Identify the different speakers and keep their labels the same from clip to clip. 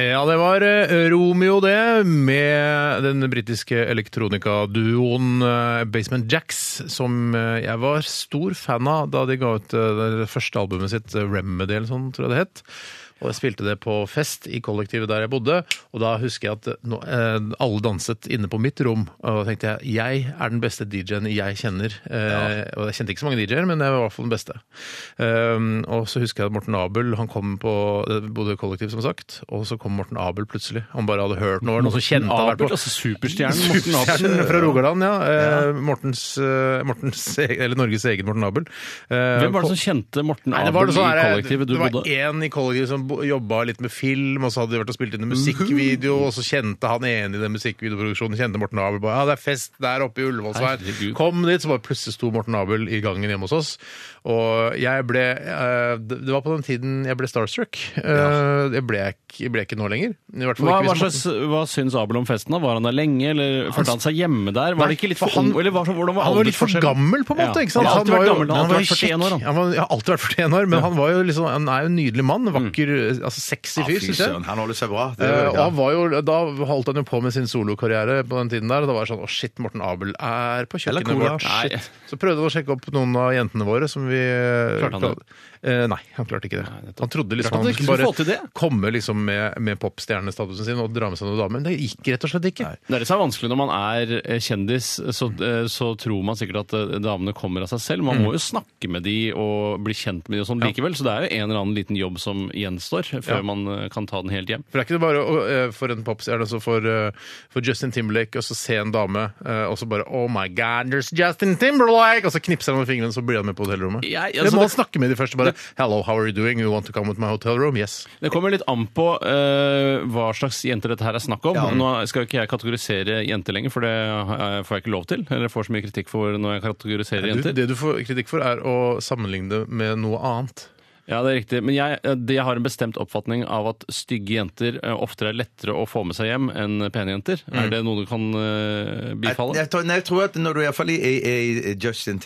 Speaker 1: Ja, det var eh, Romeo, det, med den britiske elektronikaduoen eh, Basement Jacks, som eh, jeg var stor fan av da de ga ut eh, det første albumet sitt, eh, Remedy, eller sånn, tror jeg det het. Og jeg spilte det på fest i kollektivet der jeg bodde, og da husker jeg at eh, nå- eh, alle danset inne på mitt rom, og da tenkte jeg jeg er den beste DJ-en jeg kjenner. Eh, Og jeg kjente ikke så mange DJ-er, men jeg var i hvert fall den beste. Um, og så husker jeg at Morten Abel han kom på det bodde i kollektiv, som sagt. Og så kom Morten Abel plutselig. Han bare hadde hørt noe. var det Noen som kjente han vært på
Speaker 2: altså superstjernen Morten Abel.
Speaker 1: Superstjernen fra Rogaland, ja. Eh, Mortens, eh, Mortens, eller Norges egen Morten Abel. Eh,
Speaker 2: Hvem var det som kjente Morten
Speaker 1: Nei,
Speaker 2: Abel
Speaker 1: det var, det, sånn
Speaker 2: i
Speaker 1: her-
Speaker 2: kollektivet du
Speaker 1: det var
Speaker 2: bodde
Speaker 1: en i kollektivet som bo- jobba litt med film, og så hadde de vært og spilt inn en musikkvideo,
Speaker 2: Mhm.
Speaker 1: og så kjente han ene i den musikkvideoproduksjonen, kjente Morten Abel, bare, ja, det er fest der oppe i Ullevålsveien.
Speaker 2: Herregud.
Speaker 1: Kom dit, så bare plutselig sto Morten Abel i gangen hjemme hos oss, og jeg ble, eh, det det var på den tiden jeg ble starstruck. Eh, Det ble jeg, ikke- ble jeg ikke nå lenger. I hvert fall
Speaker 2: Hva,
Speaker 1: ikke
Speaker 2: hva,
Speaker 1: hvis
Speaker 2: slags, hva syns Abel om festen? da? Var han der lenge, eller følte han seg hjemme der? Var det ikke litt
Speaker 1: for
Speaker 2: for
Speaker 1: han-
Speaker 2: ung, eller hva- hvordan var
Speaker 1: Han var litt for
Speaker 2: aldersforskjellen?
Speaker 1: gammel, på en måte.
Speaker 2: Ja.
Speaker 1: ikke sant?
Speaker 2: Han har alltid
Speaker 1: var
Speaker 2: vært
Speaker 1: jo-
Speaker 2: gammel, han har
Speaker 1: var
Speaker 2: alltid vært
Speaker 1: kjekk.
Speaker 2: 41 år, han.
Speaker 1: Han var, ja, alltid vært 41 år, men han, var jo liksom, han er jo en nydelig
Speaker 2: Mm.
Speaker 1: mann. Vakker, altså sexy fyr, syns jeg.
Speaker 3: han holder seg bra. Det,
Speaker 1: Eh, og
Speaker 3: ja.
Speaker 1: han var jo, Da holdt han jo på med sin solokarriere på den tiden der. Og da var det sånn Å, shit, Morten Abel er på
Speaker 3: Eller
Speaker 1: kjøkkenet
Speaker 3: cola.
Speaker 1: vårt.
Speaker 2: Nei.
Speaker 1: Shit. Så prøvde han å sjekke opp noen av jentene våre som vi
Speaker 2: Klarte han det?
Speaker 1: Eh, nei, han klarte ikke det. han trodde liksom
Speaker 2: Klarte han
Speaker 1: han
Speaker 2: ikke
Speaker 1: skulle
Speaker 2: skulle
Speaker 1: bare
Speaker 2: få til det?
Speaker 1: komme liksom med, med popstjernestatusen sin og dra med seg noen damer. Men det gikk rett og slett ikke.
Speaker 2: Det er det som er vanskelig når man er eh, kjendis, så, eh, så tror man sikkert at eh, damene kommer av seg selv. Man
Speaker 1: Mm.
Speaker 2: må jo snakke med de og bli kjent med de og sånn likevel, så det er jo en eller annen liten jobb som gjenstår før
Speaker 1: Ja.
Speaker 2: man eh, kan ta den helt hjem.
Speaker 1: For det er ikke det bare å, eh, for en popstjerne, altså for, eh, for Justin Timberlake, og så se en dame, eh, og så bare Oh my God, there's Justin Timberlake! Og så knipser han med fingrene, så blir han med på hotellrommet.
Speaker 2: Jeg-
Speaker 1: Eller
Speaker 2: altså,
Speaker 1: må
Speaker 2: det-
Speaker 1: han snakke med de først og bare Hello, how are you doing? You want to come with my hotel room? Yes.
Speaker 2: Det kommer litt an på eh, hva slags jenter dette her er snakk om. Nå skal jo ikke jeg kategorisere jenter lenger, for det eh, får jeg ikke lov til. Eller jeg får så mye kritikk for når jeg kategoriserer
Speaker 1: Du,
Speaker 2: jenter.
Speaker 1: det du får kritikk for, er å sammenligne det med noe annet.
Speaker 2: Ja, det er riktig. Men jeg, eh, det- jeg har en bestemt oppfatning av at stygge jenter eh, oftere er lettere å få med seg hjem enn pene jenter.
Speaker 1: Mm.
Speaker 2: Er det noe du kan eh,
Speaker 3: Jeg,
Speaker 2: bifalle?
Speaker 3: jeg, tror- nei, jeg tror at når du iallfall er i, i Justin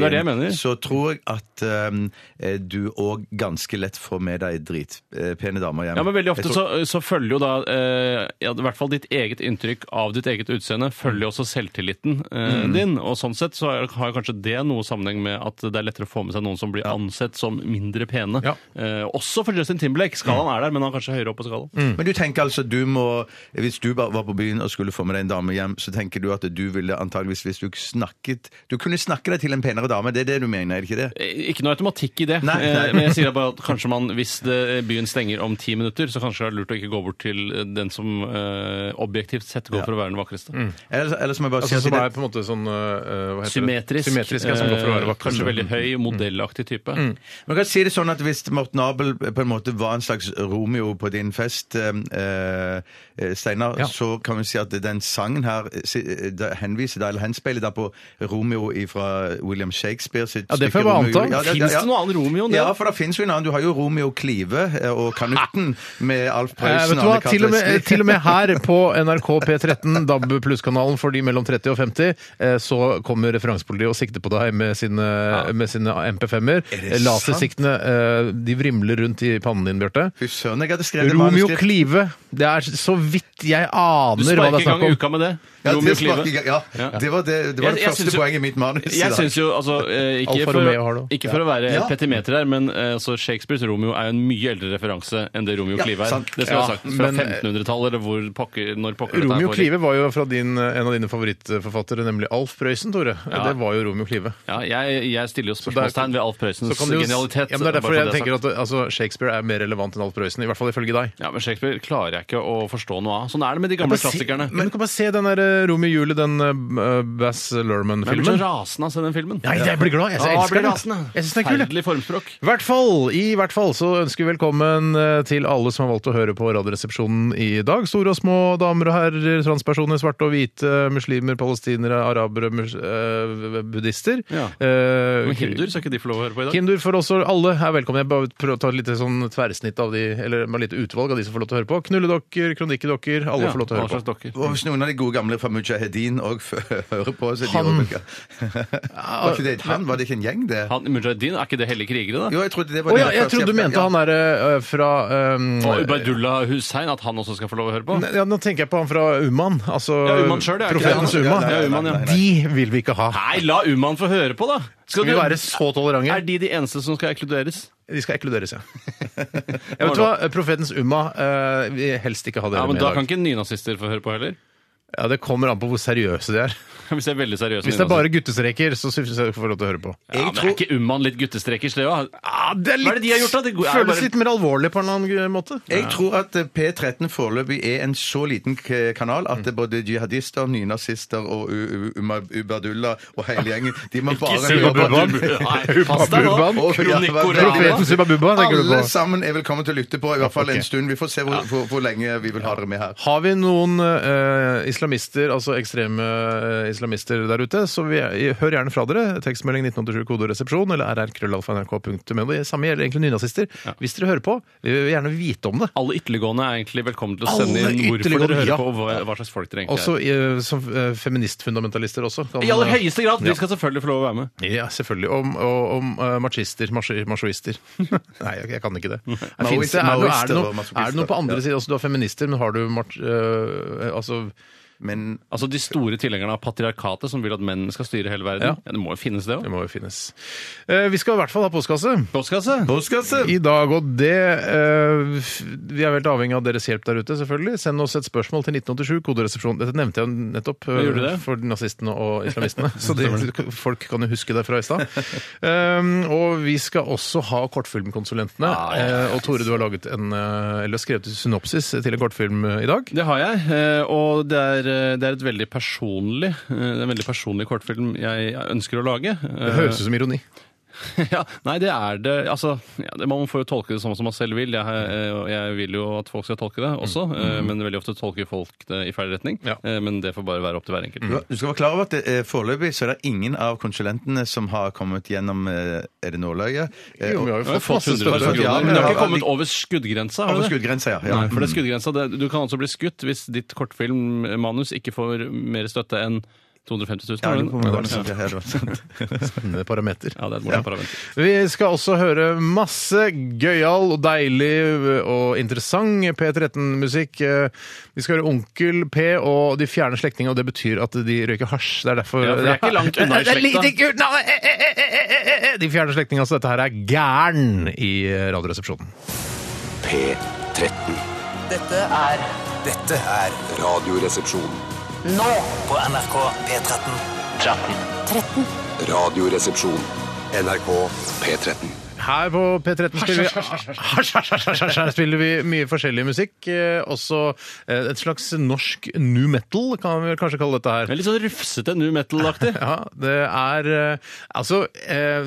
Speaker 2: Ja, det er det jeg mener.
Speaker 3: så tror jeg at um, eh, du òg ganske lett får med deg dritpene damer hjem.
Speaker 2: Ja, men veldig ofte
Speaker 3: Jeg
Speaker 2: så,
Speaker 3: tror-
Speaker 2: så følger jo da eh, ja, i hvert fall ditt eget inntrykk av ditt eget utseende følger jo også selvtilliten eh,
Speaker 1: Mm.
Speaker 2: din. Og sånn sett så er- har kanskje det noe sammenheng med at det er lettere å få med seg noen som blir ansett som mindre pene.
Speaker 1: Ja.
Speaker 2: Eh, også for Justin Timberlake. Skalaen er der, men han er kanskje høyere opp på skalaen.
Speaker 1: Mm.
Speaker 3: Men du tenker altså du må Hvis du bare var på byen og skulle få med deg en dame hjem, så tenker du at du ville antageligvis hvis du snakket Du kunne snakke deg til en penere dame. Det er det du mener, er det ikke det?
Speaker 2: Eh, Ikke noe automatikk i det.
Speaker 3: Nei, nei.
Speaker 2: Eh, Men jeg sier bare at kanskje man, hvis det, byen stenger om ti minutter, så kanskje det er lurt å ikke gå bort til eh, den som eh, objektivt sett går for å være den vakreste.
Speaker 1: Mm.
Speaker 3: Ellers, ellers må jeg bare
Speaker 1: Altså,
Speaker 3: si
Speaker 1: som er
Speaker 3: at det,
Speaker 1: på en måte sånn eh, hva heter det?
Speaker 2: Symmetrisk.
Speaker 1: Symmetrisk, ja, som går for å være Mm.
Speaker 2: eh,
Speaker 1: vakker.
Speaker 2: Kanskje veldig høy, modellaktig type.
Speaker 3: man kan si det sånn at Hvis Morten Abel på en måte var en slags Romeo på din fest, eh, eh, Steinar,
Speaker 1: Ja.
Speaker 3: så kan vi si at den sangen her eh, si- eh, da henviser da, eller henspeiler da på Romeo fra William Shakespeare sitt
Speaker 1: Ja, det får
Speaker 3: stykke
Speaker 1: jeg bare
Speaker 3: Romeo og
Speaker 1: anta.
Speaker 3: Julie. Ja,
Speaker 2: Fins det noe annet Romeo enn det?
Speaker 3: Ja, for det finnes jo en annen. Du har jo Romeo Klive eh, og Kanutten med Alf
Speaker 1: Eh, vet
Speaker 3: Prøysen
Speaker 1: du
Speaker 3: og
Speaker 1: hva,
Speaker 3: Anne Kat.
Speaker 1: til og, med,
Speaker 3: Vestli.
Speaker 1: til og med her på NRK P13, DAB pluss-kanalen for de mellom 30 og 50, eh, så kommer referansepolitiet og sikter på deg med sine, med sine MP5-er.
Speaker 3: det
Speaker 1: Lasersiktene eh, de vrimler rundt i pannen din, Bjarte.
Speaker 3: Fy søren, jeg hadde skrevet
Speaker 1: Romeo
Speaker 3: manuskript.
Speaker 1: Klive. Det er så vidt jeg
Speaker 2: Du
Speaker 1: aner hva
Speaker 2: sparker
Speaker 1: det er
Speaker 2: i gang
Speaker 1: snakk om.
Speaker 2: uka med det.
Speaker 3: Ja,
Speaker 2: Romeo
Speaker 3: det,
Speaker 2: Klive.
Speaker 3: sparker jeg- ja, det var det, det, var
Speaker 2: Jeg-
Speaker 3: det
Speaker 2: jeg
Speaker 3: første
Speaker 2: synes jo-
Speaker 3: poenget i mitt manus. i
Speaker 2: Jeg
Speaker 3: dag.
Speaker 2: synes jo, altså, eh, ikke,
Speaker 1: Alfa
Speaker 2: for,
Speaker 1: Romeo har det.
Speaker 2: ikke for å være
Speaker 3: Ja.
Speaker 2: petimeter her, men eh, altså, Shakespeares Romeo er jo en mye eldre referanse enn det Romeo
Speaker 3: Ja,
Speaker 2: Klive er.
Speaker 3: sant.
Speaker 2: Det skal
Speaker 1: Ja,
Speaker 2: jeg ha sagt. Fra
Speaker 1: men-
Speaker 2: 1500-tallet, eller hvor pokker, når pokker dette her
Speaker 1: Romeo
Speaker 2: foregikk.
Speaker 1: Klive var jo fra din, eh, en av dine favorittforfattere, nemlig Alf Prøysen, Tore.
Speaker 2: Ja.
Speaker 1: Det var jo Romeo Klive.
Speaker 2: Ja, jeg, jeg stiller jo
Speaker 1: der-
Speaker 2: spørsmålstegn ved Alf
Speaker 1: Så
Speaker 2: Prøysens
Speaker 1: kan du jo-
Speaker 2: genialitet.
Speaker 1: Ja, men det er
Speaker 2: bare
Speaker 1: derfor
Speaker 2: så
Speaker 1: jeg
Speaker 2: det er
Speaker 1: tenker
Speaker 2: sagt.
Speaker 1: at altså, Shakespeare er mer relevant enn Alf Prøysen, i hvert fall ifølge deg.
Speaker 2: ja, men Shakespeare klarer jeg ikke å forstå noe av. Sånn er det med de gamle klassikerne.
Speaker 1: Se, men du kan bare se den der eh, Romeo Julie, den eh, Bass
Speaker 2: Jeg blir
Speaker 1: Lerman-filmen.
Speaker 2: så rasende av å se den filmen.
Speaker 1: Nei, jeg blir glad. Jeg,
Speaker 2: Ja, jeg
Speaker 1: elsker
Speaker 2: blir
Speaker 1: den.
Speaker 2: rasende.
Speaker 1: Jeg synes den er kul. jeg.
Speaker 2: Forferdelig formspråk.
Speaker 1: I hvert fall, I hvert fall så ønsker vi velkommen eh, til alle som har valgt å høre på Radioresepsjonen i dag. Store og små damer og herrer, transpersoner, svarte og hvite, muslimer, palestinere, arabere, mus eh, buddhister.
Speaker 2: Ja.
Speaker 1: Eh,
Speaker 2: Men hinduer skal ikke de få lov å høre på i dag.
Speaker 1: Hinduer for også alle er velkomne. Jeg bare prøver å ta et lite sånn tverrsnitt av de, eller bare et lite utvalg av de som får lov til å høre på. Knulledokker, kronikkedokker, alle får lov til å
Speaker 2: hva
Speaker 1: høre
Speaker 2: slags
Speaker 1: på.
Speaker 2: dokker?
Speaker 3: Og hvis noen av de gode gamle fra Mujahedin òg hører på så er de
Speaker 1: Han.
Speaker 3: også- Var ikke det et han? Var det ikke en gjeng, det?
Speaker 2: Han, Mujahedin, er ikke det hellige krigere, da?
Speaker 3: Jo, jeg trodde det
Speaker 1: Å
Speaker 3: var
Speaker 1: ja, jeg trodde du mente han derre øh, fra øhm,
Speaker 2: Og Ubaydullah Hussein, at han også skal få lov å høre på?
Speaker 1: Nei, Ja, nå tenker jeg på han fra Uman. Altså
Speaker 2: Ja, Uman selv, ja, ikke
Speaker 1: profetens
Speaker 3: det?
Speaker 1: Uman.
Speaker 3: Ja, Uman, ja.
Speaker 1: De vil vi ikke ha.
Speaker 2: Nei, la Uman få høre på, da!
Speaker 1: Skal vi
Speaker 2: du-
Speaker 1: være så tolerante?
Speaker 2: Er de de eneste som skal ekskluderes?
Speaker 1: De skal ekluderes, ja. Jeg vet hva, Profetens Umma eh, vil helst ikke ha dere
Speaker 2: Ja, men
Speaker 1: med
Speaker 2: Da
Speaker 1: i
Speaker 2: kan
Speaker 1: dag.
Speaker 2: ikke nynazister få høre på heller.
Speaker 1: Ja, Det kommer an på hvor seriøse de er.
Speaker 2: Hvis de er veldig seriøse
Speaker 1: Hvis det er bare guttestreker, så syns jeg du får lov til å høre på.
Speaker 2: nynazister. ja, men Er ikke Umman litt guttestreker, Sleva?
Speaker 1: det
Speaker 2: Hva er det de har gjort, da? Det er
Speaker 1: føles
Speaker 2: bare-
Speaker 1: litt mer alvorlig på en eller annen måte.
Speaker 3: Jeg tror at eh, P13 foreløpig er en så liten k- kanal
Speaker 1: Mm.
Speaker 3: at det er både jihadister, nynazister og U- U- Uma- Ubadullah og hele gjengen De må bare
Speaker 2: si
Speaker 3: høre på
Speaker 2: Ubadullah.
Speaker 3: det.
Speaker 2: Nei, pass deg nå.
Speaker 1: Ubadullah.
Speaker 3: Å, ja, hva-
Speaker 2: Kronikkorama.
Speaker 1: Profetens Umma Bubba, tenker du
Speaker 3: Alle
Speaker 1: på.
Speaker 3: sammen er velkommen til å lytte på, i hvert fall
Speaker 1: Ok.
Speaker 3: en stund. Vi får se hvor, hvor, hvor lenge vi vil ha dere med her.
Speaker 1: Har vi noen eh, islamister, altså ekstreme eh, islamister der ute, så vi, hør gjerne fra dere. Tekstmelding 1987 kode resepsjon eller rrkrøllalfa.nrk.no. Det samme gjelder egentlig nynazister. Hvis dere hører på, vi vil gjerne vite om det.
Speaker 2: Alle ytterliggående er egentlig velkommen til å
Speaker 1: Alle
Speaker 2: sende inn hvorfor
Speaker 1: ytterliggående,
Speaker 2: dere hører
Speaker 1: ja.
Speaker 2: på, og hva, hva slags folk dere egentlig
Speaker 1: Også eh, som eh, feministfundamentalister også. kan-
Speaker 2: er. I aller høyeste grad!
Speaker 1: Ja.
Speaker 2: De skal selvfølgelig få lov å være med.
Speaker 1: Ja, selvfølgelig. Om, og, om eh, machister, machi- machoister. Nei, jeg, jeg kan ikke det. Her finnes det- er, det noe- er, det
Speaker 3: Maoister og
Speaker 1: noe,
Speaker 3: masochister.
Speaker 1: er det noe på andre
Speaker 3: Ja.
Speaker 1: siden? Altså, du har feminister, men har du mach... eh, altså,
Speaker 3: Men
Speaker 2: Altså De store tilhengerne av patriarkatet som vil at menn skal styre hele verden.
Speaker 1: Ja.
Speaker 2: Ja. Det må jo finnes, det
Speaker 1: det
Speaker 2: òg.
Speaker 1: må jo finnes. Eh, vi skal i hvert fall ha postkasse.
Speaker 2: Postkasse!
Speaker 1: I dag, og det eh, f- Vi er helt avhengig av deres hjelp der ute, selvfølgelig. Send oss et spørsmål til 1987, koderesepsjon. Dette nevnte jeg nettopp eh,
Speaker 2: gjorde du det?
Speaker 1: for nazistene og islamistene. Så det, folk kan jo huske det fra i stad. Um, og vi skal også ha kortfilmkonsulentene. Eh, og Tore, du har laget en, eh, eller skrevet synopsis til en kortfilm eh, i dag.
Speaker 2: Det har jeg, eh, og det er, eh, det er et veldig personlig, eh, det er en veldig personlig kortfilm jeg ønsker å lage. Eh,
Speaker 1: Det høres ut som ironi.
Speaker 2: ja, nei, det er det. Altså, ja, det- man får jo tolke det sånn som man selv vil. Jeg, eh, og jeg vil jo at folk skal tolke det også, eh, men veldig ofte tolker folk det i feil retning.
Speaker 1: Ja.
Speaker 2: Eh, Men det får bare være opp til hver enkelt.
Speaker 3: du du skal være klar over at det, eh, foreløpig så er det ingen av konsulentene som har kommet gjennom eh, Er det nåløyet? Eh,
Speaker 1: Jo, men vi har
Speaker 3: og-
Speaker 1: jo
Speaker 2: Det har
Speaker 1: fått masse
Speaker 3: hundrevis av
Speaker 1: støtte.
Speaker 3: kroner. Ja,
Speaker 2: men det har ikke
Speaker 3: ja,
Speaker 2: kommet
Speaker 3: ja.
Speaker 2: over skuddgrensa? altså. har
Speaker 3: Over
Speaker 2: det det?
Speaker 3: skuddgrensa, ja, Mm. ja.
Speaker 2: Nei,
Speaker 1: Mm.
Speaker 2: for det er skuddgrensa. Det, du kan altså bli skutt hvis ditt kortfilmmanus ikke får mer støtte enn 250 000.
Speaker 3: Ja,
Speaker 2: har
Speaker 3: det
Speaker 2: du-
Speaker 3: kommer- det var noe sånt, ja, det var noe sånt.
Speaker 1: Spennende parameter.
Speaker 2: Ja, det er et morsomt parameter.
Speaker 1: Vi skal også høre masse gøyal og deilig og interessant P13-musikk. Vi skal høre Onkel P og De fjerne slektningene, og det betyr at de røyker hasj. Det er derfor
Speaker 2: Ja, for det er ikke langt unna i
Speaker 1: Det
Speaker 2: slekta.
Speaker 1: er lite kult navn! Eh, eh, eh, eh, eh, eh. De fjerne slektningene, så dette her er gæren i Radioresepsjonen.
Speaker 4: P13.
Speaker 5: Dette er
Speaker 6: Dette er Radioresepsjon.
Speaker 5: nå på NRK P13.
Speaker 6: Radioresepsjon.
Speaker 4: NRK P13.
Speaker 1: Her på P13 spiller vi, Hasj, hasj, hasj, hasj, hasj, spiller vi mye forskjellig musikk. eh, Også eh, et slags norsk new metal, kan vi vel kanskje kalle dette her.
Speaker 2: Det er Litt sånn rufsete nu metal-aktig.
Speaker 1: Ja, det er eh, Altså, eh,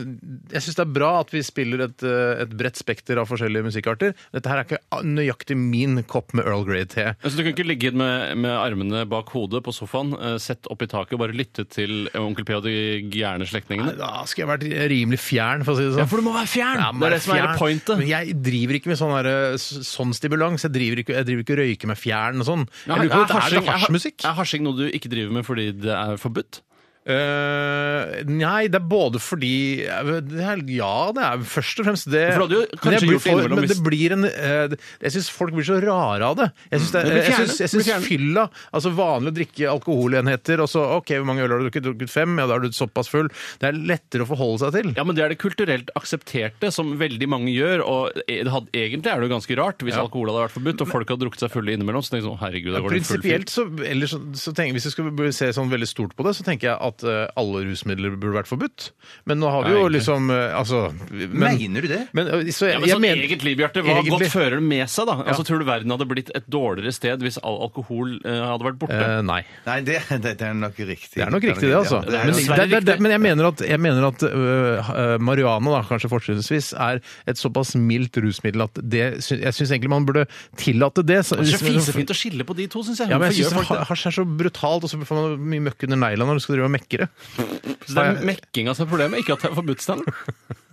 Speaker 1: jeg syns det er bra at vi spiller et, eh, et bredt spekter av forskjellige musikkarter. Dette her er ikke a- nøyaktig min kopp med Earl Grey-te.
Speaker 2: Altså, du kan ikke ligge med, med armene bak hodet på sofaen, eh, sett opp i taket og bare lytte til Onkel P og de gærne slektningene?
Speaker 1: Da skulle jeg vært rimelig fjern, for å si det sånn.
Speaker 2: Ja, for du må være fjern!
Speaker 1: Ja,
Speaker 2: det er det som er
Speaker 1: fjern.
Speaker 2: hele pointet.
Speaker 1: Men jeg driver ikke med sånn, her, eh, s- sånn stimulans. Jeg driver ikke, jeg driver ikke og røyker med fjern og sånn. Jeg lurer på, Er det hasjmusikk?
Speaker 2: Er hasjing noe du ikke driver med fordi det er forbudt?
Speaker 1: Eh, nei, det er både fordi eh, det er, Ja, det er først og fremst det.
Speaker 2: For du hadde jo
Speaker 1: Men jeg
Speaker 2: kanskje
Speaker 1: blir
Speaker 2: gjort det innimellom
Speaker 1: men det
Speaker 2: hvis-
Speaker 1: blir en eh, det- Jeg syns folk blir så rare av det. Jeg syns det-
Speaker 2: Mm. blir
Speaker 1: eh, jeg
Speaker 2: fjerne.
Speaker 1: syns- jeg
Speaker 2: Det blir
Speaker 1: syns fylla Altså vanlig å drikke alkoholenheter, og så OK, hvor mange øl har du drukket? Drukket fem? Ja, da er du såpass full. Det er lettere å forholde seg til.
Speaker 2: Ja, men Det er det kulturelt aksepterte, som veldig mange gjør. og e- det hadde, Egentlig er det jo ganske rart hvis alkohol hadde vært forbudt, og folk hadde drukket seg fulle innimellom. så tenker jeg sånn, herregud, da går det en full fyr.
Speaker 1: Prinsipielt, så, eller så, så tenker, Hvis vi skal b- se sånn veldig stort på det, så tenker jeg at eh, alle rusmidler burde vært forbudt. Men nå har vi
Speaker 2: Ja,
Speaker 1: jo
Speaker 2: egentlig.
Speaker 1: liksom eh, Altså men,
Speaker 3: Mener du det?
Speaker 1: men, eh, så jeg,
Speaker 2: Ja, men
Speaker 1: jeg
Speaker 2: sånn
Speaker 1: mener-
Speaker 2: egentlig, Bjarte, hva
Speaker 1: Egentlig.
Speaker 2: godt fører det med seg, da? Altså, Tror du verden hadde blitt et dårligere sted hvis all alkohol eh, hadde vært borte?
Speaker 1: Eh, nei.
Speaker 3: Nei, det, det, det er nok riktig.
Speaker 1: Det er nok riktig, det, altså.
Speaker 3: Ja, det er
Speaker 1: men,
Speaker 3: nok-
Speaker 2: dessverre
Speaker 1: det, det, det,
Speaker 2: riktig.
Speaker 1: men jeg mener at, jeg mener at øh, øh, marihuana, da, kanskje fortrinnsvis, er et såpass mildt rusmiddel at det, sy- jeg syns egentlig man burde tillate det. Så,
Speaker 2: det er så fisefint å skille på de to, syns jeg.
Speaker 1: ja, men
Speaker 2: Hvorfor
Speaker 1: jeg syns
Speaker 2: gjør folk det?
Speaker 1: hasj er så brutalt, og så får man mye møkk under neglene når du skal drive og mekke det.
Speaker 2: altså, Så det er mekkinga som er problemet, ikke at det er forbudt, Steinar.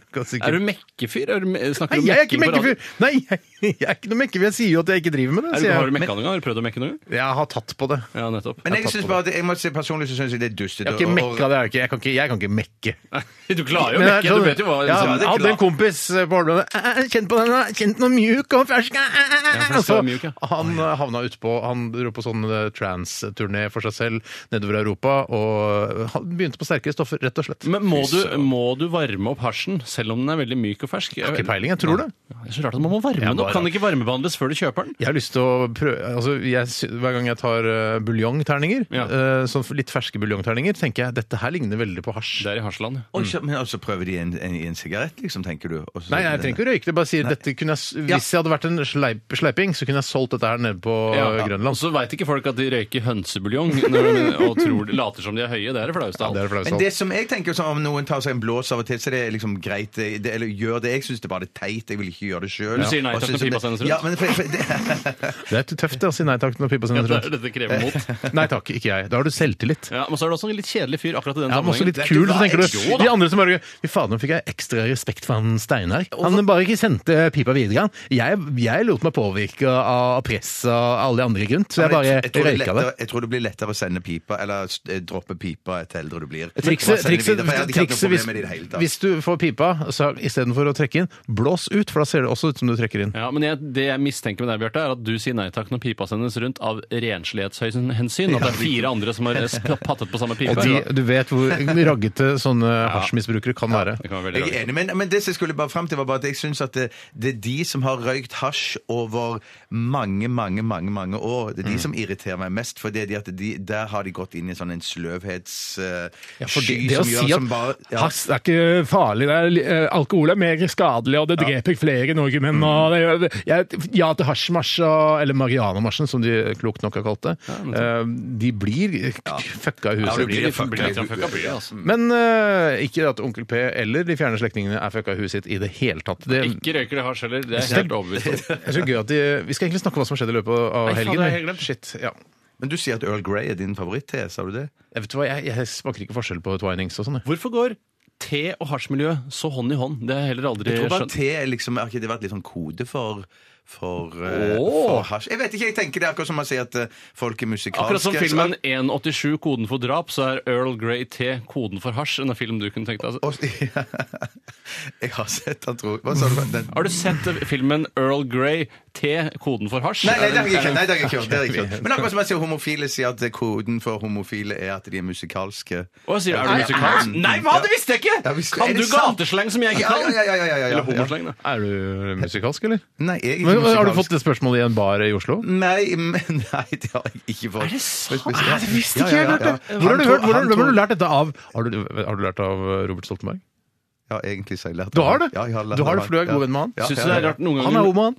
Speaker 1: skal sikkert
Speaker 2: Er du mekkefyr? Er du, me- snakker
Speaker 1: Nei,
Speaker 2: du
Speaker 1: jeg er ikke
Speaker 2: mekking på radio?
Speaker 1: mekkefyr! Nei, jeg, jeg er ikke noe mekkefyr. Jeg sier jo at jeg ikke driver med det.
Speaker 2: Er du,
Speaker 1: sier
Speaker 2: har
Speaker 1: jeg.
Speaker 2: du mekka noen gang? Har du prøvd å mekke noen gang?
Speaker 1: Men jeg har tatt på det.
Speaker 2: Ja, nettopp.
Speaker 3: Men jeg synes bare at jeg må si personlig så synes jeg det er dustete.
Speaker 1: Jeg har ikke
Speaker 3: å-
Speaker 1: mekka det. Jeg, har ikke, jeg, kan ikke, jeg kan ikke mekke.
Speaker 2: Du klarer jo å
Speaker 1: Men jeg
Speaker 2: mekke,
Speaker 1: skjønner-
Speaker 2: du vet jo hva
Speaker 1: ja,
Speaker 2: liksom-
Speaker 1: Jeg hadde en kompis på Holmland. «Æ, æ, Kjenn på den, da. Kjenn den, mjuk og fersk. æ, æ, æ».
Speaker 2: Ja, for det
Speaker 1: Og
Speaker 2: skal
Speaker 1: så
Speaker 2: være mjuk, ja.
Speaker 1: Han eh, havna utpå Han dro på sånn eh, trans-turné for seg selv nedover i Europa og eh, han begynte på sterkere stoffer, rett og slett.
Speaker 2: Men må du, må du varme opp hasjen selv om den er veldig myk og fersk?
Speaker 1: Ikke peiling, jeg tror det.
Speaker 2: Ja, Det er så rart at man må varme den opp.
Speaker 1: bare-
Speaker 2: Kan den ikke varmebehandles før du kjøper den?
Speaker 1: Jeg har lyst til å prøve altså jeg, sy- Hver gang jeg tar eh, buljongterninger,
Speaker 2: Ja.
Speaker 1: eh, sånn litt ferske buljongterninger, tenker jeg dette her ligner veldig på hasj.
Speaker 2: Det er i Hasjland.
Speaker 3: Oi, så- Men altså prøver de en, en, i en sigarett, liksom, tenker du? Og så-
Speaker 1: Nei, jeg trenger ikke å røyke det. Bare sier dette kunne jeg, s- Hvis jeg hadde vært en sleip, sleiping, så kunne jeg solgt dette her nede på eh,
Speaker 2: Og
Speaker 1: Grønland.
Speaker 2: så veit ikke folk at de røyker hønsebuljong når- og tror, de- later som de er høye. Det er det flaueste av
Speaker 1: Det er
Speaker 2: alt.
Speaker 1: det flaueste
Speaker 3: Men
Speaker 1: av
Speaker 3: det
Speaker 1: alt.
Speaker 3: som jeg tenker, som om noen tar seg en blås av og til, så det er liksom greit. Det, det, eller gjør det. Jeg syns det bare er teit. Jeg vil ikke gjøre det sjøl.
Speaker 2: Du sier nei takk når pipa sendes rundt?
Speaker 3: Ja, men for, for, det,
Speaker 1: Det er tøft det, å si nei takk når pipa sendes
Speaker 2: Det er-
Speaker 1: rundt.
Speaker 2: Dette krever mot.
Speaker 1: Nei takk, ikke jeg. Da har du selvtillit.
Speaker 2: Ja, men så er du også en litt kjedelig fyr akkurat i den
Speaker 1: Ja, men også litt
Speaker 2: sammenhengen.
Speaker 1: kul, så tenker du.
Speaker 2: Jo da.
Speaker 1: De andre som bare Fy fader, nå fikk jeg ekstra respekt for han Steinar. Han bare ikke sendte pipa videre. han. Jeg, jeg lot meg påvirke av presset av alle de andre rundt, så jeg bare
Speaker 3: jeg, tror det er
Speaker 1: røyka det.
Speaker 3: lettere- jeg tror det blir lettere å sende pipa, eller s- eh, droppe pipa, etter eldre du blir.
Speaker 1: Trikset,
Speaker 3: Bare sende
Speaker 1: trikset,
Speaker 3: videre, for jeg hadde ikke hatt noe
Speaker 1: trikset hvis,
Speaker 3: problem med det i det hele tatt.
Speaker 1: hvis du får pipa, så istedenfor å trekke inn, blås ut, for da ser det også ut som du trekker inn.
Speaker 2: Ja, men jeg, Det jeg mistenker med deg, Bjarte, er at du sier nei takk når pipa sendes rundt av renslighetshensyn. At det er fire andre som har sp- pattet på samme pipe.
Speaker 1: Og de, du vet hvor raggete sånne hasjmisbrukere kan være.
Speaker 2: Det kan være veldig
Speaker 3: Jeg er
Speaker 2: rart.
Speaker 3: enig, men, men det som jeg skulle bare frem til var bare at jeg synes at det, det er de som har røykt hasj over mange, mange, mange mange år, det er de
Speaker 1: Mm.
Speaker 3: som irriterer meg mest, for det er de at de, der har de gått inn i sånn en eh, sløvhetssky
Speaker 1: Ja, for det, det å si at
Speaker 3: ja.
Speaker 1: hasj er ikke farlig, det er, li- eh, alkohol er mer skadelig, og det dreper flere i Norge, men og det, jeg, ja til hasjmarsj, og- eller marihuanamarsjen, som de klokt nok har kalt det, eh, de blir k- fucka i huset.
Speaker 3: Ja, du blir
Speaker 2: blir
Speaker 3: fucka
Speaker 2: litt
Speaker 3: i
Speaker 2: fucka, blir det,
Speaker 3: huet.
Speaker 2: altså.
Speaker 1: Men eh, ikke at onkel P eller de fjerne slektningene er fucka i huet sitt i det hele tatt. Det,
Speaker 2: Ikke røyker det hasj heller. Det er helt overbevist om.
Speaker 1: det er så gøy at de, Vi skal egentlig snakke om hva som har skjedd i løpet av
Speaker 2: Nei, faen,
Speaker 1: helgen.
Speaker 2: det har jeg glemt.
Speaker 1: Shit, ja.
Speaker 3: Men du sier at Earl Grey er din favoritte, sa du det?
Speaker 1: Jeg vet du hva, jeg, jeg smaker ikke forskjell på twinings og sånn. jeg.
Speaker 2: Hvorfor går te- og hasjmiljø så hånd i hånd? Det har jeg heller aldri
Speaker 3: Jeg tror bare
Speaker 2: skjønt.
Speaker 3: te er liksom, har ikke det vært litt sånn kode for for, eh,
Speaker 2: Åh.
Speaker 3: for hasj? Jeg vet ikke, jeg tenker det er akkurat som man sier at eh, folk er musikalske.
Speaker 2: Akkurat som
Speaker 3: så-
Speaker 2: filmen 187 koden for drap, så er Earl Grey te koden for hasj. En film du kunne tenkt deg.
Speaker 3: Og- Jeg har sett han, tror jeg. Hva sa du? Den,
Speaker 2: Har du sett filmen Earl Grey te koden for hasj?
Speaker 3: Nei, nei, det har jeg ikke hørt. Nei, det har jeg ikke hørt. Det har jeg ikke hørt. Men akkurat som jeg sier homofile sier at koden for homofile er at de er musikalske.
Speaker 2: Og jeg sier, er du musikalsk? Nei, hva? Det visste jeg ikke!
Speaker 3: Ja, visste- er
Speaker 2: Kan
Speaker 3: det
Speaker 2: du
Speaker 3: sant?
Speaker 2: gatesleng som jeg ikke
Speaker 3: Ja,
Speaker 2: kan?
Speaker 3: ja, ja, ja, ja, ja,
Speaker 2: Eller
Speaker 3: ja.
Speaker 2: homosleng, da.
Speaker 1: Er du musikalsk, eller?
Speaker 3: Nei, jeg er ikke
Speaker 1: Men,
Speaker 3: musikalsk.
Speaker 1: har du fått det spørsmålet i en bar i Oslo?
Speaker 3: Nei, men, nei, det har jeg ikke fått. Er det sant?
Speaker 2: Ah,
Speaker 1: Hvor har du hørt, hvor har, hvem har du lært dette av? Har du, har du lært av eh, Robert Stoltenberg?
Speaker 3: Ja, egentlig så har jeg lært
Speaker 1: Du har det?
Speaker 3: Ja, jeg har lært
Speaker 1: Du har
Speaker 3: av
Speaker 1: det, for du er
Speaker 3: han.
Speaker 1: god venn med han.
Speaker 3: Ja,
Speaker 2: Syns
Speaker 3: ja,
Speaker 2: du det
Speaker 3: ja,
Speaker 2: er rart noen
Speaker 1: Han er
Speaker 2: ganger
Speaker 1: homo, han.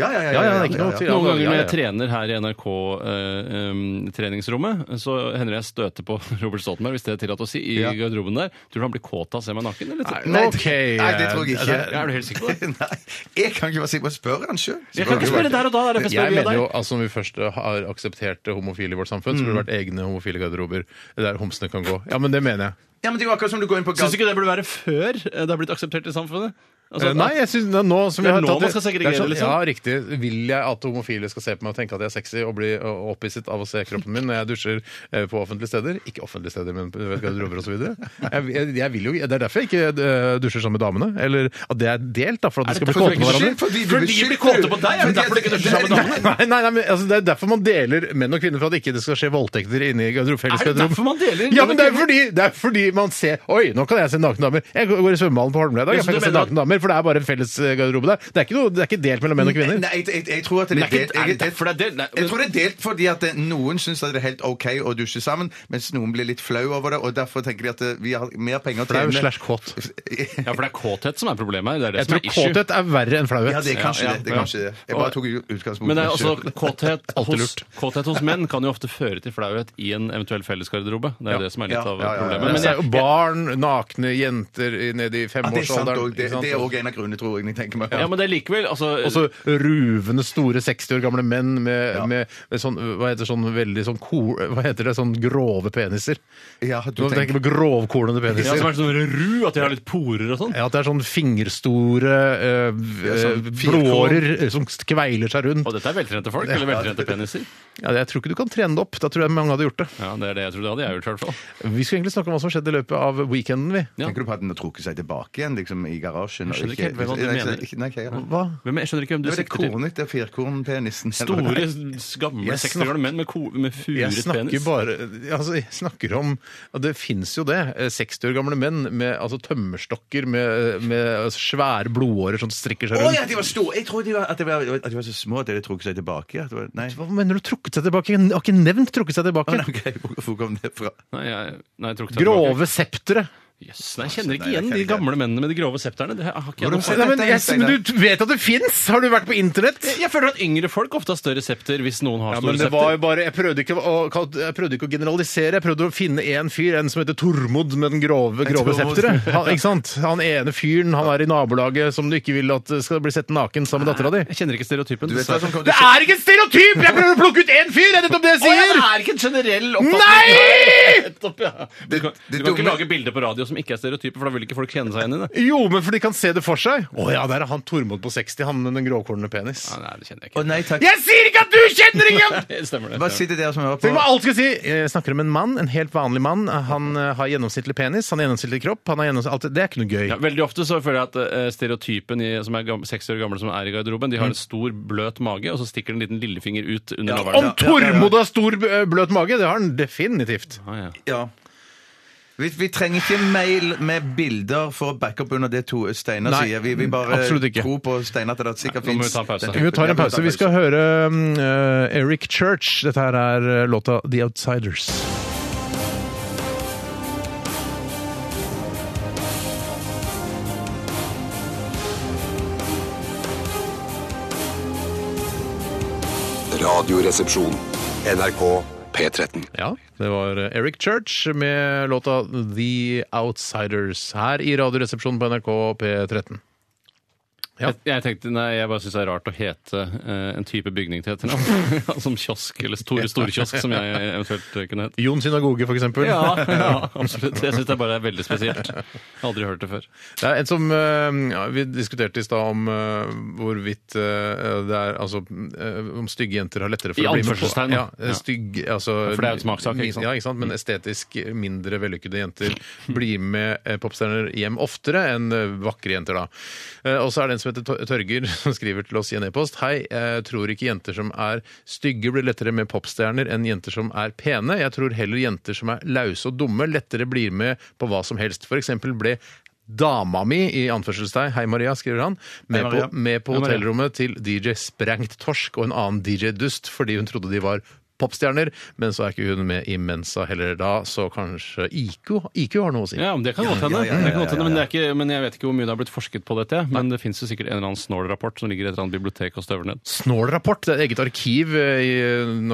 Speaker 3: Ja, ja,
Speaker 1: Ja,
Speaker 3: ja.
Speaker 1: ja, det er ikke noe å si.
Speaker 2: noen
Speaker 1: Ja,
Speaker 2: ganger
Speaker 1: ja,
Speaker 2: når
Speaker 1: ja.
Speaker 2: jeg trener her i NRK-treningsrommet, så hender jeg støter på Robert Stoltenberg, hvis det er tillatt å si, i
Speaker 3: Ja.
Speaker 2: garderoben der. Tror du han blir kåt av å se meg naken? Eller? tror-
Speaker 3: Nei,
Speaker 1: Ok,
Speaker 3: nei, det tror jeg ikke.
Speaker 2: Er du helt sikker på det?
Speaker 3: Nei, jeg kan ikke være sikker på å spørre han sjøl.
Speaker 2: Jeg kan ikke spørre der og da. Det er derfor jeg
Speaker 1: Jeg
Speaker 2: spør via
Speaker 1: mener
Speaker 2: deg.
Speaker 1: jo, altså Når vi først har akseptert homofile i vårt samfunn, så burde det vært egne homofile garderober der homsene kan gå. Ja, men det mener jeg.
Speaker 3: Ja, men det er jo akkurat som du går inn på
Speaker 2: Syns du ikke det burde være før eh, det har blitt akseptert i samfunnet? Altså,
Speaker 1: Eh, Nei, jeg synes, det er nå som
Speaker 2: Det er
Speaker 1: vi har
Speaker 2: nå
Speaker 1: tatt
Speaker 2: man skal segregere,
Speaker 1: det er sånn-
Speaker 2: liksom.
Speaker 1: Ja, riktig. Vil jeg at homofile skal se på meg og tenke at jeg er sexy og bli og opphisset av å se kroppen min når jeg dusjer eh, på offentlige steder? Ikke offentlige steder, men du vet, garderober osv. Det er derfor jeg ikke eh, dusjer sammen med damene. Eller at det er delt, da, for at de skal bli kåte på hverandre.
Speaker 3: Fordi
Speaker 2: Fordi de blir kåte på deg, er det derfor du ikke dusjer sammen med damene?
Speaker 1: Nei, nei, nei, men altså, Det er derfor man deler menn og kvinner, for at ikke det skal skje voldtekter inne i garderob- felles
Speaker 2: Er det
Speaker 1: garderob.
Speaker 2: derfor man deler menn
Speaker 1: Ja,
Speaker 2: og
Speaker 1: men det er, fordi, det er fordi man ser Oi, nå kan jeg se nakne damer. Jeg går går i svømmehallen på Holmlia i dag.
Speaker 2: Ja,
Speaker 1: Jeg
Speaker 2: så
Speaker 1: kan
Speaker 2: du
Speaker 1: se
Speaker 2: mener at-
Speaker 1: nakne damer, for det er bare en felles eh, garderobe der. Det er ikke, noe, det er ikke delt mellom menn og kvinner.
Speaker 3: Nei, jeg, jeg, jeg tror at det
Speaker 2: Men er
Speaker 3: er
Speaker 2: ikke-
Speaker 3: delt.
Speaker 2: er
Speaker 3: Jeg,
Speaker 2: det derfor det er delt? Nei,
Speaker 3: jeg tror det er delt fordi at eh, noen syns det er helt OK å dusje sammen, mens noen blir litt flau over det, og derfor tenker de at eh, vi har mer penger å
Speaker 1: Flau
Speaker 3: tjene.
Speaker 1: slash kåt.
Speaker 2: Ja, for det er kåthet som er problemet her. Det er det
Speaker 1: Jeg
Speaker 2: som
Speaker 1: tror
Speaker 2: er issue.
Speaker 1: kåthet er verre enn flauhet.
Speaker 3: Ja, det er kanskje
Speaker 2: Ja, ja,
Speaker 3: det. det, er
Speaker 2: ja.
Speaker 3: kanskje det. Jeg bare tok utgangspunkt
Speaker 2: Men det er
Speaker 3: i
Speaker 2: også
Speaker 3: meg selv.
Speaker 2: kåthet
Speaker 1: Alltid
Speaker 2: hos,
Speaker 1: lurt.
Speaker 2: kåthet hos menn kan jo ofte føre til flauhet i en eventuell fellesgarderobe. Det er jo det som er litt
Speaker 3: Ja,
Speaker 2: av
Speaker 3: ja, ja, ja.
Speaker 2: problemet.
Speaker 1: Men
Speaker 2: Men
Speaker 1: det er
Speaker 2: jeg,
Speaker 1: jo barn, nakne jenter i- nede i
Speaker 3: Ja, det er sant
Speaker 1: femårsalderen.
Speaker 3: òg. Det,
Speaker 1: ikke sant?
Speaker 3: det er òg en av grunnene, tror jeg. når jeg tenker meg om.
Speaker 2: Ja, men det er likevel altså,
Speaker 1: Og så ruvende store 60 år gamle menn med, med, med sånn hva heter, sånn veldig sånn ko- hva heter det, sånn grove peniser.
Speaker 3: Ja,
Speaker 1: Du må tenke på grovkornede
Speaker 2: ja, som
Speaker 1: peniser.
Speaker 2: er sånn ru, at de har litt porer og sånn.
Speaker 1: Ja, at det er sånn fingerstore eh,
Speaker 3: sånn
Speaker 1: eh,
Speaker 3: firkant.
Speaker 1: blåårer eh, som kveiler seg rundt.
Speaker 2: Og dette er veltrente folk, eller veltrente peniser.
Speaker 1: Ja, jeg tror ikke du kan trene det opp. Da tror jeg mange hadde gjort det.
Speaker 2: Ja, Det er det jeg trodde hadde jeg gjort, i hvert fall.
Speaker 1: Vi skulle egentlig snakke om hva som skjedde i løpet av weekenden, vi.
Speaker 2: Ja.
Speaker 3: Tenker du på at den har trukket seg tilbake igjen liksom, i garasjen? og
Speaker 2: Jeg skjønner ikke helt hva du
Speaker 3: Nei,
Speaker 2: mener.
Speaker 3: ikke- Nei, ikke jeg heller.
Speaker 1: Hva?
Speaker 2: Hvem, jeg skjønner ikke hvem du
Speaker 3: Det er det
Speaker 2: sikter til.
Speaker 3: kornet, det er firkornpenisen.
Speaker 2: Store, s- gamle
Speaker 1: Jeg
Speaker 2: 60 år gamle menn med, ko- med
Speaker 1: Jeg
Speaker 2: furet
Speaker 1: snakker
Speaker 2: penis.
Speaker 1: bare altså, Jeg snakker om ja, Det fins jo det. eh, 60 år gamle menn med altså, tømmerstokker med, med altså, svære blodårer som strikker seg
Speaker 3: Å ja,
Speaker 1: rundt.
Speaker 3: de var store! Jeg trodde de var, at, de var, at de var så små at de hadde trukket seg tilbake. At det var, nei.
Speaker 1: Hva mener du trukket seg tilbake? Jeg har ikke nevnt trukket seg
Speaker 3: Å,
Speaker 1: tilbake.
Speaker 3: nei, ok, hvor- Hvor kom det fra?
Speaker 2: Nei, jeg, nei, jeg tror ikke det er tilbake.
Speaker 1: Grove septere.
Speaker 2: Jøss, nei, jeg kjenner ikke igjen
Speaker 3: Nei, jeg kjenner
Speaker 2: de
Speaker 3: ikke
Speaker 2: gamle mennene med de grove septerne. Det har ikke jeg noe
Speaker 3: Hvordan-
Speaker 2: for.
Speaker 1: Nei, men, jeg, men du vet at det fins! Har du vært på internett?
Speaker 2: Jeg føler at yngre folk ofte har større septer hvis noen har
Speaker 1: Ja,
Speaker 2: store
Speaker 1: men det var jo
Speaker 2: septer.
Speaker 1: bare, jeg prøvde, ikke å, jeg prøvde ikke å generalisere. Jeg prøvde å finne én fyr, en som heter Tormod med den grove, grove
Speaker 3: Tormod.
Speaker 1: septeret. Han, ikke sant? han ene fyren han er i nabolaget som du ikke vil at skal bli sett naken sammen med dattera di.
Speaker 2: Jeg kjenner ikke stereotypen.
Speaker 3: Du vet hva som kom
Speaker 1: Det er ikke en stereotyp! Jeg prøver å plukke ut én fyr! Er det det jeg sier?
Speaker 2: er ikke en generell
Speaker 1: Nei!
Speaker 2: Nettopp, ja. Du kan, du kan
Speaker 3: det
Speaker 2: ikke
Speaker 3: dumme-
Speaker 2: lage bilder på radio som ikke er stereotyper, for da vil ikke folk kjenne seg igjen i det.
Speaker 1: Jo, men for de kan se det for seg. Å ja, der er han Tormod på 60, han med den gråkornede penis.
Speaker 2: Ja, nei, det kjenner jeg
Speaker 3: Å
Speaker 2: ikke.
Speaker 3: nei takk.
Speaker 1: Jeg sier ikke at du kjenner ingen!
Speaker 2: Det Stemmer det.
Speaker 3: Hva sitter dere som hører
Speaker 1: Så vi må
Speaker 3: på?
Speaker 1: alltid si Jeg snakker om en mann, en helt vanlig mann. Han eh, har gjennomsnittlig penis, han har gjennomsnittlig kropp. Han har gjennomsnittlig, alt, det- det er ikke noe gøy.
Speaker 2: Ja, veldig ofte så føler jeg at eh, stereotypen i, som er gam- 60 år gamle som er i garderoben, de har en stor, bløt mage, og så stikker det en liten lillefinger ut under
Speaker 3: Mm. Ja,
Speaker 2: navlen.
Speaker 1: Om Tormod har stor eh, bløt mage, det har han definitivt.
Speaker 2: Ah, ja.
Speaker 3: Ja. Vi, vi trenger ikke mail med bilder for å backe opp under det to Steinar
Speaker 1: Nei,
Speaker 3: sier. Vi, vi bare
Speaker 1: absolutt ikke.
Speaker 3: tror på Steinar til det sikkert
Speaker 2: Nå må vi
Speaker 3: finnes
Speaker 2: ta en pause.
Speaker 1: Vi tar en pause. Vi skal høre mm, eh, Eric Church. Dette her er eh, låta The Outsiders.
Speaker 6: Radioresepsjon.
Speaker 4: NRK P13.
Speaker 1: Ja, det var eh, Eric Church med låta The Outsiders her i Radioresepsjonen på NRK P13. Ja.
Speaker 2: Jeg, jeg tenkte, nei, jeg bare syns det er rart å hete eh, en type bygning til etternavn. Altså, som kiosk, eller store storkiosk, som jeg eventuelt eh, kunne hett.
Speaker 1: Jon Synagoge, for eksempel.
Speaker 2: Ja, ja, absolutt. Jeg syns det bare er veldig spesielt. Aldri hørt det før.
Speaker 1: Det er en som eh, ja, Vi diskuterte i stad om eh, hvorvidt eh, det er Altså eh, om stygge jenter har lettere for
Speaker 2: I
Speaker 1: å bli med på
Speaker 2: anførselstegn, da.
Speaker 1: ja, eh, stygg, altså,
Speaker 2: Ja, for det er jo en smakssak, ikke sant?
Speaker 1: Ja, ikke sant? Men estetisk mindre vellykkede jenter blir med eh, popstjerner hjem oftere enn eh, vakre jenter, da. Eh, Og så er det en som heter Tør- Tørger, som skriver til oss i en e-post. Hei, jeg tror ikke jenter som er stygge, blir lettere med popstjerner enn jenter som er pene. Jeg tror heller jenter som er lause og dumme, lettere blir med på hva som helst. For eksempel ble Dama mi, i anførselstegn, hei Maria, skriver han, med,
Speaker 3: Maria.
Speaker 1: På, med på
Speaker 2: Hei, Maria.
Speaker 1: hotellrommet til DJ Sprengt Torsk og en annen DJ Dust fordi hun trodde de var popstjerner, men så er ikke hun med i Mensa heller da, så kanskje IQ, IQ har noe å si.
Speaker 2: Ja, men Det kan godt hende.
Speaker 3: ja, ja, ja,
Speaker 2: Det kan godt hende,
Speaker 3: ja, ja.
Speaker 2: Men, det er ikke- men jeg vet ikke hvor mye det har blitt forsket på dette. Men det fins sikkert en eller annen snål rapport som ligger i et eller annet bibliotek og støver ned.
Speaker 1: Snål rapport, det er et eget arkiv eh, i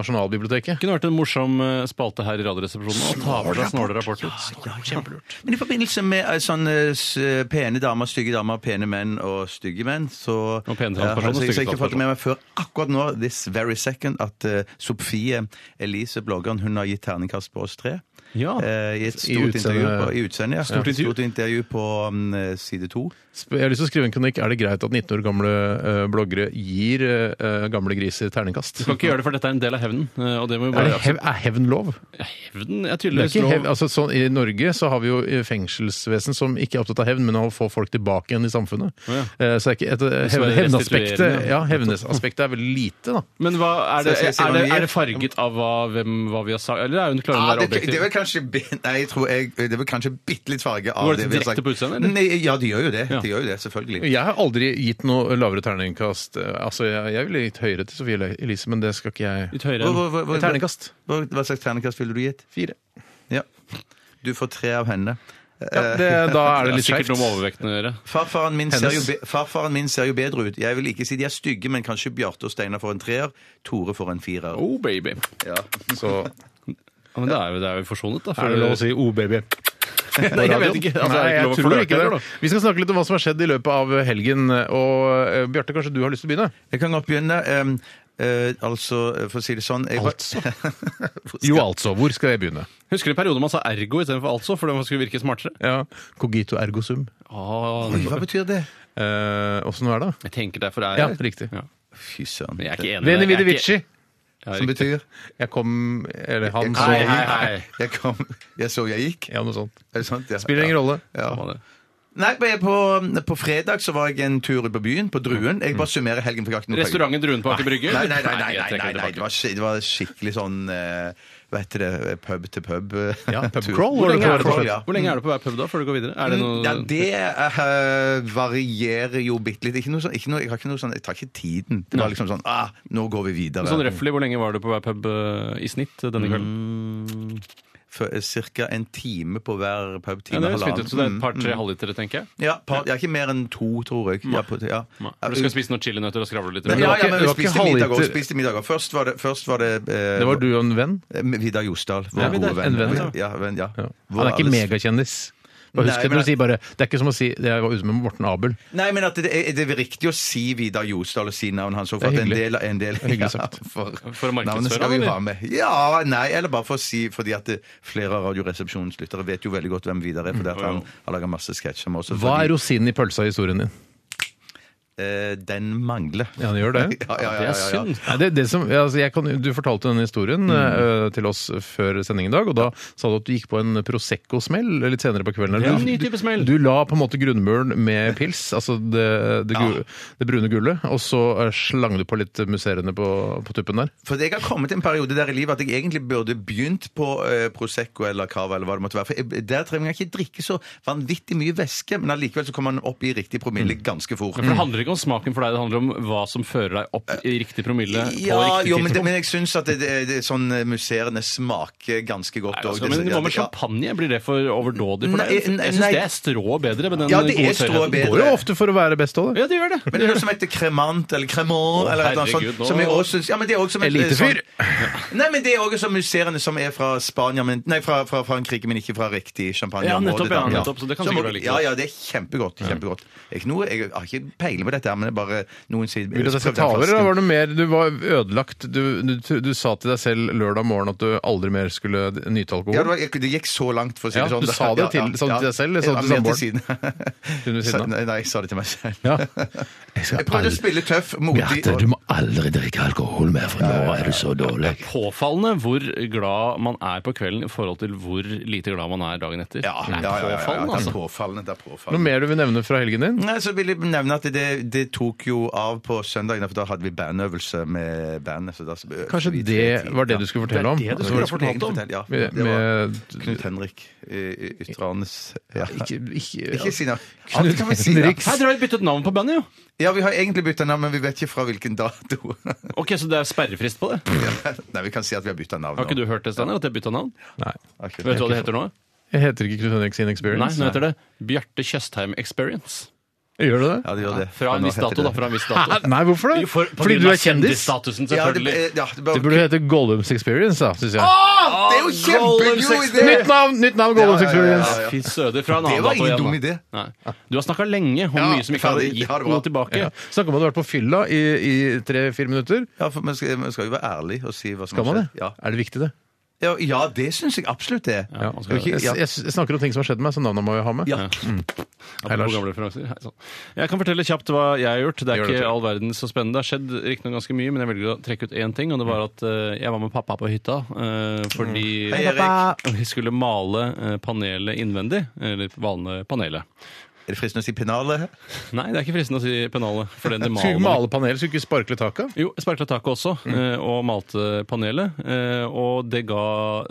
Speaker 1: Nasjonalbiblioteket.
Speaker 2: kunne vært en morsom eh, spalte her i Radioresepsjonen å ta for seg snåle rapporter.
Speaker 1: Kjempelurt.
Speaker 3: Men i forbindelse med eh, sånne s- eh, pene damer, stygge damer, pene menn og stygge menn, så
Speaker 2: Og pene
Speaker 3: Ja,
Speaker 2: transpersoner,
Speaker 3: altså, jeg,
Speaker 2: stygge
Speaker 3: jeg har ikke fått med meg før akkurat nå, this very second, at eh, Sofie Elise, bloggeren, hun har gitt terningkast på oss tre.
Speaker 2: Ja.
Speaker 3: Eh, I et stort
Speaker 1: utseende-
Speaker 3: intervju på, i utseende, ja.
Speaker 2: Stort intervju.
Speaker 3: Stort intervju på mm, side to.
Speaker 1: Jeg har lyst til å skrive en kronikk. Er det greit at 19 år gamle eh, bloggere gir eh, gamle griser terningkast?
Speaker 2: Du kan ikke gjøre det, for dette er en del av hevnen. eh, Og det må vi
Speaker 1: Er,
Speaker 2: bare
Speaker 1: det hev, er hevn lov?
Speaker 2: Hevnen er
Speaker 1: Det er
Speaker 2: tydeligvis
Speaker 1: ikke
Speaker 2: lov.
Speaker 1: hev, altså, sånn, I Norge så har vi jo eh, fengselsvesen som ikke er opptatt av hevn, men av å få folk tilbake igjen i samfunnet.
Speaker 2: Å,
Speaker 1: Eh, Så det er ikke et, eh,
Speaker 2: skal
Speaker 1: hevn-
Speaker 2: være
Speaker 1: hevnaspektet
Speaker 2: restituerende,
Speaker 1: ja, hevnaspektet er veldig lite, da.
Speaker 2: Men hva, er, det,
Speaker 3: Så jeg skal si
Speaker 2: er, det,
Speaker 3: hva vi-
Speaker 2: er det farget av hva, hvem, hva vi har sagt? Eller er hun klarer hun å
Speaker 3: Ja,
Speaker 2: være
Speaker 3: det, det er
Speaker 2: objektiv?
Speaker 3: vel kanskje bi- Nei, jeg tror jeg, det er vel kanskje bitte litt farge av
Speaker 2: Går det
Speaker 3: vi har
Speaker 2: direkte
Speaker 3: sagt.
Speaker 2: på utseendet, eller?
Speaker 3: Nei, Ja, de gjør jo det.
Speaker 2: Ja.
Speaker 3: De gjør jo det, selvfølgelig.
Speaker 1: Jeg har aldri gitt noe lavere terningkast. Eh, Altså, jeg, jeg ville gitt høyere til Sofie Elise, men det skal ikke jeg.
Speaker 2: Litt høyere
Speaker 3: Hva,
Speaker 2: enn
Speaker 3: hva, hva, hva, hva,
Speaker 1: Terningkast
Speaker 3: hva slags terningkast ville du gitt?
Speaker 1: fire.
Speaker 3: Ja. Du får tre av henne.
Speaker 1: Ja, det, da er
Speaker 2: Det
Speaker 1: det
Speaker 2: er
Speaker 1: litt
Speaker 2: sikkert
Speaker 1: skjevt.
Speaker 2: noe med overvekten å gjøre.
Speaker 3: Farfaren min, ser jo
Speaker 1: Hennes.
Speaker 3: be farfaren min ser jo bedre ut. Jeg vil ikke si de er stygge, men kanskje Bjarte og Steinar får en treer. Tore får en firer.
Speaker 2: Oh, baby.
Speaker 3: Ja.
Speaker 1: Så
Speaker 2: Ja, men da er vi, da er vi forsonet, da.
Speaker 1: er det lov å si O, baby. Nei,
Speaker 2: jeg vet ikke. Altså,
Speaker 1: Nei,
Speaker 2: er det ikke
Speaker 1: jeg
Speaker 2: lov å
Speaker 1: tror
Speaker 2: flørte,
Speaker 1: ikke
Speaker 2: eller
Speaker 1: det. Vi skal snakke litt om hva som har skjedd i løpet av helgen. Og eh, Bjarte, kanskje du har lyst til å begynne?
Speaker 3: Jeg kan godt begynne. ehm, eh, altså, for å si det sånn jeg, Altså?
Speaker 1: Jo, altså. Hvor skal jeg begynne?
Speaker 2: Husker du perioden man sa ergo istedenfor altså, fordi man skulle virke smartere?
Speaker 1: Ja, Cogito ergo sum.
Speaker 2: Ah,
Speaker 3: Hva betyr det?
Speaker 1: Eh, Åssen er det?
Speaker 2: jeg tenker derfor er
Speaker 1: Ja,
Speaker 2: jeg
Speaker 1: riktig.
Speaker 2: Ja.
Speaker 3: Fy søren.
Speaker 2: Men Jeg er ikke enig
Speaker 1: Veni
Speaker 2: med deg.
Speaker 1: vidi
Speaker 2: Jeg er ikke-
Speaker 1: vici.
Speaker 2: Ja,
Speaker 3: Som
Speaker 2: riktig.
Speaker 3: betyr
Speaker 1: Jeg kom Eller han så
Speaker 2: Hei, hei,
Speaker 1: hit.
Speaker 2: hei.
Speaker 3: Jeg kom Jeg så jeg gikk.
Speaker 1: Ja, noe sånt.
Speaker 3: Er det sant? Ja.
Speaker 1: Spiller ingen rolle.
Speaker 3: Ja.
Speaker 2: Hva var det?
Speaker 3: Nei, men på, på fredag så var jeg en tur ut på byen, på Druen. Jeg
Speaker 1: Mm.
Speaker 3: bare summerer helgen. for jeg har ikke noe penger.
Speaker 2: Restauranten Druenpake Brygge?
Speaker 3: Nei, nei, nei, nei,
Speaker 2: jeg
Speaker 3: nei,
Speaker 2: trekker
Speaker 3: nei,
Speaker 2: det
Speaker 3: nei.
Speaker 2: tilbake.
Speaker 3: Det, var, skik- det var skikkelig sånn eh, Hva heter det? Pub til pub. eh,
Speaker 1: Ja, pub
Speaker 3: tur.
Speaker 1: crawl
Speaker 2: Hvor
Speaker 1: var det
Speaker 2: lenge,
Speaker 1: på,
Speaker 2: er
Speaker 1: rett
Speaker 2: du
Speaker 1: og
Speaker 2: på,
Speaker 1: slett.
Speaker 3: Ja.
Speaker 2: hvor lenge er du på hver pub da, før du går videre? Er det noe
Speaker 3: Mm, Ja, det eh, varierer jo bitte litt. Ikke noe sånn, ikke noe, jeg har ikke noe sånn Jeg tar ikke tiden. Det var liksom sånn ah, Nå går vi videre.
Speaker 2: Sånn røffelig, hvor lenge var du på hver pub eh, i snitt eh,
Speaker 3: Mm.
Speaker 2: denne kvelden?
Speaker 3: Ca. eh, en time på hver pub.
Speaker 2: Ja,
Speaker 3: Time,
Speaker 2: det er jo smitt ut, så det er
Speaker 3: Mm,
Speaker 2: et par-tre
Speaker 3: mm.
Speaker 2: halvlitere, tenker jeg.
Speaker 3: Ja, par, ja, ikke mer enn to, tror jeg. Ja, på, ja.
Speaker 2: Nei. For Du skal spise noen chilinøtter og skravle litt?
Speaker 3: Men,
Speaker 2: rundt.
Speaker 3: ja,
Speaker 1: var
Speaker 3: ja,
Speaker 1: ikke-
Speaker 3: men
Speaker 1: det
Speaker 3: vi
Speaker 1: var ikke
Speaker 3: spiste middag også,
Speaker 1: halvliter.
Speaker 3: spiste middag også. Først var det, først var det, eh,
Speaker 1: Det var du og en venn?
Speaker 3: eh, Vidar Josdal, vår
Speaker 1: Ja, Vidar.
Speaker 3: gode venn.
Speaker 1: En venn, ja.
Speaker 3: ja, venn, ja.
Speaker 1: Ja.
Speaker 3: Vår
Speaker 1: Han er ikke
Speaker 3: alles-
Speaker 1: megakjendis. Bare husk
Speaker 3: Nei,
Speaker 1: det
Speaker 3: men-
Speaker 1: når du sier bare Det er ikke som å si jeg var ute med Morten Abel.
Speaker 3: Nei, men at det, er- det er riktig å si Vidar Josdal og si navnet hans. også, For
Speaker 1: Det
Speaker 3: at
Speaker 1: er
Speaker 3: en del,
Speaker 1: hyggelig.
Speaker 3: en del
Speaker 1: Hyggelig sagt.
Speaker 3: for,
Speaker 2: For å markedsføre
Speaker 3: navnet skal vi
Speaker 2: han,
Speaker 3: jo
Speaker 2: eller?
Speaker 3: ha med. Ja, nei, eller bare for å si fordi at det, flere av Radioresepsjonens lyttere vet jo veldig godt hvem Vidar er. Fordi
Speaker 2: Mm,
Speaker 3: at han har laga masse sketsjer med oss. og
Speaker 1: Hva
Speaker 3: fordi,
Speaker 1: er rosinen i pølsa i historien din?
Speaker 3: eh, Den mangler.
Speaker 1: Ja, han gjør det.
Speaker 3: Ja, ja,
Speaker 2: Det
Speaker 3: ja, ja,
Speaker 2: er
Speaker 3: Mm. ja.
Speaker 2: synd.
Speaker 1: Nei, det, det som, ja, altså jeg kan, du fortalte denne historien eh, til oss før sending i dag, og da sa du at du gikk på en Prosecco-smell litt senere på kvelden.
Speaker 2: Ja,
Speaker 1: Du-
Speaker 2: en ny type smell.
Speaker 1: Du, du la på en måte grunnmuren med pils, altså det, det, gu, det brune gullet, og så eh, slang du på litt musserende på, på tuppen der.
Speaker 3: For jeg har kommet til en periode der i livet at jeg egentlig burde begynt på eh, Prosecco eller Cava eller hva det måtte være. For jeg, der trenger jeg ikke drikke så vanvittig mye væske, men allikevel så kommer man opp i riktig
Speaker 1: Mm.
Speaker 3: promille ganske fort.
Speaker 2: For Det handler ikke om smaken for deg, det handler om hva som fører deg opp i riktig promille på
Speaker 3: Ja,
Speaker 2: riktig
Speaker 3: jo, men, det,
Speaker 2: tidspunkt.
Speaker 3: men jeg syns at det, det, det, sånn eh, musserende smaker ganske godt.
Speaker 2: Nei,
Speaker 3: og
Speaker 2: altså,
Speaker 3: det-
Speaker 2: men
Speaker 3: ja,
Speaker 2: Hva med
Speaker 3: det- ja.
Speaker 2: champagne? Blir det for overdådig for deg?
Speaker 3: Nei, nei,
Speaker 2: Jeg syns
Speaker 3: nei.
Speaker 2: det er strå bedre med den
Speaker 3: Ja, det
Speaker 2: gode
Speaker 3: er strå
Speaker 2: tørrheten.
Speaker 1: Det
Speaker 3: bedre.
Speaker 1: går jo ofte for å være best av det.
Speaker 2: Ja, det gjør det.
Speaker 3: Men det er noe som heter cremant eller cremant eller noe
Speaker 2: herregud,
Speaker 3: sånt.
Speaker 2: nå-
Speaker 3: Som jeg også syns Ja, men det er også som et-
Speaker 1: Elitefyr.
Speaker 3: sånn- Nei, men det er også som musserende som er fra Spania, men Nei, fra, fra Frankrike, men ikke fra riktig
Speaker 2: Ja,
Speaker 3: champagneområde.
Speaker 2: nettopp, ja,
Speaker 3: da.
Speaker 2: nettopp, så det kan sikkert være like
Speaker 3: Ja, ja, det er kjempegodt. kjempegodt. Jeg, er ikke noe, jeg har ikke peiling på dette, her, men det er bare noen sier
Speaker 1: Vil du at jeg skal ta over, eller var det noe mer? Du var ødelagt. Du, du, du sa til deg selv lørdag morgen at du aldri mer skulle nyte alkohol.
Speaker 3: Ja, det, var, det gikk så langt, for å si det
Speaker 1: Ja,
Speaker 3: sånn.
Speaker 1: du sa det til- sånn til deg selv, eller sa det til
Speaker 3: Ja, mer
Speaker 1: samboeren?
Speaker 3: siden.
Speaker 1: Hun ved
Speaker 3: Sa-
Speaker 1: siden av.
Speaker 3: Nei, nei, jeg sa det til meg selv.
Speaker 1: Ja.
Speaker 3: Jeg prøvde å spille tøff, modig og-
Speaker 7: må aldri drikke alkohol mer, for nå er du så dårlig.
Speaker 2: Påfallende hvor glad man er på kvelden i forhold til hvor lite glad man er dagen etter.
Speaker 3: Ja,
Speaker 2: Det
Speaker 3: ja,
Speaker 2: er
Speaker 3: ja, ja, ja,
Speaker 2: påfallende,
Speaker 3: det er
Speaker 2: altså.
Speaker 3: påfallende. Det er
Speaker 1: Noe
Speaker 3: påfallende.
Speaker 1: mer du vil nevne fra helgen din?
Speaker 3: Nei, så vil jeg nevne at det, det tok jo av på søndagen, for da hadde vi bandøvelse med bandet. Så da,
Speaker 1: Kanskje det var det du skulle fortelle om?
Speaker 2: Det er det du
Speaker 3: skulle
Speaker 2: skulle
Speaker 3: ha
Speaker 2: ha fortalt om.
Speaker 3: Ja,
Speaker 1: Med,
Speaker 3: det var
Speaker 1: med
Speaker 3: Knut Henrik eh, Ytterhanes ja.
Speaker 1: ikke, ikke,
Speaker 3: Ikke si navn.
Speaker 1: Knut
Speaker 3: Alt kan vi si navn.
Speaker 1: Henriks.
Speaker 2: Her tror jeg vi byttet navn på bandet, jo.
Speaker 3: Ja, vi har egentlig bytta navn, men vi vet ikke fra hvilken dato.
Speaker 2: Ok, Så det er sperrefrist på det?
Speaker 3: Nei, vi kan si at vi har bytta navn.
Speaker 2: Har ikke du
Speaker 3: nå.
Speaker 2: hørt det, Steinar? At jeg bytta navn?
Speaker 1: Nei.
Speaker 3: Ok.
Speaker 2: Vet du hva det heter nå?
Speaker 1: Jeg heter ikke Knut Henriks
Speaker 2: Nei,
Speaker 1: Inexperience.
Speaker 2: nå heter det Bjarte Tjøstheim Experience.
Speaker 1: Gjør du det?
Speaker 3: Ja, det gjør det.
Speaker 2: Fra en
Speaker 3: Nå
Speaker 2: viss
Speaker 3: heter
Speaker 2: dato, da.
Speaker 3: det-
Speaker 2: Fra en viss
Speaker 1: Hæ?
Speaker 2: dato.
Speaker 1: Nei, hvorfor det?
Speaker 2: Jo, for- på
Speaker 1: Fordi
Speaker 2: grunn
Speaker 1: du
Speaker 2: av
Speaker 1: er kjendis?
Speaker 2: Kjendisstatusen,
Speaker 3: Ja, det,
Speaker 2: selvfølgelig.
Speaker 3: eh, ja, det,
Speaker 1: Det
Speaker 3: bare,
Speaker 1: burde hete Gollums Experience, da, syns jeg.
Speaker 3: det er jo kjempegod idé!
Speaker 1: Nytt navn! Nytt navn,
Speaker 3: Ja, ja,
Speaker 1: Gollums
Speaker 3: ja, ja,
Speaker 1: Experience!
Speaker 3: ja, ja.
Speaker 2: Fy søder, fra en
Speaker 3: Det
Speaker 2: annen
Speaker 3: var
Speaker 2: dato
Speaker 3: ingen
Speaker 2: igjen,
Speaker 3: dum
Speaker 2: da.
Speaker 3: idé.
Speaker 2: Nei. Du har snakka lenge om
Speaker 3: Ja,
Speaker 2: mye som ikke hadde
Speaker 3: ferdig.
Speaker 2: gitt
Speaker 3: Ha det bra.
Speaker 2: noe tilbake.
Speaker 1: Ja. Snakk om at du har vært på fylla i, i tre-fire minutter.
Speaker 3: Ja, for man skal, man skal jo være ærlig og si hva som
Speaker 1: Skal man det?
Speaker 3: har skjedd. Ja.
Speaker 1: Er det viktig, det?
Speaker 3: Ja, ja, det syns jeg absolutt det.
Speaker 2: Ja, man skal-
Speaker 3: Ok,
Speaker 1: Jeg,
Speaker 3: ja.
Speaker 1: jeg, jeg snakker om ting som har skjedd meg, så navnet må jeg ha med. Mm.
Speaker 3: Ja.
Speaker 1: Hei, Lars.
Speaker 2: Apropos gamle referanser. Hei, sånn. Jeg kan fortelle kjapt hva jeg har gjort. Det er
Speaker 1: Gjør det,
Speaker 2: ikke
Speaker 1: Tore.
Speaker 2: all verden så spennende. Det har skjedd riktignok ganske mye, men jeg velger å trekke ut én ting. Og det var at eh, jeg var med pappa på hytta eh, fordi
Speaker 3: Hei, Erik.
Speaker 2: vi skulle male eh, panelet innvendig. Eller vanlige panelet.
Speaker 3: Er det fristende å si pennalet?
Speaker 2: Nei, det er ikke fristende å si pennalet. For den det maler
Speaker 1: Skulle ikke male panelet, skulle ikke sparkle taket.
Speaker 2: Jo, jeg sparkla taket også, eh, og malte panelet. eh, Og det ga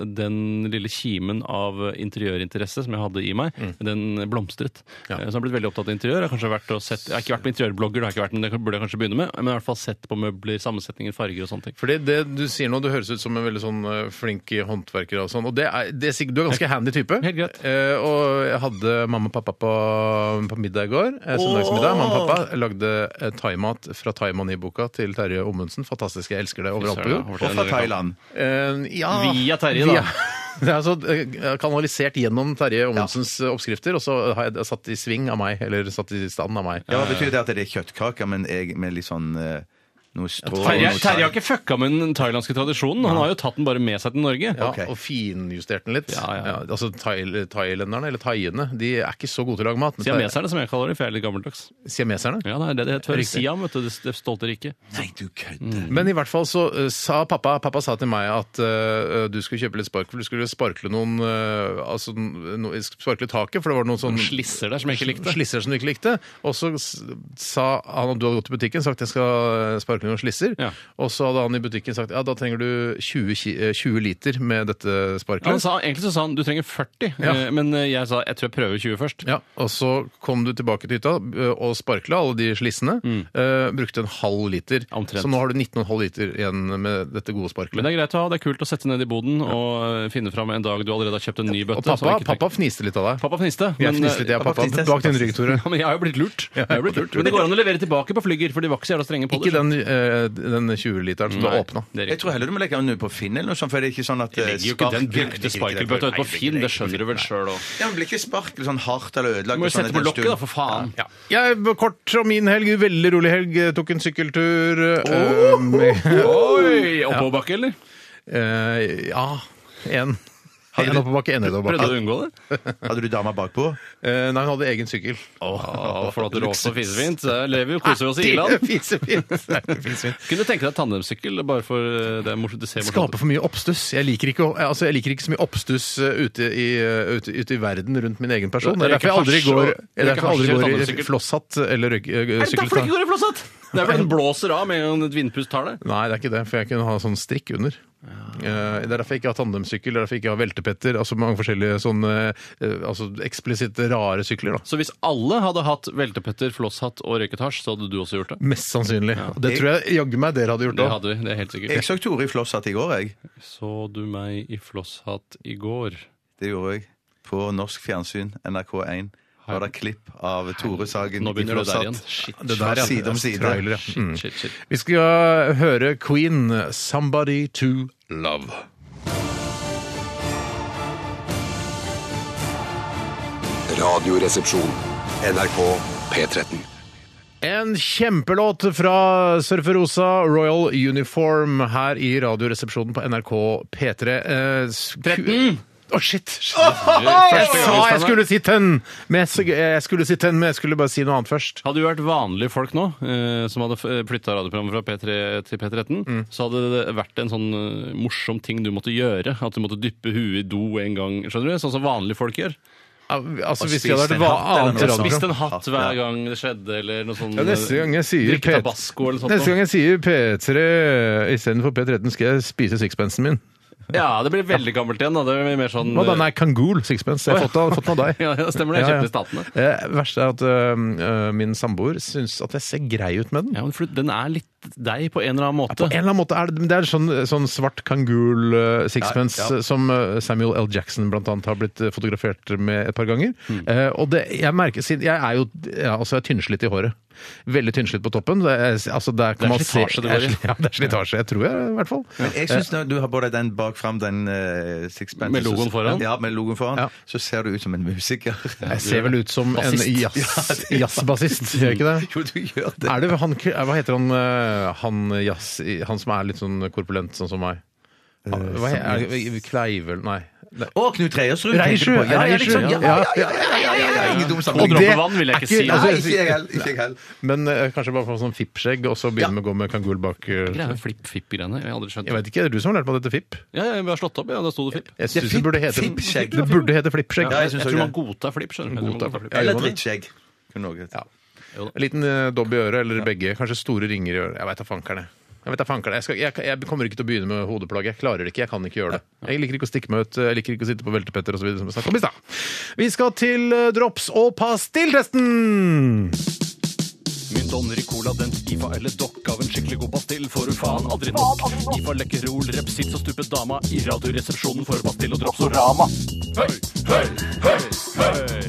Speaker 2: den lille kimen av interiørinteresse som jeg hadde i meg, den blomstret.
Speaker 1: Ja.
Speaker 2: Eh, Så jeg har blitt veldig opptatt av interiør. Jeg har, kanskje vært og sett, jeg har ikke vært på interiørblogger, det har jeg ikke vært, men det burde jeg kanskje begynne med. Men jeg har i hvert fall sett på møbler, sammensetninger, farger og sånne ting.
Speaker 1: Fordi det du sier nå, du høres ut som en veldig sånn eh, flink håndverker og sånn. Og det er, det er, sikk- du er ganske handy type.
Speaker 2: Helt greit.
Speaker 1: Eh, og jeg hadde mamma og pappa på, på middag i går. Eh, søndagsmiddag. Mamma og pappa lagde eh, thaimat fra Thaiman-boka til Terje Ommundsen. Fantastisk. Jeg elsker det overalt på jord.
Speaker 3: Og fra Thailand.
Speaker 1: Eh, ja.
Speaker 2: Via Terje, da.
Speaker 1: Det er altså eh, kanalisert gjennom Terje Ommundsens eh, oppskrifter, og så har jeg det satt i sving av meg, eller satt i stand av meg.
Speaker 3: Ja, hva betyr det at det er kjøttkaker, men jeg med litt sånn eh, noe strå
Speaker 2: Terje,
Speaker 3: noe
Speaker 2: Terje har ikke fucka med den thailandske tradisjonen. Han har jo tatt den bare med seg til Norge.
Speaker 1: Ja,
Speaker 3: Ok.
Speaker 1: Og finjustert den litt.
Speaker 2: Ja, ja.
Speaker 1: altså thail- Thailenderne, eller thaiene, de er ikke så gode til å lage mat. men
Speaker 2: Siameserne, som jeg kaller det, for jeg er litt gammeldags.
Speaker 1: Siameserne?
Speaker 2: Ja, det er det det heter.
Speaker 1: Riktig.
Speaker 2: Siam, vet du. Det, det stolte riket.
Speaker 3: Nei, du
Speaker 5: Mm.
Speaker 3: kødder.
Speaker 1: Mm-hmm. Men i hvert fall så eh, sa pappa Pappa sa til meg at eh, du skulle kjøpe litt sparkel. Du skulle sparkle noen eh, altså, no, sparkle taket, for det var noen sånn
Speaker 2: Slisser der, som jeg ikke likte.
Speaker 1: Slisser som du ikke likte. Og så s- sa han at du hadde gått i butikken sagt jeg skal sparke noen slisser.
Speaker 2: Ja.
Speaker 1: Og så hadde han i butikken sagt ja, da trenger du 20, ki- eh, 20 liter med dette
Speaker 2: Han
Speaker 1: sparkelet.
Speaker 2: sa, egentlig så sa han du trenger 40,
Speaker 1: Ja.
Speaker 2: eh, men eh, jeg sa jeg tror jeg prøver 20 først.
Speaker 1: Ja, og så kom du tilbake til hytta ø, og sparkla alle de slissene. ø, brukte en halv liter.
Speaker 2: Mm. Omtrent.
Speaker 1: Så nå har du 19,5 liter igjen med dette gode
Speaker 2: Men
Speaker 1: sparkelet.
Speaker 2: det er greit å ha, det er kult å sette ned i boden og eh, finne fram en dag du allerede har kjøpt en ny bøtte.
Speaker 1: Og
Speaker 2: som
Speaker 1: pappa,
Speaker 2: ikke trenger-
Speaker 1: pappa fniste litt av deg.
Speaker 2: pappa fniste.
Speaker 1: Jeg
Speaker 2: men,
Speaker 1: fniste litt
Speaker 2: eh,
Speaker 1: av
Speaker 3: pappa
Speaker 1: pappa
Speaker 3: fniste er
Speaker 1: bak din rygg,
Speaker 3: fantastisk.
Speaker 1: Tore.
Speaker 2: ja, men jeg har jo blitt lurt. Jeg har jo blitt lurt. Men det går an å levere tilbake på flygger, for de var ikke så jævla strenge på
Speaker 1: Ikke
Speaker 2: det.
Speaker 1: den, ø, den 20-literen som du
Speaker 2: Nei,
Speaker 1: åpna.
Speaker 2: det er
Speaker 3: Jeg
Speaker 2: riktig.
Speaker 3: tror heller du må legge den ut på Finn eller noe sånt, for det er ikke sånn at
Speaker 2: Jeg legger jo ikke den brukte sparkelbøtta ut på Finn, det skjønner du vel sjøl òg.
Speaker 3: Ja, men blir ikke sparkel sånn hardt eller ødelagt?
Speaker 2: Du må
Speaker 3: og
Speaker 2: jo
Speaker 3: sånn
Speaker 2: sette
Speaker 3: etter
Speaker 2: på
Speaker 3: en
Speaker 2: lokket,
Speaker 3: stund?
Speaker 2: da, for faen.
Speaker 1: Jeg, kort om min helg. Veldig rolig helg. Jeg Tok en sykkeltur. ø, med,
Speaker 2: Oi! Oppoverbakke, eller?
Speaker 1: ø, ja, én. En oppoverbakke, en
Speaker 2: Prøvde du
Speaker 1: nedoverbakke.
Speaker 2: å unngå det?
Speaker 3: Hadde du dama bakpå?
Speaker 1: Eh, Nei, hun hadde egen sykkel.
Speaker 2: Å, Flott råse og fisefint. Der lever vi og koser vi oss i
Speaker 1: Det
Speaker 2: Iland.
Speaker 1: er Fisefint. Det er fisefint.
Speaker 2: Kunne du tenke deg tandemsykkel bare for eh, det er morsomt? Det ser morsomt
Speaker 1: Skape
Speaker 2: ut.
Speaker 1: for mye oppstuss. Jeg liker ikke, å- altså, jeg liker ikke så mye oppstuss eh, ute i, eh, ute, ute i verden rundt min egen person. Det er derfor jeg aldri
Speaker 2: Røyke hasj
Speaker 1: går,
Speaker 2: og-
Speaker 1: det er
Speaker 2: røyke hasj
Speaker 1: derfor jeg
Speaker 2: og
Speaker 1: aldri går
Speaker 2: tannhjulssykkel.
Speaker 1: i flosshatt eller røyk- eh,
Speaker 2: Er det derfor det
Speaker 1: sykkelstang.
Speaker 2: ikke går i flåsett? Det er fordi den blåser av med en et vindpust tar det.
Speaker 1: Nei, det er ikke det, for jeg kunne ha sånn strikk under. Eh, Det er derfor jeg ikke har tandemsykkel, det er derfor jeg ikke har veltepetter. Altså mange forskjellige sånne eh, altså, eksplisitte rare sykler. da.
Speaker 2: Så hvis alle hadde hatt veltepetter, flosshatt og røyket hasj, så hadde du også gjort det?
Speaker 1: Mest sannsynlig. Og Det tror jeg jaggu meg dere hadde gjort
Speaker 2: Det
Speaker 1: òg.
Speaker 2: hadde vi, det er helt sikkert.
Speaker 3: Jeg så Tore i flosshatt i går, jeg.
Speaker 2: Så du meg i flosshatt i går?
Speaker 3: Det gjorde jeg. På norsk fjernsyn, NRK1, var det klipp av Tore Sagen
Speaker 2: Nå
Speaker 3: i
Speaker 2: begynner det der igjen.
Speaker 3: flosshatt.
Speaker 2: Shit,
Speaker 1: Det der, ja.
Speaker 3: Side om side.
Speaker 1: Trailer, ja. Mm.
Speaker 2: shit, shit.
Speaker 1: Vi skal høre Queen, 'Somebody to Love'.
Speaker 6: Radioresepsjon.
Speaker 4: NRK P13.
Speaker 1: En kjempelåt fra Surferosa, Royal Uniform, her i Radioresepsjonen på NRK P3. Eh, sku- Å, shit! Jeg sa jeg skulle si tønn! Men jeg s- jeg skulle si tønn, men jeg skulle bare si noe annet først.
Speaker 2: Hadde jo vært vanlige folk nå, eh, som hadde flytta radioprogrammet fra P3 til P13,
Speaker 3: Mm.
Speaker 2: så hadde det vært en sånn eh, morsom ting du måtte gjøre. At du måtte dyppe huet i do en gang, skjønner du? Sånn som vanlige folk gjør.
Speaker 1: Altså,
Speaker 3: Og
Speaker 1: hvis vi hadde
Speaker 3: spist
Speaker 1: vært
Speaker 3: en
Speaker 1: hva
Speaker 3: hatt eller
Speaker 1: annet
Speaker 3: noe
Speaker 2: Spist
Speaker 3: sånt.
Speaker 1: radioprogram.
Speaker 2: en hatt
Speaker 3: Hatt, ja.
Speaker 2: hver gang det skjedde, eller noe sånn
Speaker 1: Ja, neste gang jeg sier
Speaker 2: Drikke
Speaker 1: P-
Speaker 2: tabasco eller sånt.
Speaker 1: Neste gang jeg sier P3 istedenfor P13, skal jeg spise sixpensen min.
Speaker 2: Ja, det blir veldig gammelt igjen. da. Det blir mer sånn...
Speaker 1: Hva da? Nei, Kangool sixpence. Jeg har fått den- fått den av deg.
Speaker 2: Ja, ja, stemmer det. Jeg
Speaker 1: Ja, ja.
Speaker 2: kjøpte i Statene.
Speaker 1: Eh, verste er at øhm, øh, min samboer syns at jeg ser grei ut med den.
Speaker 2: Ja, men for Den er litt deg på en eller annen måte.
Speaker 1: På en eller annen måte er det, men det er sånn, sånn svart kangul eh, sixpence
Speaker 3: Ja, ja.
Speaker 1: eh, som eh, Samuel L. Jackson blant annet har blitt eh, fotografert med et par ganger.
Speaker 2: Mm.
Speaker 1: Eh, og det, jeg merker, siden jeg er jo ja, altså jeg er tynnslitt i håret. Veldig tynnslitt på toppen. Det er, altså der
Speaker 2: Det er
Speaker 1: kan man se-
Speaker 2: slitasje det går i.
Speaker 1: Ja, det er slitasje. Jeg tror jeg, i hvert fall.
Speaker 3: Men jeg syns du har både den bak fram, den eh, sixpence
Speaker 2: Med logoen foran?
Speaker 3: Ja, med logoen foran.
Speaker 1: Ja.
Speaker 3: Så ser du ut som en musiker.
Speaker 1: Jeg ser vel ut som
Speaker 2: Bassist.
Speaker 1: en jazz- jazzbassist, gjør jeg ikke det?
Speaker 3: Jo, du gjør det.
Speaker 1: Er det han, hva heter han, eh, han, jazz, han som er litt sånn korpulent, sånn som meg?
Speaker 3: Eh,
Speaker 1: Han- Hva heter han? Kleivel? Nei. Nei.
Speaker 3: Å, Knut Reiersrud!
Speaker 1: Reiersrud,
Speaker 3: tenker du på? Ja, ja,
Speaker 1: Reiersrud,
Speaker 3: liksom, ja, ja,
Speaker 1: ja.
Speaker 3: ja, ja, ja, ja, ja. Ingen dum
Speaker 2: Å
Speaker 1: Og
Speaker 3: sammenligning.
Speaker 1: det
Speaker 2: droppe vann vil jeg
Speaker 1: er
Speaker 2: ikke si.
Speaker 1: ikke-
Speaker 3: Nei,
Speaker 1: altså,
Speaker 3: ikke jeg heller. Ikke jeg heller.
Speaker 1: Men eh, kanskje bare få sånn fippskjegg, og så begynne
Speaker 3: Ja.
Speaker 1: med å gå med kangul bak eh,
Speaker 2: Greier med flipp-fipp-greiene. Jeg har aldri skjønt
Speaker 1: Jeg vet ikke, er det du som har lært meg dette fipp?
Speaker 2: Ja, ja, vi har slått opp, ja. Da sto det flipp.
Speaker 1: Jeg
Speaker 3: Det er
Speaker 1: synes det burde hete
Speaker 3: fippskjegg.
Speaker 1: Det burde hete flippskjegg.
Speaker 3: Ja, jeg
Speaker 2: Jeg
Speaker 3: synes
Speaker 2: tror
Speaker 3: også
Speaker 2: man godtar flipp. skjønner du. Jeg tror man
Speaker 1: Godtar
Speaker 2: godtar
Speaker 1: flipp.
Speaker 2: flipp.
Speaker 3: Eller
Speaker 1: gjør man det?
Speaker 3: drittskjegg. Kunne også hett.
Speaker 1: En liten eh, dobb i øret, eller begge. Kanskje store ringer i øret. Jeg veit da fankerne. Jeg, vet da fankerne. Jeg, skal, jeg, jeg kommer ikke til å begynne med hodeplagg. Jeg klarer det ikke. Jeg kan ikke gjøre det. Jeg liker ikke å stikke meg ut. Jeg liker ikke å sitte på veltepetter osv. som vi snakket om i stad. Vi skal til eh, drops og pastilltesten!
Speaker 2: Min Donner i Cola, den IFA eller dokk av en skikkelig god pastill får du faen aldri nok. IFA Lekkerol, Repsits og Stupet Dama i Radioresepsjonen for pastill og Dropsorama. Høy, høy, høy, høy.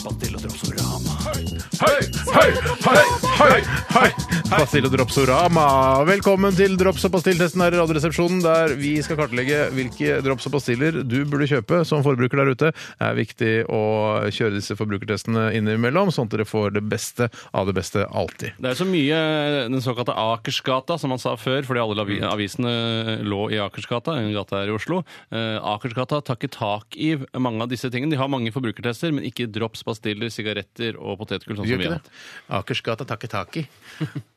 Speaker 2: Pastill og Dropsorama. Høy, høy,
Speaker 1: Hei, hei, hei, hei! Pastill og dropsorama. Velkommen til drops- og pastilltesten her i Radioresepsjonen, der vi skal kartlegge hvilke drops og pastiller du burde kjøpe som forbruker der ute. Det er viktig å kjøre disse forbrukertestene innimellom, sånn at dere får det beste av det beste alltid.
Speaker 2: Det er jo så mye den såkalte Akersgata, som man sa før, fordi alle lavi- avisene lå i Akersgata, en gate her i Oslo. Eh, Akersgata tar ikke tak i mange av disse tingene. De har mange forbrukertester, men ikke drops, pastiller, sigaretter og potetgull, sånn som vi
Speaker 1: Gjør
Speaker 2: har
Speaker 1: ikke
Speaker 2: hatt.
Speaker 1: det? Akersgata takketaki.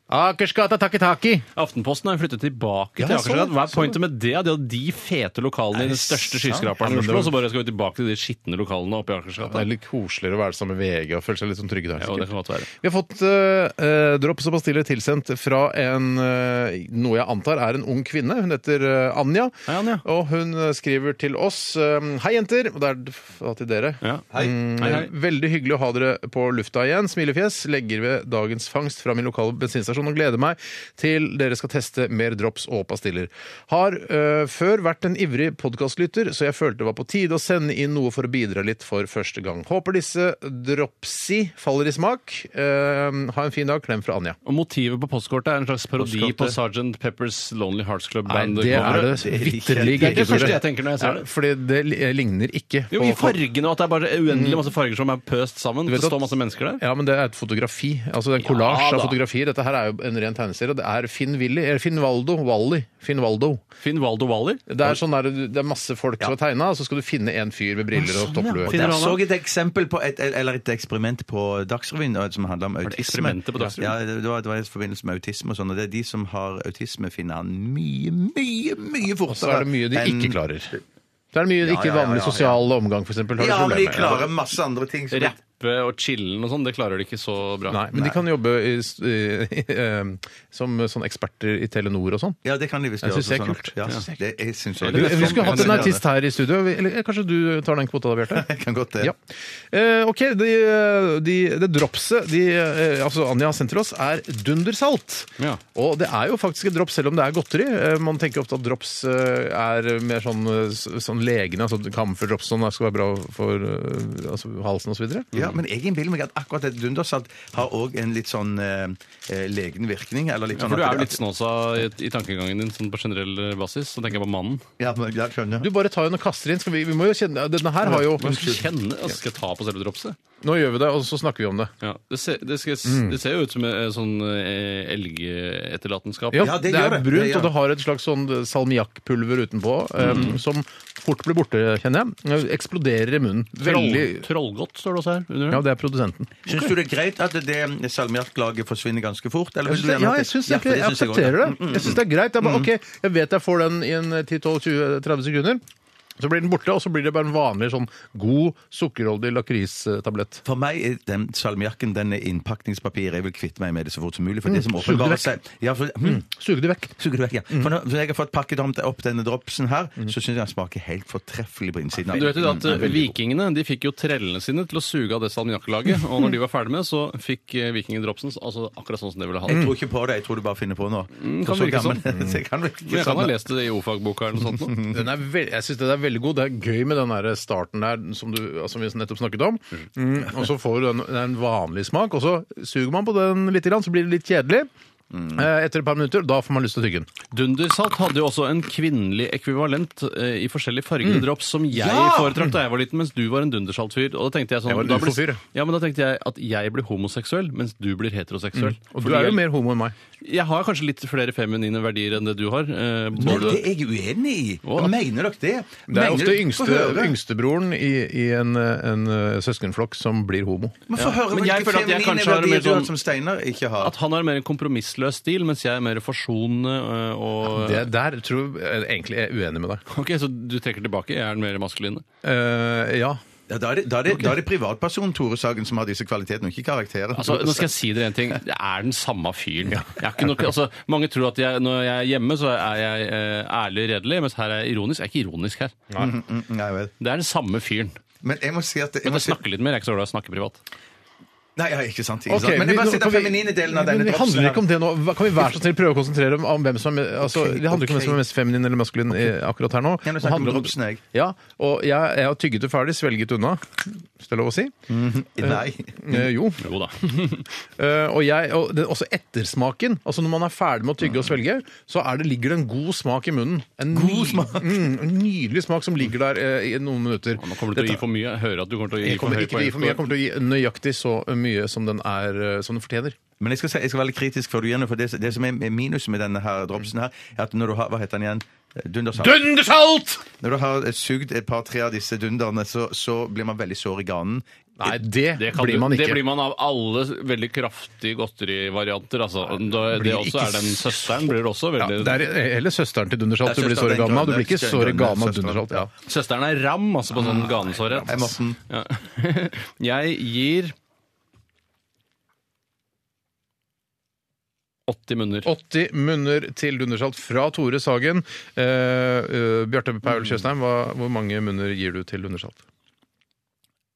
Speaker 1: Akersgata takketaki!
Speaker 2: Aftenposten har jo flyttet tilbake
Speaker 1: Ja, sånn,
Speaker 2: til
Speaker 1: jeg så det,
Speaker 2: Akersgata. Hva er
Speaker 1: så
Speaker 2: pointet med det? De hadde de fete lokalene i den største skyskraperen i
Speaker 1: Ja, men
Speaker 2: Oslo,
Speaker 1: det var-
Speaker 2: og så bare skal vi tilbake til de skitne lokalene oppe i Akersgata.
Speaker 1: Det er litt koseligere å være sammen med VG og føle seg litt sånn trygge der.
Speaker 2: Ja,
Speaker 1: sikkert.
Speaker 2: det kan godt være.
Speaker 1: Vi har fått eh, eh, drops og pastiller tilsendt fra en, eh, noe jeg antar er en ung kvinne. Hun heter eh, Anja,
Speaker 2: Hei, Anja.
Speaker 1: og hun eh, skriver til oss. eh, Hei, jenter! Og det er da til dere.
Speaker 2: Ja. Hei. Hei, hei.
Speaker 1: Eh, Veldig hyggelig å ha dere på lufta igjen. Smilefjes. Legger ved dagens fangst fra min lokale bensinstasjon og gleder meg til dere skal teste mer drops og pastiller. Har øh, før vært en ivrig podkastlytter, så jeg følte det var på tide å sende inn noe for å bidra litt for første gang. Håper disse dropsy faller i smak. Ehm, ha en fin dag. Klem fra Anja.
Speaker 2: Og motivet på postkortet er en slags parodi
Speaker 1: Postkortet.
Speaker 2: på Sergeant Peppers Lonely Hearts Club Band.
Speaker 1: det er det
Speaker 3: det er ikke-
Speaker 1: vitterlig
Speaker 2: Det er det
Speaker 1: ikke, Tore.
Speaker 2: første jeg tenker når jeg ser
Speaker 1: Ja,
Speaker 2: det.
Speaker 1: Fordi det li- ligner ikke
Speaker 2: Jo, i fargene, og at det er bare uendelig masse farger som er pøst sammen.
Speaker 1: Mm. vet
Speaker 2: Det står
Speaker 1: at-
Speaker 2: masse mennesker der.
Speaker 1: Ja, men det er et fotografi. Altså det er en kollasj
Speaker 2: da.
Speaker 1: av fotografier. Dette her er jo en ren tegneserie. og Det er Finn Willy, eller Finn Waldo, Wally. Finn Waldo.
Speaker 2: Finn Waldo Waller.
Speaker 1: Det er, sånn der, det er masse folk som har tegna, og så skal du finne en fyr med briller
Speaker 3: sånn,
Speaker 1: og topplue.
Speaker 2: Finner
Speaker 3: Der
Speaker 2: han
Speaker 3: så
Speaker 2: ham?
Speaker 3: jeg et eksempel på et, eller et eksperiment på Dagsrevyen og- som handla om autisme.
Speaker 2: eksperimenter på Dagsrevyen?
Speaker 3: Ja, det det var, det var i forbindelse med autisme og sånn. Og det er de som har autisme, finner han mye, mye, mye fortere.
Speaker 1: Og så er det mye de
Speaker 3: enn-
Speaker 1: ikke klarer. Det er mye de
Speaker 3: Ja,
Speaker 1: ikke
Speaker 3: ja, ja,
Speaker 1: vanlig
Speaker 3: ja, ja.
Speaker 1: sosial omgang, f.eks.
Speaker 3: Ja, men de klarer masse andre ting. som-
Speaker 2: Rappe og chillen og sånn, det klarer de ikke så bra.
Speaker 1: Nei, men de kan jobbe i, i, som sånn eksperter i Telenor og sånn.
Speaker 3: Ja, det kan de visst
Speaker 1: Jeg
Speaker 3: gjøre.
Speaker 1: synes det er
Speaker 3: sånn.
Speaker 1: kult.
Speaker 3: Ja, det, jeg synes også
Speaker 1: Du,
Speaker 3: det.
Speaker 1: vi skulle hatt en artist her i studio. Eller kanskje du tar den kvota da, Bjarte?
Speaker 3: Jeg kan godt det.
Speaker 1: Ja. Eh, ok, det de, det dropset de, eh, altså Anja har sendt til oss, er dundersalt.
Speaker 2: Ja.
Speaker 1: Og det er jo faktisk et drops, selv om det er godteri. Eh, man tenker ofte at drops eh, er mer sånn, eh, s- sånn legende, altså kamferdrops sånn, det skal være bra for eh, altså, halsen osv.
Speaker 3: Ja, men jeg innbiller meg at akkurat et dundersalt har òg en litt sånn eh, eh, legen virkning. Eller litt sånn
Speaker 2: For du
Speaker 3: at-
Speaker 2: er jo litt snåsa i, i tankegangen din sånn på generell basis. Så tenker jeg på mannen.
Speaker 3: Ja, men, ja, skjønner.
Speaker 1: Du bare tar den og kaster inn. Skal vi, vi må jo kjenne Denne her har jo
Speaker 2: Men skal kjenne, altså, skal jeg ta på selve dropset?
Speaker 1: Nå gjør vi det, og så snakker vi om det.
Speaker 2: Ja. Det, ser, det, skal,
Speaker 1: Mm.
Speaker 2: det ser jo ut som en sånn eh, elgetterlatenskap.
Speaker 1: Ja,
Speaker 3: Ja,
Speaker 1: det,
Speaker 3: det
Speaker 1: er
Speaker 3: gjør det.
Speaker 1: brunt,
Speaker 3: Det gjør
Speaker 1: og det har et slags sånn salmiakkpulver utenpå eh, som fort blir borte, kjenner jeg. Eksploderer i munnen.
Speaker 2: Troll,
Speaker 1: Veldig
Speaker 2: trollgodt står det også her. Under.
Speaker 1: Ja, det er produsenten.
Speaker 3: Syns du det er greit at det salmiakklaget forsvinner ganske fort? Eller vil du
Speaker 1: Ja,
Speaker 3: gjerne at
Speaker 1: jeg, synes
Speaker 3: Ja,
Speaker 1: egentlig- jeg Mm,
Speaker 3: synes også.
Speaker 1: aksepterer det. Jeg syns det er greit. Jeg, bare, ok, jeg vet jeg får den i en eh, 10-12-20-30 sekunder. Så blir den borte, og så blir det bare en vanlig sånn god sukkerholdig lakristablett.
Speaker 3: For meg er den salmiakken den er innpakningspapir. Jeg vil kvitte meg med det så fort som mulig.
Speaker 1: Mm.
Speaker 3: For det som åpenbarer seg ja, for, hm,
Speaker 1: Suger det vekk.
Speaker 3: Suger du vekk, ja.
Speaker 1: Mm.
Speaker 3: For når når jeg har fått pakket om- opp denne dropsen her, så syns jeg den smaker helt fortreffelig på innsiden. av Mm,
Speaker 2: Du vet jo det
Speaker 1: Mm.
Speaker 3: den.
Speaker 2: at eh, Vikingene de fikk jo trellene sine til å suge av det salmiakklaget. Og når de var ferdig med det, så fikk eh, vikingene dropsen altså akkurat sånn som de ville ha
Speaker 3: Jeg
Speaker 1: Mm.
Speaker 2: det.
Speaker 3: tror ikke på det, jeg tror du bare finner på noe.
Speaker 2: Mm, kan
Speaker 3: Så
Speaker 2: virke
Speaker 3: gammel- Det kan virke
Speaker 2: Men jeg kan ha
Speaker 3: sånn.
Speaker 2: lest det i O-fagboka eller noe sånt. nå.
Speaker 1: Den er veld, jeg syns den er veldig god. Det er gøy med den der starten der som, du, som vi nettopp snakket om. Mm, og så får du den, det er en vanlig smak, og så suger man på den litt, så blir det litt kjedelig. Eh, Etter et par minutter, da får man lyst til å tygge den.
Speaker 2: Dundersalt hadde jo også en kvinnelig ekvivalent eh, i forskjellige fargede
Speaker 1: Mm.
Speaker 2: drops som jeg foretrakk da jeg var liten, mens du var en dundersalt-fyr. Og da tenkte jeg sånn
Speaker 1: Jeg var en
Speaker 2: da blir-
Speaker 1: ufo-fyr, jeg.
Speaker 2: Ja, men da tenkte jeg at jeg blir homoseksuell, mens du blir heteroseksuell.
Speaker 1: Mm. Og
Speaker 2: Fordi
Speaker 1: du er jo
Speaker 2: jeg-
Speaker 1: mer homo enn meg.
Speaker 2: Jeg har kanskje litt flere feminine verdier enn det du har. eh,
Speaker 3: Men
Speaker 2: Bård.
Speaker 3: det er jeg uenig i!
Speaker 2: Å.
Speaker 3: Mener dere det?
Speaker 1: Det er
Speaker 3: Mener
Speaker 1: ofte
Speaker 3: dere- Få
Speaker 1: yngste,
Speaker 3: høre.
Speaker 1: yngstebroren i, i en, en eh, søskenflokk som blir homo.
Speaker 3: Men få høre
Speaker 2: Men jeg
Speaker 3: hvilke
Speaker 2: føler at jeg
Speaker 3: feminine
Speaker 2: kanskje har
Speaker 3: verdier
Speaker 2: mer
Speaker 3: du har
Speaker 2: sånn-
Speaker 3: som Steinar ikke har.
Speaker 2: At han har en mer kompromissløs stil, mens jeg er mer forsonende eh, og
Speaker 1: Det der tror jeg egentlig er uenig med deg.
Speaker 2: Ok, Så du trekker tilbake? Jeg er den mer maskuline?
Speaker 1: Eh, ja.
Speaker 3: Ja, da, er det, da, er det, da er det privatpersonen Tore Sagen som har disse kvalitetene, og ikke karakteren.
Speaker 2: Altså, nå skal jeg si dere en ting. Jeg er den samme fyren. Jeg er ikke noe, altså, mange tror at jeg, når jeg er hjemme, så er jeg eh, ærlig og redelig, mens her er jeg ironisk. Jeg er ikke ironisk her. Mm-hmm.
Speaker 3: Mm, Nei vel.
Speaker 2: Det er den samme fyren.
Speaker 3: Men jeg må si at jeg
Speaker 2: Men
Speaker 3: må
Speaker 2: jeg
Speaker 3: si,
Speaker 2: snakker litt mer. Jeg er ikke så glad i å snakke privat.
Speaker 3: Nei, ja, ikke sant. Ikke
Speaker 1: Ok,
Speaker 3: sant.
Speaker 1: vi-
Speaker 3: Men jeg bare
Speaker 1: nå
Speaker 3: sitter
Speaker 1: kan vi-
Speaker 3: den feminine delen av
Speaker 1: Men
Speaker 3: denne
Speaker 1: Det
Speaker 3: dropsen
Speaker 1: handler
Speaker 3: her.
Speaker 1: ikke om det nå. Hva- Kan vi være så snill prøve å konsentrere om, om hvem som er altså, Det
Speaker 3: Ok,
Speaker 1: handler ikke om
Speaker 3: ok.
Speaker 1: hvem som er mest feminin eller maskulin eh, akkurat her nå.
Speaker 3: Jeg vil
Speaker 1: Det
Speaker 3: snakke om
Speaker 1: handler
Speaker 3: dropsen, jeg.
Speaker 1: Ja, og jeg, jeg har tygget det ferdig, svelget unna. Hvis det er lov å si.
Speaker 3: Nei.
Speaker 1: Eh, jo.
Speaker 2: Jo da.
Speaker 1: Eh, og jeg, og det, også ettersmaken. Altså Når man er ferdig med å tygge og svelge, så er det, ligger det en god smak i munnen. En ny- Mm, en nydelig smak som ligger der eh, i noen minutter.
Speaker 2: Nå kommer du til å gi for mye. Jeg hører at du kommer til å gi
Speaker 1: Jeg kommer
Speaker 2: for høy
Speaker 1: ikke til å gi for mye. Jeg kommer til å gi nøyaktig så mye som den, er, eh, som den fortjener.
Speaker 3: Men jeg skal, si, jeg skal være litt kritisk før du gjør noe, for det, det som er minuset med denne her dropsen her, er at når du har Hva heter den igjen? Dundersalt.
Speaker 1: Dundersalt!
Speaker 3: Når du har sugd et par-tre av disse dunderne, så, så blir man veldig sår i ganen.
Speaker 1: Nei, det,
Speaker 2: Det, kan
Speaker 1: blir
Speaker 2: du-
Speaker 1: man ikke.
Speaker 2: det blir man av alle veldig kraftige godterivarianter. Altså. Det, det
Speaker 1: Blir
Speaker 2: også
Speaker 1: ikke
Speaker 2: er den søsteren blir det også
Speaker 1: Ja,
Speaker 2: veldig
Speaker 1: det er heller søsteren til Dundersalt
Speaker 3: Det
Speaker 1: du
Speaker 3: er
Speaker 1: blir
Speaker 3: søsteren
Speaker 1: såret
Speaker 3: til
Speaker 1: gammel av. Du blir ikke
Speaker 3: Dundersalt, det er
Speaker 1: såret gammel av
Speaker 3: søsteren.
Speaker 1: Dundersalt. Ja.
Speaker 2: Søsteren er ram, altså på
Speaker 1: Ah.
Speaker 2: sånn ganesårhet.
Speaker 3: Hei, Morten.
Speaker 2: Ja. Jeg gir 80 munner.
Speaker 1: 80 munner til Dundersalt fra Tore Sagen. Eh, eh, Bjarte Paul Tjøstheim, hva- hvor mange munner gir du til Dundersalt?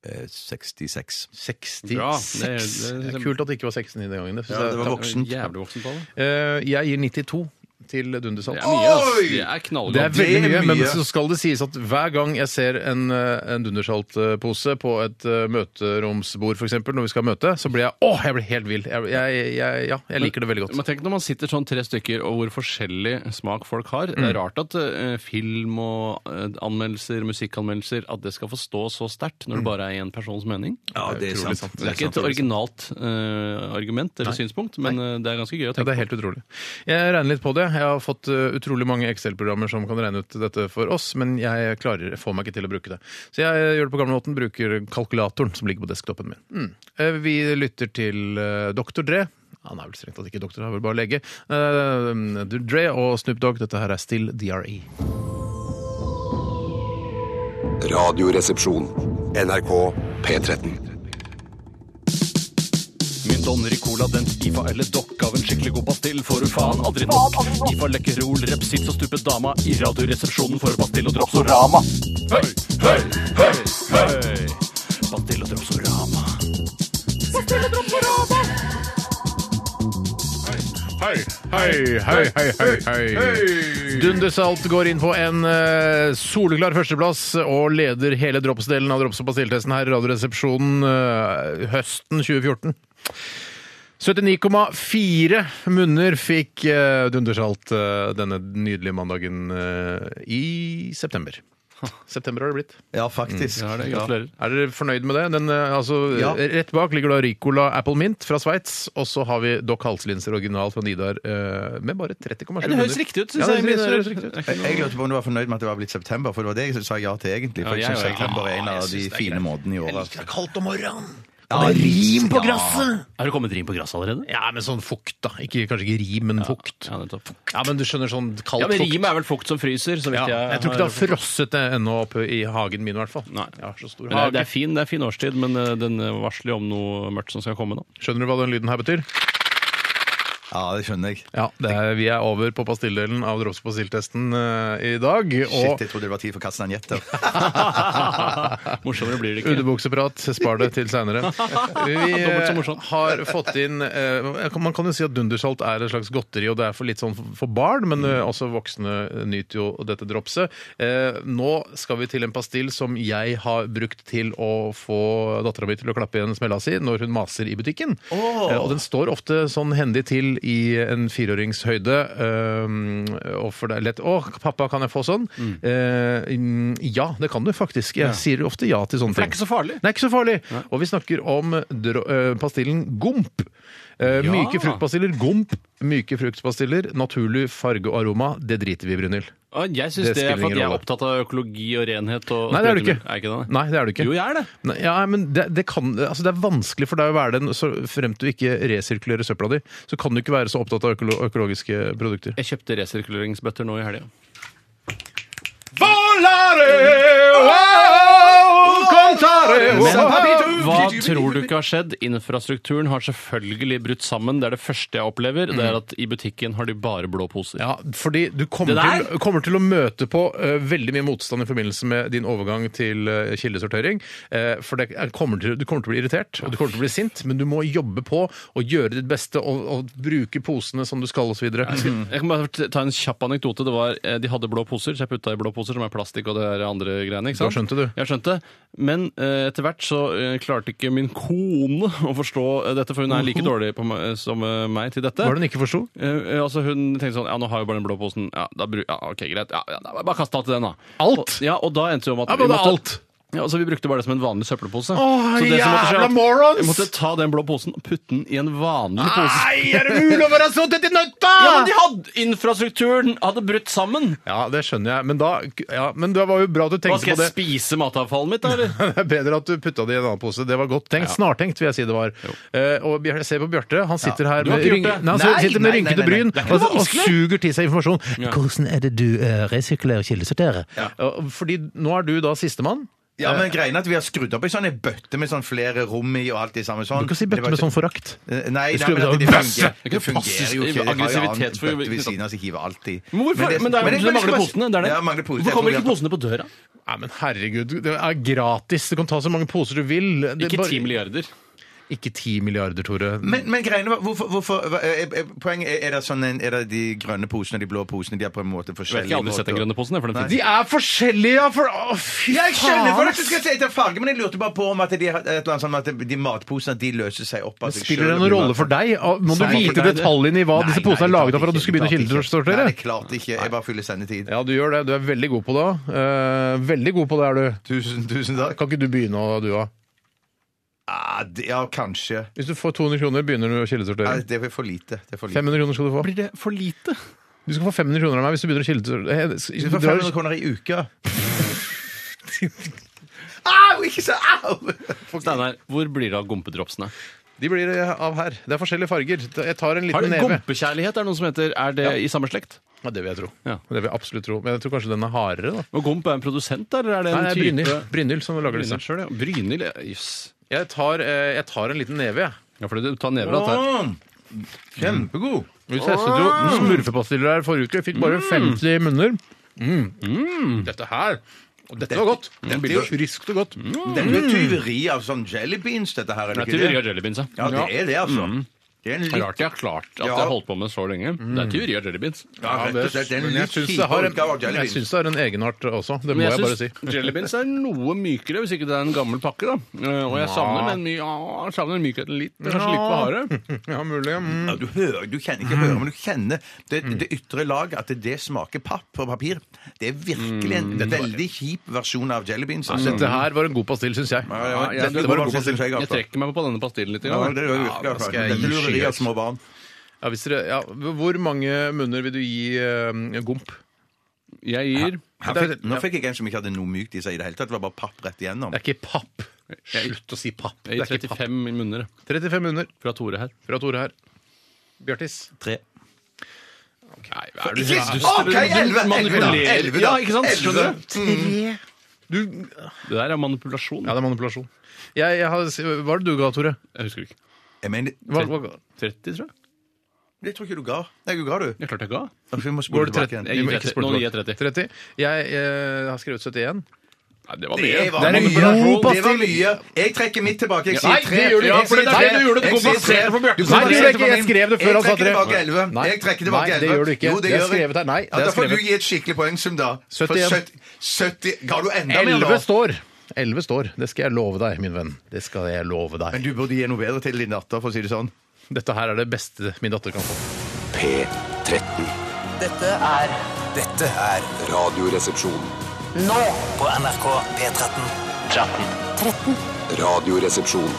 Speaker 3: Eh, 66.
Speaker 1: 66.
Speaker 2: Bra. Det er- liksom- det er-
Speaker 1: Kult at det ikke var 16 i den gangen. Det synes
Speaker 3: Ja,
Speaker 1: jeg-
Speaker 3: det var voksent.
Speaker 2: Jævlig voksent på det.
Speaker 1: Eh, jeg gir 92 til Dundersalt.
Speaker 2: Det er mye, ass.
Speaker 3: Oi!
Speaker 2: Det er
Speaker 1: Det er
Speaker 2: knallgodt.
Speaker 3: Det er
Speaker 1: veldig mye, men
Speaker 3: mye.
Speaker 1: så skal det sies at hver gang jeg ser en, eh, en Dundershalt-pose på et eh, møteromsbord, f.eks., når vi skal møte, så blir jeg åh, jeg blir helt vill. Jeg, jeg, jeg, ja, jeg liker det veldig godt.
Speaker 2: Men tenk når man sitter sånn tre stykker, og hvor forskjellig smak folk har. Det er
Speaker 3: Mm.
Speaker 2: rart at eh, film og eh, anmeldelser, musikkanmeldelser, at det skal få stå så sterkt når det bare er én persons mening.
Speaker 3: Mm. Ja, det er sant.
Speaker 2: Det er ikke et originalt eh, argument eller synspunkt, men eh, det er ganske gøy å
Speaker 1: Ja, det
Speaker 2: tenke
Speaker 1: er helt utrolig. Jeg regner litt på det. Jeg har fått eh, utrolig mange Excel-programmer som kan regne ut dette for oss, men jeg klarer, får meg ikke til å bruke det. Så jeg gjør det på gamlemåten, bruker kalkulatoren som ligger på desktopen min. Mm. Eh, Vi lytter til eh, Dr. Dre. Han er vel strengt tatt ikke doktor, han er vel bare lege. Eh, Dre og Snoop Dogg, dette her er Still E. DRE.
Speaker 6: Radioresepsjon.
Speaker 4: NRK P13.
Speaker 2: Min Donner i cola, den IFA eller dokk av en skikkelig god pastill får du faen aldri nok. IFA lekkerol, repsits og stupet dama i Radioresepsjonen får du pastill og dropsorama. Høy, høy, høy, høy. Pastill og dropsorama.
Speaker 1: Hei, hei, hei, hei, hei. Dundersalt går inn på en eh, soleklar førsteplass og leder hele dropsdelen av drops- og pastilltesten her i Radioresepsjonen eh, høsten 2014. 79,4 munner fikk eh, Dundersalt eh, denne nydelige mandagen eh, i september. September har det blitt.
Speaker 3: Ja, faktisk.
Speaker 2: Mm, Ja, det er
Speaker 3: Ja.
Speaker 2: gratulerer.
Speaker 1: Er dere fornøyd med det? Den, eh, altså,
Speaker 3: Ja.
Speaker 1: Rett bak ligger da Ricola Apple Mint fra Sveits. Og så har vi Doc Halslinser original fra Nidar eh, med bare 30,7
Speaker 2: Ja, det høres riktig ut, synes
Speaker 1: ja, det,
Speaker 2: jeg.
Speaker 1: det, høres riktig ut.
Speaker 3: Jeg jeg lurte på om du var fornøyd med at det var blitt september, for det var det jeg sa ja til egentlig.
Speaker 2: Ja,
Speaker 3: For
Speaker 2: jeg
Speaker 3: jeg syns
Speaker 2: var egentlig-
Speaker 3: september er en
Speaker 2: Ja, jeg
Speaker 3: av de
Speaker 2: synes det er
Speaker 3: fine
Speaker 2: greit.
Speaker 3: månedene i året.
Speaker 1: er kaldt om morgenen.
Speaker 3: Ja, det er rim på gresset!
Speaker 2: Har du kommet inn på gresset allerede?
Speaker 1: Ja, men sånn fukt, da. Ikke, kanskje ikke rim, men fukt.
Speaker 2: Ja, nettopp.
Speaker 1: Ja, men du skjønner sånn kaldt
Speaker 2: Ja, men
Speaker 1: fukt.
Speaker 2: rim er vel fukt som fryser, så vidt
Speaker 1: Ja,
Speaker 2: jeg
Speaker 1: jeg tror ikke det har frosset det ennå oppe i hagen min, i hvert fall.
Speaker 2: Nei.
Speaker 1: Jeg har så stor
Speaker 2: Men det, er, det, er
Speaker 1: hage.
Speaker 2: fin, det er fin årstid, men eh, den varsler jo om noe mørkt som skal komme. da.
Speaker 1: Skjønner du hva den lyden her betyr?
Speaker 3: Ja, det skjønner jeg.
Speaker 1: Ja, det er, Vi er over på pastilldelen av drops- og pastilltesten eh, i dag.
Speaker 3: Shit,
Speaker 1: Og
Speaker 3: jeg trodde det var tid for kastanjetter.
Speaker 2: Morsommere blir det ikke.
Speaker 1: Underbukseprat, spar det til seinere. Vi
Speaker 2: Dobbelt så
Speaker 1: eh,
Speaker 2: morsomt.
Speaker 1: har fått inn eh, Man kan jo si at dundersalt er et slags godteri, og det er for litt sånn for barn, men eh, også voksne nyter jo dette dropset. Eh, Nå skal vi til en pastill som jeg har brukt til å få dattera mi til å klappe igjen smella si når hun maser i butikken. Eh, Og den står ofte sånn hendig til i en fireårings høyde. eh, Og for det er lett Å, pappa, kan jeg få sånn? Eh, mm, Ja, det kan du faktisk. Jeg sier ofte ja til sånne ting.
Speaker 2: Det er ikke så farlig.
Speaker 1: Det er ikke så farlig. Og vi snakker om dro eh, pastillen Gomp. Eh,
Speaker 2: Ja.
Speaker 1: Myke fruktpastiller, Gomp. Myke fruktpastiller, naturlig farge og aroma. Det driter vi i, Brynhild.
Speaker 2: Og Jeg syns
Speaker 1: Det
Speaker 2: det, er
Speaker 1: spiller
Speaker 2: for at
Speaker 1: ingen
Speaker 2: jeg er
Speaker 1: rolle.
Speaker 2: opptatt av økologi og renhet. Og
Speaker 1: Nei, det er du ikke.
Speaker 2: Er jeg ikke det?
Speaker 1: Nei, det er du ikke.
Speaker 2: Jo, jeg er det.
Speaker 1: Nei, ja, men det, det, kan, altså det er vanskelig for deg å være den, så fremt du ikke resirkulerer søpla di. Så kan du ikke være så opptatt av økolo økologiske produkter.
Speaker 2: Jeg kjøpte resirkuleringsbøtter nå i helga.
Speaker 1: Volare, wow, contare,
Speaker 2: Men hva tror du ikke har skjedd? Infrastrukturen har selvfølgelig brutt sammen. Det er det første jeg opplever. Det er at i butikken har de bare blå poser.
Speaker 1: Ja, fordi du kommer
Speaker 2: Det der?
Speaker 1: til, kommer til å møte på eh, veldig mye motstand i forbindelse med din overgang til eh, kildesortering. Eh, for det er, kommer til, du kommer til å bli irritert, og du kommer til å bli sint, men du må jobbe på og gjøre ditt beste og, og bruke posene som du skal, osv. Mm.
Speaker 2: Jeg kan bare ta en kjapp anekdote. Det var, eh, de hadde blå poser, så jeg putta i blå poser, som er plastikk og det der andre greiene. ikke sant?
Speaker 1: Da skjønte du.
Speaker 2: Jeg skjønte. Men eh, etter hvert så eh, klarte ikke min kone å forstå eh, dette, for hun er like dårlig på meg, som eh, meg til dette.
Speaker 1: Hva er det hun ikke forsto?
Speaker 2: Eh, eh, altså Hun tenkte sånn Ja, nå har jeg bare den blå posen. Ja, da bru ja OK, greit. Ja, ja, da bare kast alt i den, da.
Speaker 1: Alt?
Speaker 2: Og, ja, og da endte det om at
Speaker 1: Ja, men
Speaker 2: vi
Speaker 1: det
Speaker 2: måtte-
Speaker 1: er alt.
Speaker 2: Ja, altså Vi brukte bare det som en vanlig søppelpose.
Speaker 1: Åh,
Speaker 2: Så det som måtte skje
Speaker 1: jævla
Speaker 2: var at
Speaker 1: morons!
Speaker 2: Vi måtte ta den blå posen og putte den i en vanlig pose.
Speaker 1: er det mulig å være så tett i nøtta?!
Speaker 2: Ja, men de hadde Infrastrukturen hadde brutt sammen!
Speaker 1: Ja, det skjønner jeg, men, da, ja, men det var jo bra at du
Speaker 2: Hva
Speaker 1: tenkte
Speaker 2: Skal
Speaker 1: på det.
Speaker 2: jeg spise matavfallet mitt, da? eller?
Speaker 1: Det er bedre at du putta det i en annen pose. Det var godt tenkt. Snartenkt, vil jeg si det var. Eh, og Bjar- jeg ser på Bjarte. Han sitter her
Speaker 2: Du har
Speaker 1: med,
Speaker 2: ikke gjort
Speaker 1: rynk-
Speaker 2: det.
Speaker 1: Nei, han sitter-
Speaker 3: Nei,
Speaker 1: sitter med
Speaker 3: nei, nei,
Speaker 1: rynkete
Speaker 3: nei, nei.
Speaker 1: bryn
Speaker 3: Det er ikke
Speaker 1: og, og
Speaker 2: vanskelig.
Speaker 1: suger til seg informasjon.
Speaker 7: Hvordan er det du
Speaker 1: eh,
Speaker 7: uh, resirkulerer og kildesorterer?
Speaker 1: Og- Fordi nå er du da sistemann.
Speaker 3: Ja, men greien er at vi har skrudd opp ei sånn en bøtte med sånn flere rom i og alt i samme sånn.
Speaker 1: Du kan si
Speaker 3: Men det
Speaker 1: bøtte
Speaker 3: var
Speaker 1: med
Speaker 3: ikke-
Speaker 1: sånn forakt.
Speaker 3: Eh, Nei,
Speaker 1: Det
Speaker 3: nei
Speaker 1: skulle
Speaker 3: men
Speaker 1: vi
Speaker 3: at det
Speaker 1: ta-
Speaker 3: fungerer,
Speaker 2: Det er
Speaker 3: det
Speaker 2: ikke
Speaker 3: fungerer jo
Speaker 2: passisk
Speaker 3: ikke.
Speaker 2: aggressivitet for-
Speaker 3: for Bøtte ved siden av, så hiver alltid.
Speaker 2: Men hvorfor? Men, det er, men du
Speaker 3: men jeg- men jeg skal
Speaker 2: mangler
Speaker 3: bare-
Speaker 2: posene. det er det.
Speaker 3: Ja, mangler poser. Jeg
Speaker 2: Hvorfor kommer
Speaker 3: tror vi
Speaker 2: ikke
Speaker 3: har-
Speaker 2: posene på døra?
Speaker 1: Nei, men herregud, det er gratis. Du kan ta så mange poser du vil. Det er
Speaker 2: Ikke
Speaker 1: bare-
Speaker 2: ti milliarder.
Speaker 1: Ikke 10 milliarder, Tore.
Speaker 3: Men, men greiene var hvorfor, hvorfor, hva- er- er- Poenget er, er det sånn en- Er det de grønne posene og de blå posene? De er på en måte
Speaker 2: Jeg har
Speaker 3: forskjellige
Speaker 2: ikke aldri sett den
Speaker 3: måter.
Speaker 2: grønne posen. jeg, For den finnes
Speaker 1: de er forskjellige, ja! For, å, fy
Speaker 3: Ja, jeg skjønner for
Speaker 1: faen,
Speaker 3: at du skal si etter farge, men jeg lurte bare på om at de, har et eller annet sånn at de matposene de løser seg opp av seg
Speaker 1: Spiller det
Speaker 3: selv.
Speaker 1: noen rolle for deg? Må du
Speaker 3: Nei,
Speaker 1: vite
Speaker 3: nei, det-
Speaker 1: detaljene i hva disse
Speaker 3: Nei,
Speaker 1: posene er
Speaker 3: nei,
Speaker 1: laget av
Speaker 3: klart
Speaker 1: for at du skal
Speaker 3: ikke,
Speaker 1: begynne å
Speaker 3: klart ikke.
Speaker 1: kildesortere?
Speaker 3: Nei, det er klart ikke. Jeg bare fyller sendetid.
Speaker 1: Ja, du gjør det. Du er veldig god på det. Eh, veldig god på det er du.
Speaker 3: Tusen, tusen takk.
Speaker 1: Kan ikke du begynne, å- du òg?
Speaker 3: Ah, det- Ja, kanskje.
Speaker 1: Hvis du får 200 kroner, begynner du å
Speaker 3: Nei,
Speaker 1: kildesortere.
Speaker 3: det er for lite. Det er for lite.
Speaker 1: 500 kroner skal du få.
Speaker 2: Blir det for lite?
Speaker 1: Du skal få 500 kroner av meg hvis du begynner å kildesortere. Eh,
Speaker 3: Du
Speaker 1: du
Speaker 3: får 500
Speaker 1: drar-
Speaker 3: kroner i uka. Au! Ikke så au!
Speaker 2: Steinar, hvor blir det av gompedropsene?
Speaker 1: De blir eh, av her. Det er forskjellige farger. Jeg tar en
Speaker 2: Har
Speaker 1: liten
Speaker 2: det
Speaker 1: neve.
Speaker 2: Gompekjærlighet er det noe som heter. Er det i samme slekt?
Speaker 1: Ja, det vil jeg tro.
Speaker 2: Ja.
Speaker 1: Det vil jeg absolutt tro. Men jeg tror kanskje den er hardere, da.
Speaker 2: Og Gomp er en produsent, da, eller er det en
Speaker 1: Nei, det er
Speaker 2: type
Speaker 1: Brynhild. Brynhild som lager disse.
Speaker 2: Brynhild sjøl, ja. Brynhild, ja. Jøss.
Speaker 1: Jeg tar, eh, jeg tar en liten neve, jeg.
Speaker 2: Ja, for du tar never, da.
Speaker 3: Åh, Sånn. Kjempegod.
Speaker 1: Vi testet jo smurfepastiller her forrige uke. Fikk bare 50 i munner. Dette her og Dette var godt. Mm. Det blir jo friskt og godt.
Speaker 3: Det er jo et tyveri av sånn jelly beans, dette her. Er
Speaker 2: Det
Speaker 3: det
Speaker 2: er teori
Speaker 3: ikke det?
Speaker 2: av jellybeans, ja.
Speaker 3: Ja, det er det, altså.
Speaker 1: Mm.
Speaker 3: Det er en litt,
Speaker 2: Rart jeg har klart at jeg
Speaker 3: Ja.
Speaker 2: har holdt på med så lenge. Det er teori av jellybeans.
Speaker 3: ja, rett og slett, det er en
Speaker 1: Men jeg
Speaker 3: litt
Speaker 1: syns det har en,
Speaker 3: kjipere utgave av jelly
Speaker 1: jeg
Speaker 3: beans.
Speaker 1: syns det har en egenart også. Det må
Speaker 2: Men
Speaker 1: jeg,
Speaker 2: jeg
Speaker 1: bare
Speaker 2: syns
Speaker 1: si.
Speaker 2: jellybeans er noe mykere, hvis ikke det er en gammel pakke. da. Eh, Og jeg savner den, my ja, jeg savner mykheten litt. Det er Kanskje litt for harde.
Speaker 1: Ja, mulig. Mm.
Speaker 3: Ja, du, hører, du kjenner ikke hører, men du kjenner det, det ytre lag, at det smaker papp og papir. Det er virkelig en veldig kjip versjon av jelly beans. Altså.
Speaker 1: Mm. Dette her var en god pastill, syns jeg.
Speaker 3: Ja, ja,
Speaker 2: Ja,
Speaker 3: dette
Speaker 2: det
Speaker 3: var
Speaker 2: var
Speaker 3: en god pastill, jeg,
Speaker 2: Jeg
Speaker 3: altså.
Speaker 2: trekker meg på denne pastillen litt. i
Speaker 3: Ja,
Speaker 2: gang.
Speaker 3: det virker,
Speaker 1: Ja, da
Speaker 3: altså.
Speaker 1: skal jeg
Speaker 3: Dette
Speaker 1: gi
Speaker 3: lureri
Speaker 1: skyet.
Speaker 3: av små barn.
Speaker 1: Ja, hvis dere, ja, hvor mange munner vil du gi eh, Gomp?
Speaker 2: Jeg gir
Speaker 3: Her fikk- Nå fikk jeg en som ikke hadde noe mykt i seg i det hele tatt. Det var bare papp rett igjennom.
Speaker 1: Det er ikke papp. Slutt å si papp. Det
Speaker 2: jeg
Speaker 1: er
Speaker 2: gir
Speaker 1: ikke papp.
Speaker 2: 35 munner
Speaker 1: 35 munner
Speaker 2: fra Tore her.
Speaker 1: fra Tore her. Bjartis.
Speaker 3: Tre.
Speaker 2: Nei, hva er det du
Speaker 3: Ikke-
Speaker 2: du- du-
Speaker 3: Ok, elleve,
Speaker 2: du manipulerer.
Speaker 3: elleve, da.
Speaker 2: Ja, ikke sant?
Speaker 3: Elleve.
Speaker 2: Skjønner du?
Speaker 1: Du,
Speaker 2: Det der er manipulasjon.
Speaker 1: ja, det er manipulasjon. Jeg, jeg har, hva er det du ga, Tore?
Speaker 2: Jeg husker ikke.
Speaker 3: Jeg mener,
Speaker 1: Hva, hva,
Speaker 2: 30, tror jeg.
Speaker 3: det tror jeg ikke du ga. Nei, du ga, du.
Speaker 2: Jeg klarte jeg ga.
Speaker 3: Altså, vi må spole
Speaker 1: går det
Speaker 3: tilbake
Speaker 1: 30?
Speaker 2: Jeg
Speaker 3: igjen.
Speaker 2: gir
Speaker 1: Vi må ikke
Speaker 2: 30.
Speaker 1: spole
Speaker 2: Nå gir jeg
Speaker 1: tilbake.
Speaker 2: 30.
Speaker 1: 30. Jeg eh, har skrevet 71.
Speaker 2: Nei, det var
Speaker 3: Det
Speaker 2: mye.
Speaker 3: var
Speaker 1: Det er en
Speaker 3: mye.
Speaker 1: blod
Speaker 3: Det var
Speaker 1: pastill.
Speaker 3: mye. Jeg trekker mitt tilbake. Jeg
Speaker 1: Nei,
Speaker 3: sier
Speaker 1: det
Speaker 3: tre.
Speaker 1: gjør du ikke.
Speaker 3: Jeg sier
Speaker 1: Fordi- nei,
Speaker 3: tre.
Speaker 1: du gjorde det. Du
Speaker 3: Jeg sier
Speaker 1: kompenserer
Speaker 3: tre.
Speaker 1: for Bjarte. Nei,
Speaker 3: Du
Speaker 1: det gjør jeg ikke.
Speaker 3: kompenserer
Speaker 1: Jeg skrev det
Speaker 3: for
Speaker 1: før
Speaker 3: min.
Speaker 1: han sa
Speaker 3: Jeg trekker
Speaker 1: tre.
Speaker 3: tilbake elleve.
Speaker 1: Nei.
Speaker 3: Jeg trekker tilbake
Speaker 1: Nei, det
Speaker 3: elleve.
Speaker 1: gjør du ikke.
Speaker 3: Jo,
Speaker 1: Det er
Speaker 3: gjør jeg.
Speaker 1: skrevet her. Nei, det
Speaker 3: Ja,
Speaker 1: er
Speaker 3: da får du
Speaker 1: skrevet.
Speaker 3: gi et skikkelig poengsum, da. For
Speaker 1: 71.
Speaker 3: 70 70 Ga du enda mer,
Speaker 1: 11
Speaker 3: da?
Speaker 1: står. 11 står. Det skal jeg love deg, min venn. Det skal jeg love deg.
Speaker 3: Men du burde gi noe bedre til din datter, for å si det sånn.
Speaker 1: Dette her er det beste min datter kan få.
Speaker 4: P13.
Speaker 5: Dette er
Speaker 6: Dette er Radioresepsjon.
Speaker 5: nå på NRK P13.
Speaker 6: Radioresepsjon.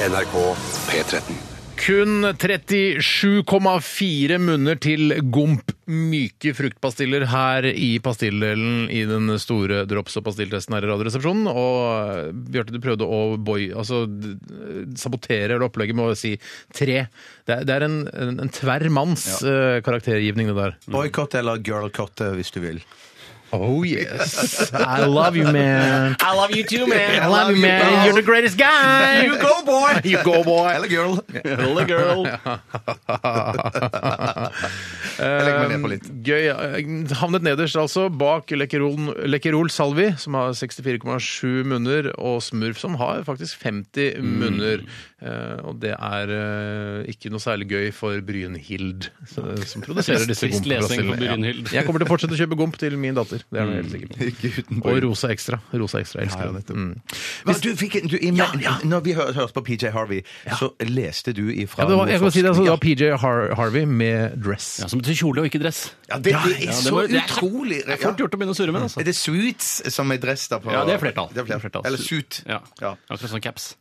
Speaker 4: NRK P13.
Speaker 1: Kun 37,4 munner til gomp myke fruktpastiller her i pastilldelen i den store drops- og pastilltesten her i Radioresepsjonen. Og eh, Bjarte, du prøvde å boy, altså, d- sabotere hele opplegget med å si tre. Det er, det er en, en, en tverr manns eh, karaktergivning, det der.
Speaker 3: Boikott eller girlcott, hvis du vil.
Speaker 1: Oh yes. I love you, man.
Speaker 2: I love you too,
Speaker 1: I
Speaker 2: man!
Speaker 1: love you, man. You're the greatest guy.
Speaker 3: You go, boy!
Speaker 1: You go, boy.
Speaker 3: Eller girl.
Speaker 2: Hello, girl!
Speaker 3: Jeg legger meg ned på litt.
Speaker 1: Ehm, Gøy. ja. Havnet nederst, altså, bak Lekkerol, Lekkerol Salvi, som har 64,7 munner, og Smurf, som har faktisk 50
Speaker 3: Mm.
Speaker 1: munner. Eh, og det er eh, ikke noe særlig gøy for Brynhild, så- som produserer disse
Speaker 2: Trist lesing for
Speaker 1: gompene.
Speaker 2: Brynhild.
Speaker 1: Jeg kommer til å fortsette å kjøpe gomp til min datter. Det er jeg helt sikker på.
Speaker 3: Ikke uten
Speaker 1: Og Rosa Ekstra. Rosa Ekstra jeg elsker den. Mm.
Speaker 3: Men du fikk en- du, i, Når vi hør, hørte på PJ Harvey, så leste du ifra
Speaker 1: Ja, det var, jeg kan si det, altså, det
Speaker 3: Ja,
Speaker 1: var PJ Har Harvey med dress.
Speaker 2: Ja, Som betyr kjole og ikke dress.
Speaker 3: ja, det, det er
Speaker 2: Ja,
Speaker 3: så
Speaker 2: må- det er-
Speaker 3: utrolig
Speaker 2: Det er fort gjort å begynne å surre med,
Speaker 3: Er
Speaker 2: altså.
Speaker 3: det suits som er dress da på
Speaker 2: Ja, det er flertall.
Speaker 3: Det er flertall. Eller suit.
Speaker 2: Ja.
Speaker 3: Ja.
Speaker 2: Akkurat som caps.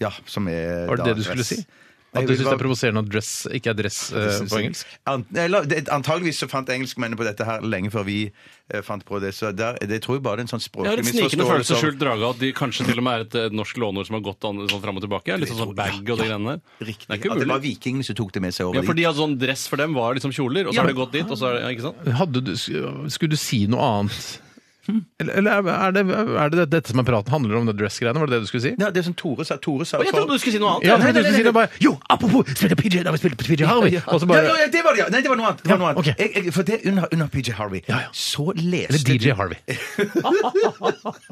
Speaker 3: Ja, som er
Speaker 1: Var det
Speaker 3: da
Speaker 1: det du skulle
Speaker 3: dress.
Speaker 1: si?
Speaker 3: Nei,
Speaker 1: At du
Speaker 3: vi
Speaker 1: syns
Speaker 3: var-
Speaker 1: det er provoserende at dress ikke er dress eh,
Speaker 3: synes
Speaker 1: på
Speaker 3: jeg.
Speaker 1: engelsk?
Speaker 3: Ant, eller, det, antageligvis så fant engelskmennene på dette her lenge før vi eh, fant på det. Så der, det tror jeg bare er en sånn
Speaker 2: Jeg har
Speaker 3: språklig
Speaker 2: en snikende følelse
Speaker 3: av-
Speaker 2: skjult drage at de kanskje til og med er et eh, norsk låneord som har gått an, sånn fram og tilbake. Litt sånn som bag og de greiene der.
Speaker 3: Riktig.
Speaker 2: Det er ikke
Speaker 3: At det var
Speaker 2: mulig.
Speaker 3: vikingene som tok det med seg over
Speaker 2: Ja, for de hadde sånn dress for dem var liksom kjoler, og så har det gått dit, og så er det ja, Ikke sant?
Speaker 1: Hadde du, skulle du si noe annet? Eller, eller er, det, er det dette som er praten? Handler det om det dress-greiene? Var det det du skulle si?
Speaker 3: dit. Ja, det som Tore sa. Tore sa
Speaker 2: Og jeg trodde du skulle si noe annet!
Speaker 1: Ja, for du skulle si det bare Jo, apropos, spilte PJ da vi spilte på PJ Harvey! Og så
Speaker 3: ja,
Speaker 1: bare
Speaker 3: ja, ja, det var det, ja! Nei, det var noe annet. Det var noe annet.
Speaker 1: ok.
Speaker 3: Jeg, jeg, for det under, under PJ Harvey.
Speaker 1: Ja, ja.
Speaker 3: Så leste
Speaker 1: Eller DJ Harvey.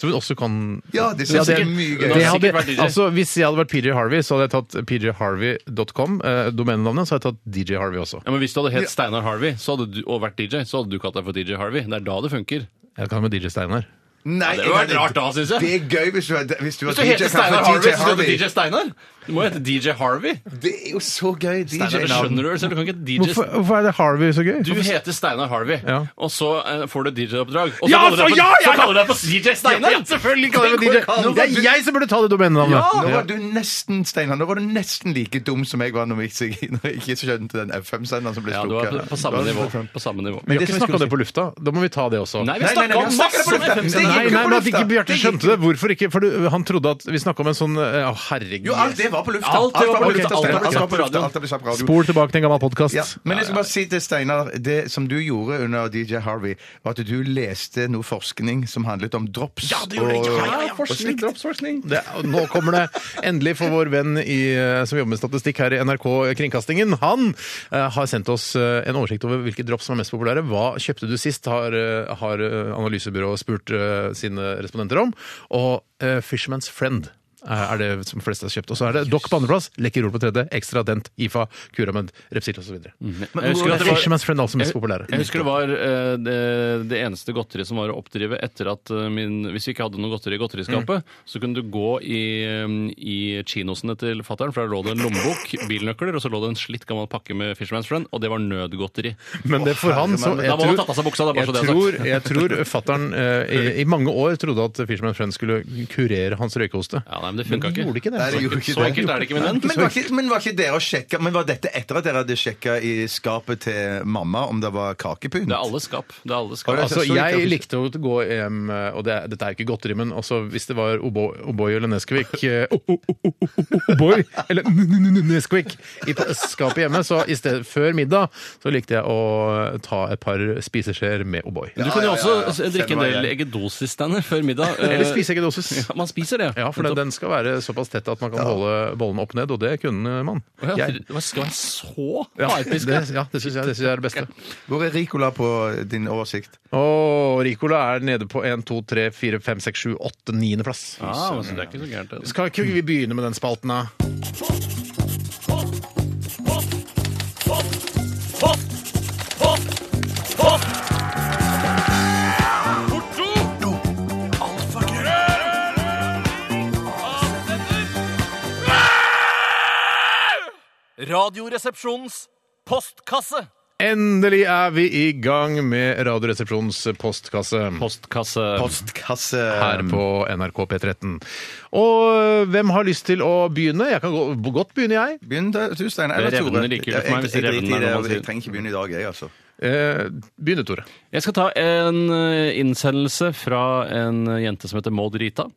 Speaker 1: Som hun også kan
Speaker 3: Ja, det synes jeg er mye gøy.
Speaker 2: Det
Speaker 1: Det
Speaker 2: har
Speaker 1: hadde,
Speaker 2: sikkert vært DJ.
Speaker 1: altså, hvis jeg hadde vært PJ Harvey, så hadde jeg tatt pjharvey.com, eh, domenenavnet, så hadde jeg tatt DJ Harvey også.
Speaker 2: Ja, men Hvis du hadde hett Steinar Harvey så hadde du, og vært DJ, så hadde du kalt deg for DJ Harvey. Det er da det funker.
Speaker 1: Jeg kan ha med DJ Steinar.
Speaker 3: Nei,
Speaker 2: Det hadde vært
Speaker 3: jeg-
Speaker 2: rart da, synes jeg.
Speaker 3: Det er gøy hvis du, er- hvis du,
Speaker 2: Hvis
Speaker 3: er
Speaker 2: du heter
Speaker 3: DJ, kan
Speaker 2: Steinar
Speaker 3: få
Speaker 2: Harvey, så
Speaker 3: DJ
Speaker 2: skal du
Speaker 3: Harvey.
Speaker 2: DJ Steinar! Du må hete DJ Harvey.
Speaker 3: Det er jo så gøy. DJ
Speaker 2: Steinar, det skjønner du vel selv. Du kan ikke hete DJ
Speaker 1: Hvorfor, hvorfor er det Harvey så gøy?
Speaker 2: Du heter Steinar Harvey,
Speaker 1: Ja.
Speaker 2: og så eh, får du DJ-oppdrag. Og så
Speaker 1: Ja,
Speaker 2: kaller du
Speaker 1: så
Speaker 2: deg for-
Speaker 1: ja, ja,
Speaker 2: så kaller du deg for DJ Steinar! selvfølgelig
Speaker 1: kaller jeg meg DJ. Det er jeg som burde ta det domenenavnet!
Speaker 3: Nå var du nesten Steinar, nå var du nesten like dum som jeg var når jeg ikke, når jeg ikke skjønte den FM-senderen som ble
Speaker 2: Ja, du er
Speaker 3: slukket.
Speaker 2: på, på samme nivå. På samme nivå.
Speaker 1: Vi har ikke
Speaker 3: det som jeg
Speaker 1: snakka
Speaker 3: skulle
Speaker 1: det på lufta. Da må vi ta det også.
Speaker 2: Nei,
Speaker 3: Nei,
Speaker 2: vi
Speaker 3: nei,
Speaker 2: snakka
Speaker 3: nei, vi
Speaker 2: masse
Speaker 3: snakker
Speaker 2: om
Speaker 3: på lufta.
Speaker 2: FM.
Speaker 1: Nei,
Speaker 3: Det gikk jo
Speaker 1: nei,
Speaker 3: på
Speaker 1: men at ikke
Speaker 3: lufta.
Speaker 1: Bjarte
Speaker 3: Det gikk
Speaker 1: skjønte det. Hvorfor ikke? For du, han trodde at vi snakka om en sånn eh, Å, herregud.
Speaker 3: Jo, alt det var på lufta.
Speaker 2: Alt det var på lufta.
Speaker 3: Steinar.
Speaker 2: Alt var på
Speaker 3: lufta.
Speaker 2: radioen.
Speaker 3: Alt ble sagt på radio.
Speaker 1: Spol tilbake til en gammel podkast.
Speaker 3: Ja, men jeg skal bare si til Steinar, det som du gjorde under DJ Harvey, var at du leste noe forskning som handlet om drops. Ja, det gjorde jeg.
Speaker 2: forskning, droppsforskning.
Speaker 1: Det, og nå kommer det endelig for vår venn i, eh, som jobber med statistikk her i NRK eh, Kringkastingen. Han eh, har sendt oss eh, en oversikt over hvilke drops som er mest populære. Hva kjøpte du sist, har, eh, har eh, analysebyrået spurt eh, sine respondenter om. Og eh, Fisherman's Friend er er det som flest har kjøpt. Og så er det Dock på andreplass, Lekkerol på tredje, Extra Dent, IFA, Curament, Repsil osv.
Speaker 2: Mhm. Jeg husker at det var
Speaker 1: Fisherman's Friend er altså mest populære.
Speaker 2: Jeg husker det var eh, det, det eneste godteriet som var å oppdrive etter at eh, min Hvis vi ikke hadde noe godteri i
Speaker 1: Mm.
Speaker 2: godteriskapet, så kunne du gå i, eh, i kinosene til fatter'n, for der lå det en lommebok, bilnøkler, og så lå det en slitt gammel pakke med Fisherman's Friend, og det var nødgodteri.
Speaker 1: Men det for han så
Speaker 2: men-
Speaker 1: jeg
Speaker 2: Da må man
Speaker 1: tror-
Speaker 2: tatt av seg buksa, det er bare så det er
Speaker 1: jeg
Speaker 2: sagt.
Speaker 1: tror, jeg tror fatteren eh, i, i mange år trodde at Fisherman Friend skulle kurere hans røykehoste.
Speaker 2: Ja, nei, men det funka ikke.
Speaker 1: Gjorde ikke det.
Speaker 3: Nei, det gjorde ikke
Speaker 2: Så enkelt er det ikke, min venn.
Speaker 3: Men var ikke, men var ikke dere og sjekka Men var dette etter at dere hadde sjekka i skapet til mamma om det var kakepynt?
Speaker 2: Det er alle skap. Det er alle skap.
Speaker 3: Å,
Speaker 1: Altså,
Speaker 3: så ikke
Speaker 1: jeg
Speaker 3: at-
Speaker 1: likte å gå hjem eh, Og det, er- dette er jo ikke godteri, men altså, hvis det var Obo- O'boy eller Nesquik eh, O- O- O- O- O- O'boy eller N- N- N- Nesquik i pa- skapet hjemme, så i sted, før middag så likte jeg å ta et par spiseskjeer med O'boy.
Speaker 2: Men du kan jo
Speaker 3: Ja, ja,
Speaker 2: også
Speaker 3: ja, ja.
Speaker 2: eh, drikke en
Speaker 3: Kjenner meg
Speaker 2: del
Speaker 3: igjen.
Speaker 2: eggedosis-stander før middag. eh,
Speaker 1: Eller spiseeggedosis.
Speaker 2: Ja, man spiser det.
Speaker 1: Ja, for den, den skal være såpass tett at man kan holde bollen opp ned, og det kunne man.
Speaker 2: Å, ja,
Speaker 1: Jeg-
Speaker 2: det skal være så
Speaker 1: Ja,
Speaker 2: hardpisk.
Speaker 1: det, ja, det syns jeg, det synes jeg er det beste.
Speaker 3: Hvor er Ricola på din oversikt?
Speaker 1: Og Ricola er nede på 1, 2, 3, 4, 5, 6, 7, 8, 9. plass.
Speaker 2: Ah, men så det er ikke så gærent. det.
Speaker 1: Skal ikke vi begynne med den spalten, da?
Speaker 8: Radioresepsjonens postkasse.
Speaker 1: Endelig er vi i gang med Radioresepsjonens postkasse.
Speaker 2: Postkasse.
Speaker 3: Postkasse
Speaker 1: Her på NRK P13. Og eh, hvem har lyst til å begynne? Jeg kan gå, godt begynne, jeg.
Speaker 3: Begynn da, du, Steinar.
Speaker 2: Det
Speaker 3: Eller
Speaker 2: revner
Speaker 3: Tore.
Speaker 2: like ut for meg hvis
Speaker 3: jeg, jeg,
Speaker 2: det
Speaker 3: driter i
Speaker 2: revner,
Speaker 3: det,
Speaker 2: når man
Speaker 3: og
Speaker 2: sier-
Speaker 3: jeg trenger ikke begynne i dag, jeg, altså.
Speaker 1: Eh, begynne, Tore.
Speaker 2: Jeg skal ta en eh, innsendelse fra en jente som heter Maud Rita.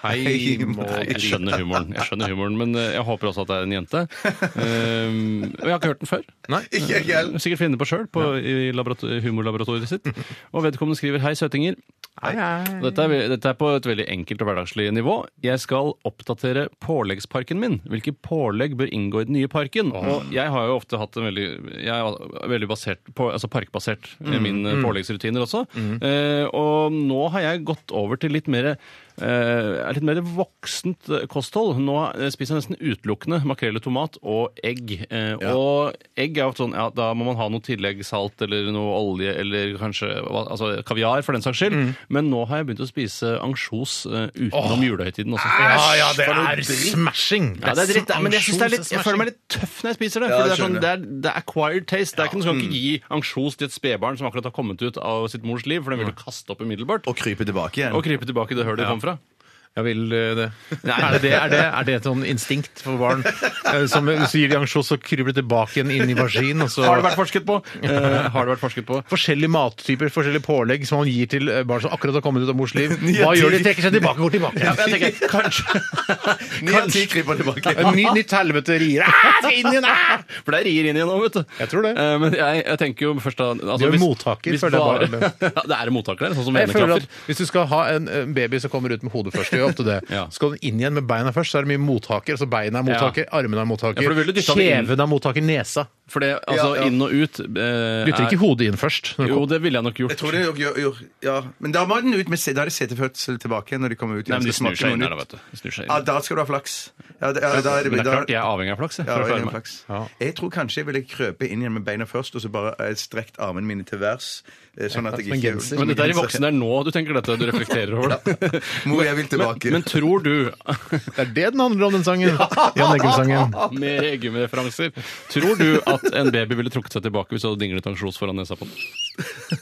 Speaker 1: Hei,
Speaker 2: Nei, jeg skjønner humoren, jeg skjønner humoren, men eh, jeg håper også at det er en jente. Ehm, og jeg har ikke hørt den før. Eh,
Speaker 1: Nei.
Speaker 3: Ikke jeg heller.
Speaker 2: Sikkert finne på sjøl i laborato- humorlaboratoriet sitt. Og vedkommende skriver 'Hei, søtinger'. Og Dette er, ve- dette er på et veldig enkelt og hverdagslig nivå. Jeg skal oppdatere påleggsparken min. Hvilke pålegg bør inngå i den nye parken? Og jeg har jo ofte hatt en veldig, jeg er veldig basert på, altså parkbasert i
Speaker 3: Mm.
Speaker 2: mine påleggsrutiner også. Eh, og nå har jeg gått over til litt mer eh, er litt mer voksent eh, kosthold. Nå eh, spiser jeg nesten utelukkende makrell i tomat og egg. Eh, Og egg er jo ofte sånn ja, da må man ha noe tilleggssalt eller noe olje eller kanskje hva- altså, kaviar for den saks skyld. Men nå har jeg begynt å spise ansjos eh, utenom julehøytiden også.
Speaker 1: Ja, ja, det
Speaker 3: for noe
Speaker 1: er
Speaker 3: dritt.
Speaker 1: smashing!
Speaker 2: Ja, det er dritt, men jeg, synes det er litt, jeg føler meg litt tøff når jeg spiser det. For det,
Speaker 3: jeg
Speaker 2: er sånn,
Speaker 3: skjønner.
Speaker 2: det, er, det er acquired taste. Det er ikke, du skal ikke gi ansjos til et spedbarn som akkurat har kommet ut av sitt mors liv, for den vil du kaste opp umiddelbart.
Speaker 3: Og krype tilbake igjen.
Speaker 2: Og krype tilbake i det hølet du kom fra.
Speaker 1: Jeg vil eh, det. er, det, er, det, er det et sånn instinkt for barn? Eh, Som så gir de ansjos og kryper tilbake igjen inn i vagin? Og så
Speaker 2: Har det vært forsket på? Eh, har det vært forsket på?
Speaker 1: Forskjellige mattyper, forskjellige pålegg som man gir til eh, barn som akkurat har kommet ut av mors liv.
Speaker 3: Ja,
Speaker 1: Hva gjør de?
Speaker 3: de-
Speaker 1: Trekker seg tilbake, går tilbake.
Speaker 2: Ja, men jeg tenker, kanskje,
Speaker 3: Ni av ti kryper tilbake.
Speaker 1: Et ny, nytt helvete rier. Ah, skal inn igjen! Ah!
Speaker 2: For det rir inn igjen nå, vet du.
Speaker 1: Jeg tror det.
Speaker 2: Eh, men jeg, jeg tenker jo først da altså,
Speaker 1: Du er mottaker,
Speaker 2: hvis
Speaker 1: føler
Speaker 2: bare,
Speaker 1: jeg bare.
Speaker 2: ja, Det er en mottaker der, sånn som
Speaker 1: Jeg føler
Speaker 2: eneklaffer.
Speaker 1: at Hvis du skal ha en en baby som kommer ut med hodet først, det gjør ofte det.
Speaker 2: Ja.
Speaker 1: skal den inn igjen med beina først, så er det mye mottaker. altså Beina er mottaker, armene er
Speaker 2: Ja, for
Speaker 1: mottaker,
Speaker 2: du vil jo dytte den inn.
Speaker 1: kjeven er mottaker, nesa.
Speaker 2: For det, altså,
Speaker 3: Ja, ja.
Speaker 2: inn og ut eh,
Speaker 1: Dytter
Speaker 2: er-
Speaker 1: ikke hodet inn først. Når det
Speaker 2: Jo,
Speaker 1: kommer.
Speaker 2: det ville jeg nok gjort.
Speaker 3: Jeg tror det jo, jo, jo, ja. Men da må den ut med se- Da er det setefødsel tilbake når de kommer ut.
Speaker 2: Nei,
Speaker 3: igjen.
Speaker 2: men de
Speaker 3: Skal
Speaker 2: snur
Speaker 3: smake
Speaker 2: seg inn
Speaker 3: noe
Speaker 2: der, da,
Speaker 3: nytt.
Speaker 2: vet du. De snur seg
Speaker 3: Ja,
Speaker 2: inn.
Speaker 3: da skal du ha flaks. Ja, da, ja, da er det,
Speaker 2: Men det er
Speaker 3: da-
Speaker 2: klart, jeg er avhengig av flaks. Jeg,
Speaker 3: Ja,
Speaker 2: for å
Speaker 3: jeg
Speaker 2: klare
Speaker 3: er
Speaker 2: meg.
Speaker 3: flaks. Jeg tror kanskje jeg ville krøpe inn igjen med beina først, og så bare eh, strekt armene mine til værs. eh, Sånn at jeg
Speaker 1: Som en
Speaker 3: ikke
Speaker 1: genser.
Speaker 2: Men dette er i voksen, det er nå du tenker dette, du reflekterer over det.
Speaker 3: Mor, jeg vil
Speaker 2: Men,
Speaker 3: tilbake.
Speaker 2: men tror du,
Speaker 1: Det er det den handler om, den sangen. Jan Eggum-sangen.
Speaker 2: med Eggum-referanser, tror du at en baby ville trukket seg tilbake hvis du hadde dinglet ansjos foran nesa på den?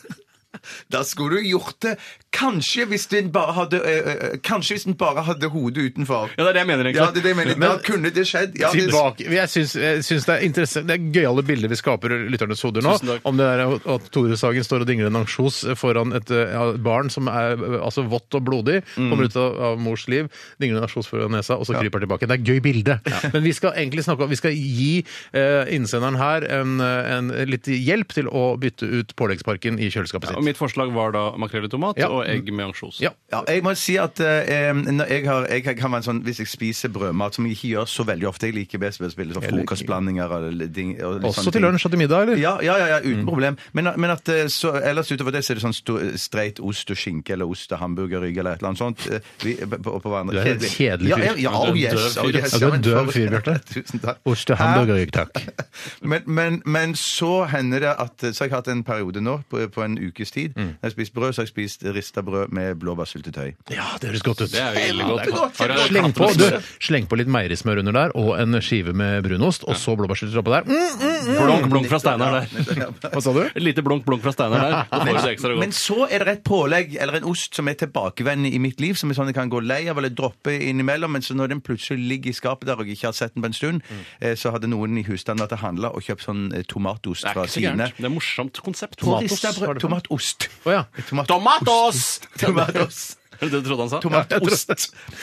Speaker 3: Da skulle du gjort det kanskje hvis den bare hadde, eh, eh, kanskje hvis den bare hadde hodet utenfor.
Speaker 2: Ja, det er det jeg mener,
Speaker 3: Ja,
Speaker 2: egentlig.
Speaker 3: det, er det jeg mener. Da kunne det skjedd. Ja, det,
Speaker 1: Tilbake. Jeg syns, jeg syns det er interessant Det er gøyale bilder vi skaper i lytternes hoder nå.
Speaker 2: Tusen takk.
Speaker 1: Om det er at Tore Sagen står og dingler en ansjos foran et eh, ja, barn som er eh, altså vått og blodig, kommer ut av, av mors liv, dingler en ansjos foran nesa, og så kryper tilbake. Det er et gøy bilde. Men vi skal egentlig snakke om Vi skal gi eh, innsenderen her en, eh, en litt hjelp til å bytte ut påleggsparken i kjøleskapet
Speaker 2: Og
Speaker 1: sitt.
Speaker 2: mitt forslag var da makrell i tomat
Speaker 1: Ja.
Speaker 2: og egg med ansjos.
Speaker 1: Ja.
Speaker 3: Ja, jeg må si at eh, når jeg har, jeg kan være en sånn, Hvis jeg spiser brødmat, som jeg ikke gjør så veldig ofte Jeg liker best å spille sånn
Speaker 1: Jeg liker-
Speaker 3: frokostblandinger og litt ding, og litt
Speaker 1: Også
Speaker 3: sånne
Speaker 1: til
Speaker 3: ting.
Speaker 1: lunsj og til middag, eller?
Speaker 3: Ja, ja, ja, ja uten problem. Men, men at eh, så, ellers utover det så er det sånn sto- streit ost og skinke eller ost og hamburgerrygg eller et eller annet sånt. eh, Vi, på, på hverandre.
Speaker 1: Du er en kjedelig
Speaker 3: Ja,
Speaker 1: fyr.
Speaker 3: jeg- ja,
Speaker 2: Du er en
Speaker 3: oh
Speaker 2: døv
Speaker 3: yes,
Speaker 2: fyr.
Speaker 3: oh yes.
Speaker 1: Ja, du er en
Speaker 3: men
Speaker 1: døv
Speaker 3: for-
Speaker 1: fyr, Bjarte.
Speaker 3: Tusen takk.
Speaker 1: Ost og hamburgerrygg, takk.
Speaker 3: Men, men, men så hender det at Så har jeg hatt en periode nå på, på en ukes tid.
Speaker 1: Mm.
Speaker 3: Når jeg har spist brød, så har jeg spist rista brød med blåbærsyltetøy.
Speaker 1: Ja, det høres godt ut.
Speaker 2: Det er jo ille godt. Har jeg
Speaker 1: Sleng på,
Speaker 2: knapt
Speaker 1: du,
Speaker 2: med smør?
Speaker 1: sleng på litt meierismør under der, og en skive med brunost, og så blåbærsyltetøy oppå der. Mm, mm, mm.
Speaker 2: Blunk, blunk fra Steinar der.
Speaker 1: Hva sa du?
Speaker 2: Et lite blunk, blunk fra Steinar der. Da får du det ekstra
Speaker 3: Men
Speaker 2: godt.
Speaker 3: så er det et pålegg eller en ost som er tilbakevendende i mitt liv, som er sånn jeg kan gå lei av eller droppe innimellom, men så når den plutselig ligger i skapet der og jeg ikke har sett den på en stund,
Speaker 2: Mm.
Speaker 3: eh, så hadde noen i husstanden at det handla og kjøpt sånn eh, tomatost
Speaker 2: Det er
Speaker 3: fra
Speaker 2: ikke så
Speaker 3: Tine.
Speaker 2: gærent. Det er morsomt konsept.
Speaker 1: Tomatos,
Speaker 3: Rista
Speaker 1: var
Speaker 3: brød-
Speaker 1: det for noe?
Speaker 3: Tomatost.
Speaker 1: Å ja.
Speaker 3: Tomat-
Speaker 2: Tomatos!
Speaker 3: Tomatost.
Speaker 2: Er det det du trodde han sa?
Speaker 3: Tomatost.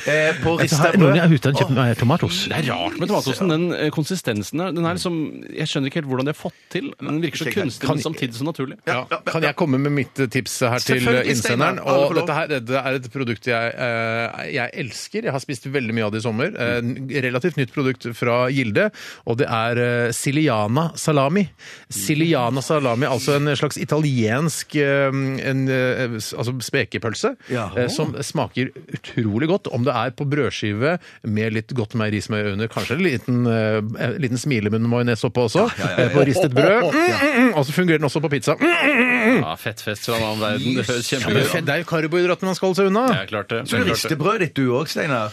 Speaker 3: Eh, på
Speaker 7: Så
Speaker 3: rista
Speaker 7: her- Noen
Speaker 3: brød.
Speaker 7: er ute og kjøper meg tomatost.
Speaker 2: Det er rart med tomatosen. Den eh, konsistensen der, den er liksom Jeg skjønner ikke helt hvordan de har fått til. Den virker så
Speaker 3: Ikke helt.
Speaker 2: kunstig, men samtidig så naturlig.
Speaker 1: Ja. Kan jeg komme med mitt eh, tips her til eh,
Speaker 3: Selvfølgelig,
Speaker 1: innsenderen?
Speaker 3: Steinar.
Speaker 1: Og
Speaker 3: Alle får lov.
Speaker 1: dette her det er et produkt jeg, eh, jeg elsker. Jeg har spist veldig mye av det i sommer. Eh, n- Relativt nytt produkt fra Gilde, og det er eh, Siliana salami. Siliana salami, altså en slags italiensk eh, en, eh, s- altså spekepølse,
Speaker 3: Ja.
Speaker 1: eh, som smaker utrolig godt. Om det er på brødskive med litt godt meierismør under, kanskje en liten, eh, en liten smilemunn majones oppå også, eh, på ristet brød. Mm, mm, mm. Og så fungerer den også på pizza. Mm,
Speaker 2: Ja, Fettfest fra en annen verden. Det høres
Speaker 1: ja, men
Speaker 2: kjempegøy ut.
Speaker 1: det er jo karbohydratene man skal holde seg unna.
Speaker 2: Jeg klarte
Speaker 3: Så du rister brødet ditt du òg, Steinar?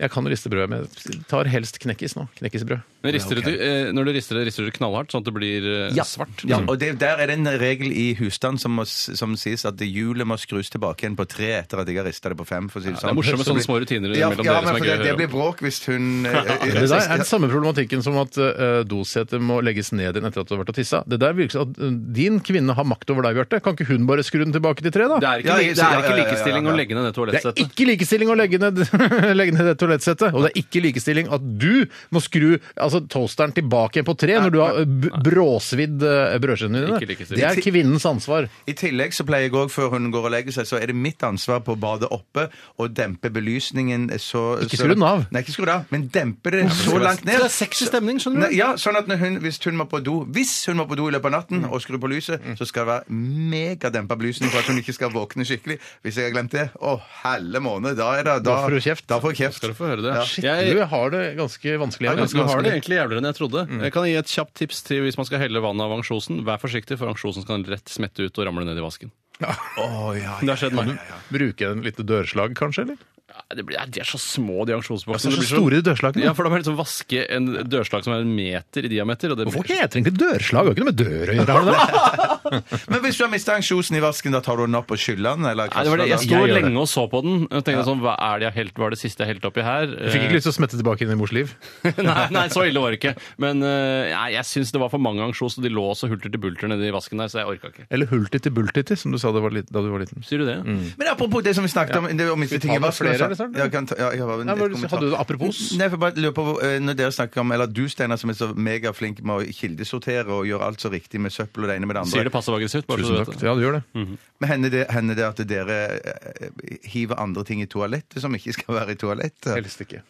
Speaker 1: Jeg kan riste brød, men jeg tar helst knekkis nå. Knekkisbrød.
Speaker 2: Men Rister du, eh, når du rister det, rister du det knallhardt, sånn at det blir eh,
Speaker 1: Ja.
Speaker 2: svart?
Speaker 3: Ja, og det, Der er det en regel i husstand som, må, s- som sies at hjulet må skrus tilbake igjen på tre etter at jeg har rista det på fem. For å si det,
Speaker 2: Det er
Speaker 3: sånn.
Speaker 2: morsomt med
Speaker 3: Så
Speaker 2: sånne
Speaker 3: blir-
Speaker 2: små rutiner
Speaker 3: ja,
Speaker 2: mellom
Speaker 3: ja,
Speaker 2: dere som
Speaker 3: men for
Speaker 2: er gøy
Speaker 3: det,
Speaker 2: å
Speaker 3: det
Speaker 2: høre.
Speaker 3: blir bråk hvis hun eh,
Speaker 1: Det der er den samme problematikken som at uh, dosetet må legges ned igjen etter at du har vært og tissa. Det der virker som at eh, din kvinne har makt over deg, Bjarte. Kan ikke hun bare skru den tilbake til tre, da?
Speaker 2: Det er ikke,
Speaker 3: Ja,
Speaker 2: li-
Speaker 3: jeg-
Speaker 2: det er
Speaker 3: ja,
Speaker 2: ikke
Speaker 3: ja, ja,
Speaker 2: likestilling
Speaker 3: ja, ja.
Speaker 2: å legge ned det
Speaker 1: Det er
Speaker 2: toalettsettet.
Speaker 1: ikke likestilling å legge ned, legge ned det toalettsettet. Og det er ikke likestilling at du må skru altså, toasteren tilbake igjen på tre når du har eh, b bråsvidd eh, brødskivene
Speaker 2: Ikke
Speaker 1: dine.
Speaker 2: likestilling.
Speaker 1: Det er kvinnens ansvar.
Speaker 3: I tillegg så pleier jeg òg, før hun går og legger seg, så er det mitt ansvar på badet oppe å dempe belysningen så
Speaker 1: Ikke
Speaker 3: så-
Speaker 1: skru den av.
Speaker 3: Nei, ikke skru den av, men dempe det så langt ned.
Speaker 2: Det er sexy stemning,
Speaker 1: Mm.
Speaker 2: skjønner du.
Speaker 3: Nei, Ja, sånn at når hun, hvis hun må på do Hvis hun må på do i løpet av
Speaker 1: Mm.
Speaker 3: natten og skru på lyset, så skal det være megadempa belysning for at hun ikke skal våkne skikkelig. Hvis jeg har glemt det, å helle måned, da er det
Speaker 1: Da får du kjeft.
Speaker 3: Da får jeg kjeft.
Speaker 2: Skal du få høre det.
Speaker 1: Shit,
Speaker 2: Jeg,
Speaker 1: du har det ganske vanskelig.
Speaker 2: Ja,
Speaker 1: her.
Speaker 2: ganske har det egentlig jævligere enn jeg trodde. Jeg kan gi et kjapt tips til hvis man skal helle vann av ansjosen. Vær forsiktig, for ansjosen kan rett smette ut og ramle ned i vasken.
Speaker 3: Å, ja,
Speaker 2: Det har skjedd meg.
Speaker 1: Bruke en lite dørslag, kanskje? eller?
Speaker 2: Nei, det blir- nei, De er så små, de ansjonsboksene.
Speaker 1: Det er
Speaker 2: Det
Speaker 1: så
Speaker 2: blir
Speaker 1: store de dørslagene.
Speaker 2: Ja, for da må jeg liksom vaske en dørslag som er en meter i diameter. Og det
Speaker 1: Hvorfor heter det egentlig dørslag? Det har ikke noe med dør å gjøre. har det det?
Speaker 3: Men hvis du har mista ansjosen i vasken, da tar du den opp og skyller den? Eller
Speaker 2: Nei, det var det. Jeg
Speaker 3: kaster
Speaker 2: sto
Speaker 3: den,
Speaker 1: Jeg gjør det.
Speaker 2: lenge og så på den. og tenkte sånn, hva er det jeg helt, hva er det siste jeg helte oppi her?
Speaker 1: Jeg fikk ikke lyst til å smette tilbake inn i mors liv.
Speaker 2: nei, nei, så ille var det ikke. Men eh, nei, jeg syns det var for mange ansjos, og de lå så hulter til bulter nedi vasken der, så jeg orka ikke. Mm.
Speaker 1: Eller hultiti bultiti, som du sa det var litt, da du var liten.
Speaker 2: Sier du det?
Speaker 3: da. Men apropos det som vi snakket om det, om
Speaker 1: Skal vi ta
Speaker 3: ikke ting i
Speaker 1: med
Speaker 3: vasken,
Speaker 1: flere,
Speaker 3: altså.
Speaker 1: eller, Søren?
Speaker 3: Ja, jeg kan ta- ja, jeg har bare en-
Speaker 1: Nei,
Speaker 3: et
Speaker 1: hva-
Speaker 3: kommentar.
Speaker 1: hadde du det apropos?
Speaker 3: Nei, for bare lurer på, hvor- eh, når dere snakker om, eller du Steinar som er så megaflink med å kildesortere og gjøre alt så riktig med søppel og det ene med det andre.
Speaker 2: Sier det passiv-aggressivt, bare så
Speaker 1: Tusen
Speaker 2: du
Speaker 1: takk.
Speaker 2: vet det. Mm.
Speaker 1: Ja, du gjør det.
Speaker 3: Men hender det, hender det at dere eh, hiver andre ting i toalettet som ikke skal være i toalettet?
Speaker 1: Helst ikke.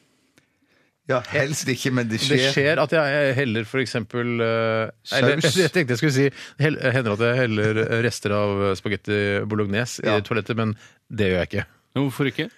Speaker 3: Ja, helst ikke, men det
Speaker 1: Det
Speaker 3: skjer.
Speaker 1: skjer at jeg heller for eksempel eh, eller,
Speaker 3: Saus.
Speaker 1: Jeg tenkte jeg skulle si hell- hender at jeg heller eh, rester av spagetti bolognese
Speaker 3: Ja.
Speaker 1: i toalettet, men det gjør jeg ikke.
Speaker 2: Men hvorfor ikke?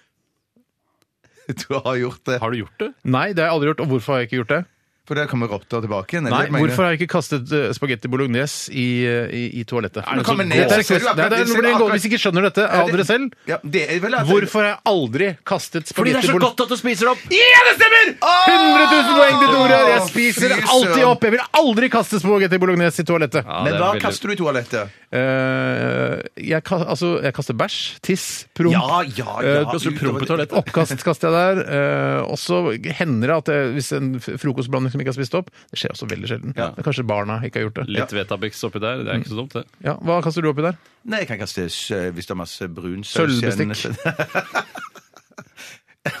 Speaker 3: Du har gjort det.
Speaker 2: Har du gjort det?
Speaker 1: Nei, det har jeg aldri gjort. Og hvorfor har jeg ikke gjort det?
Speaker 3: For der kommer rotter tilbake igjen. er det
Speaker 1: Nei,
Speaker 3: det du mener?
Speaker 1: Hvorfor har jeg ikke kastet eh, spagetti bolognese i, eh, i, i toalettet?
Speaker 2: det så
Speaker 1: Dette
Speaker 2: gås?
Speaker 1: er ekses-
Speaker 3: Du er akkurat-
Speaker 1: Nei, det er- nå blir det en gås. Hvis ikke skjønner dette av dere selv,
Speaker 3: Ja, det er vel at-
Speaker 1: hvorfor har jeg aldri kastet spagetti bolognese?
Speaker 2: at du spiser det opp!
Speaker 1: Ja, det stemmer! 100 000 poeng til Tore! Jeg
Speaker 3: Åh,
Speaker 1: spiser
Speaker 3: fy
Speaker 1: alltid
Speaker 3: søren.
Speaker 1: opp. Jeg vil aldri kaste spagetti bolognese i toalettet.
Speaker 3: Men hva kaster du i toalettet?
Speaker 1: Eh, jeg, ka altså, jeg kaster bæsj, tiss, promp.
Speaker 3: Ja, ja, ja.
Speaker 1: Eh, kaster
Speaker 3: Utover
Speaker 1: promp i
Speaker 3: det-
Speaker 1: toalettet. Oppkast kaster jeg der. eh, og så hender det at jeg, hvis en f- frokostblanding som ikke har spist opp Det skjer også veldig sjelden.
Speaker 3: Ja.
Speaker 1: Men Kanskje barna ikke har gjort det.
Speaker 2: Litt Vetabix oppi der, det er ikke så dumt, det.
Speaker 1: Ja, hva kaster du oppi der?
Speaker 3: Nei, jeg kan kaste eh, hvis det er masse brun saus igjen.
Speaker 1: Sølvbestikk.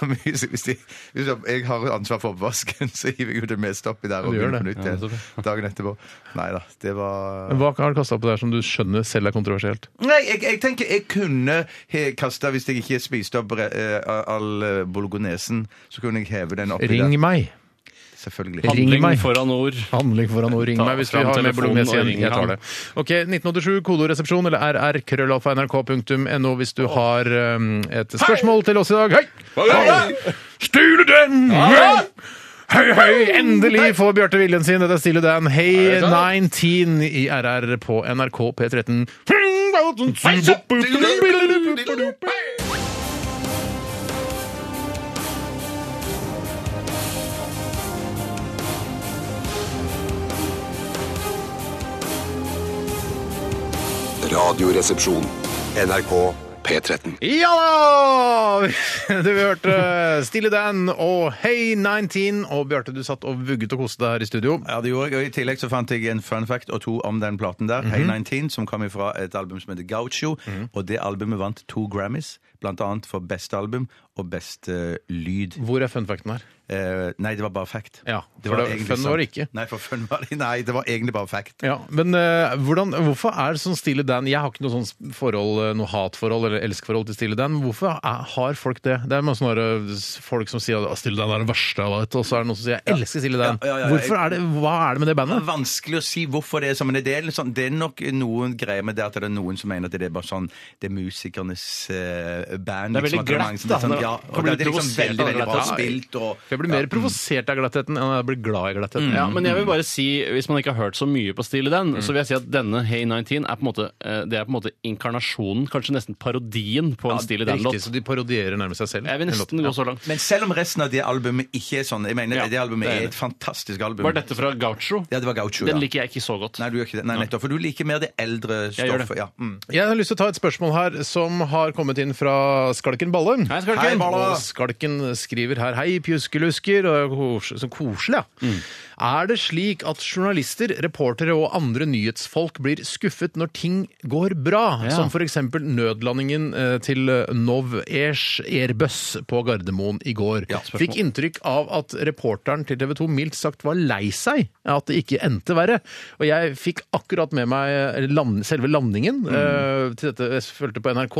Speaker 3: hvis, hvis, de, hvis de- jeg har ansvar for oppvasken, så hiver jeg ut det meste oppi der og
Speaker 1: du gjør
Speaker 3: begynner på
Speaker 1: det.
Speaker 3: nytt igjen dagen etterpå. Nei da, det var
Speaker 1: Hva har du kasta oppi der som du skjønner selv er kontroversielt?
Speaker 3: Nei, jeg, jeg tenker jeg kunne he- kasta Hvis jeg ikke spiste opp re- eh, all eh, bolognesen, så kunne jeg heve den oppi
Speaker 1: Ring
Speaker 3: der.
Speaker 1: meg!
Speaker 3: Selvfølgelig.
Speaker 1: Ring
Speaker 2: Handling
Speaker 1: meg.
Speaker 2: foran ord.
Speaker 1: Handling foran å ringe
Speaker 2: Ta
Speaker 1: meg hvis vi
Speaker 2: fram
Speaker 1: har med
Speaker 2: telefonen
Speaker 1: bolognese
Speaker 2: og
Speaker 1: igjen.
Speaker 2: ring
Speaker 1: Jeg tar
Speaker 2: han.
Speaker 1: det. Ok, 1987, kodoresepsjon eller rr-krøllalfa.nrk.no hvis du har um, et spørsmål til oss i dag. Hei! Hei! Stile Dan! Hei! Hei, hei! Endelig får Bjarte viljen sin. Dette er Stile Dan. Hei 19 i RR på NRK P13.
Speaker 6: Radioresepsjon.
Speaker 4: NRK P13.
Speaker 1: Ja da! Du hørte eh, Stille Dan og Hei 19. Og Bjarte, du satt og vugget og koste deg her i studio.
Speaker 3: Ja, det gjorde jeg, og I tillegg så fant jeg en fun fact og to om den platen
Speaker 1: Mhm.
Speaker 3: der, Hey 19, som kom fra et album som heter Gaucho. Og det albumet vant to Grammys, blant annet for beste album og beste eh, lyd.
Speaker 1: Hvor er fun facten her?
Speaker 3: Eh, nei, det var bare fact.
Speaker 1: Ja, for det-
Speaker 3: egentlig
Speaker 1: fun
Speaker 3: sant.
Speaker 1: var det ikke.
Speaker 3: Nei, for fun var det, nei, det var egentlig bare fact.
Speaker 1: Ja, men eh, hvordan, hvorfor er det sånn Stille Dan Jeg har ikke noe sånn forhold, eh, noe hatforhold eller elskforhold til Stille Dan. Hvorfor er, har folk det? Det er masse sånne eh, s- folk som sier at «Å, Stille Dan er det verste jeg vet, og så er det noen som sier jeg elsker Stille Dan.
Speaker 3: Ja, ja, ja, ja,
Speaker 1: hvorfor er det, Hva er det med det
Speaker 3: Det er
Speaker 1: bandet?
Speaker 3: vanskelig å si hvorfor det er sånn, men det er, liksom, det er nok noen greier med det at det er noen som mener at det er bare sånn Det er musikernes eh, band.
Speaker 2: Det er veldig
Speaker 3: liksom, at
Speaker 2: glatt,
Speaker 3: mange som er
Speaker 2: da.
Speaker 3: Sånn, ja,
Speaker 2: Kan
Speaker 3: og
Speaker 2: bli
Speaker 3: det er liksom
Speaker 2: provosert av
Speaker 3: veldig,
Speaker 2: det
Speaker 3: veldig
Speaker 2: glatte.
Speaker 3: bra spilt og
Speaker 1: For Jeg blir mer provosert av glattheten enn jeg blir glad i glattheten.
Speaker 2: Ja, men jeg vil bare si, hvis man ikke har hørt så mye på Steely Dan, så vil jeg si at denne Hey 19 er på en måte, eh, det er på en måte inkarnasjonen, kanskje nesten parodien på en Steely
Speaker 1: Riktig,
Speaker 2: Dan-låt.
Speaker 1: så de parodierer nærmest seg selv.
Speaker 2: Jeg vil nesten gå så langt.
Speaker 3: Men selv om resten av det albumet ikke er sånn Jeg mener,
Speaker 2: Ja,
Speaker 3: det albumet
Speaker 2: det er
Speaker 3: er
Speaker 2: det.
Speaker 3: et fantastisk album.
Speaker 2: Var dette fra Gaucho?
Speaker 3: Ja, det var Gaucho, ja.
Speaker 2: Den liker jeg ikke så godt.
Speaker 3: Nei, du gjør ikke det. Nei, nettopp. For du liker mer det eldre
Speaker 2: Jeg gjør det.
Speaker 3: stoffet. Ja. Mm.
Speaker 1: Jeg har lyst til å ta et spørsmål her som har kommet inn fra Skalken Balle.
Speaker 2: Hei, Skalken.
Speaker 3: Hei, Balle.
Speaker 1: Og Skalken skriver her Hei, pjuskelusker. Og kos- så koselig, ja.
Speaker 2: Mm.
Speaker 1: Er det slik at journalister, reportere og andre nyhetsfolk blir skuffet når ting går bra?
Speaker 2: Ja.
Speaker 1: Som f.eks. nødlandingen eh, til Nov Airs Airbus på Gardermoen i går. Fikk inntrykk av at reporteren til TV 2 mildt sagt var lei seg at det ikke endte verre. Og jeg fikk akkurat med meg land, selve landingen eh, til dette jeg fulgte på NRK,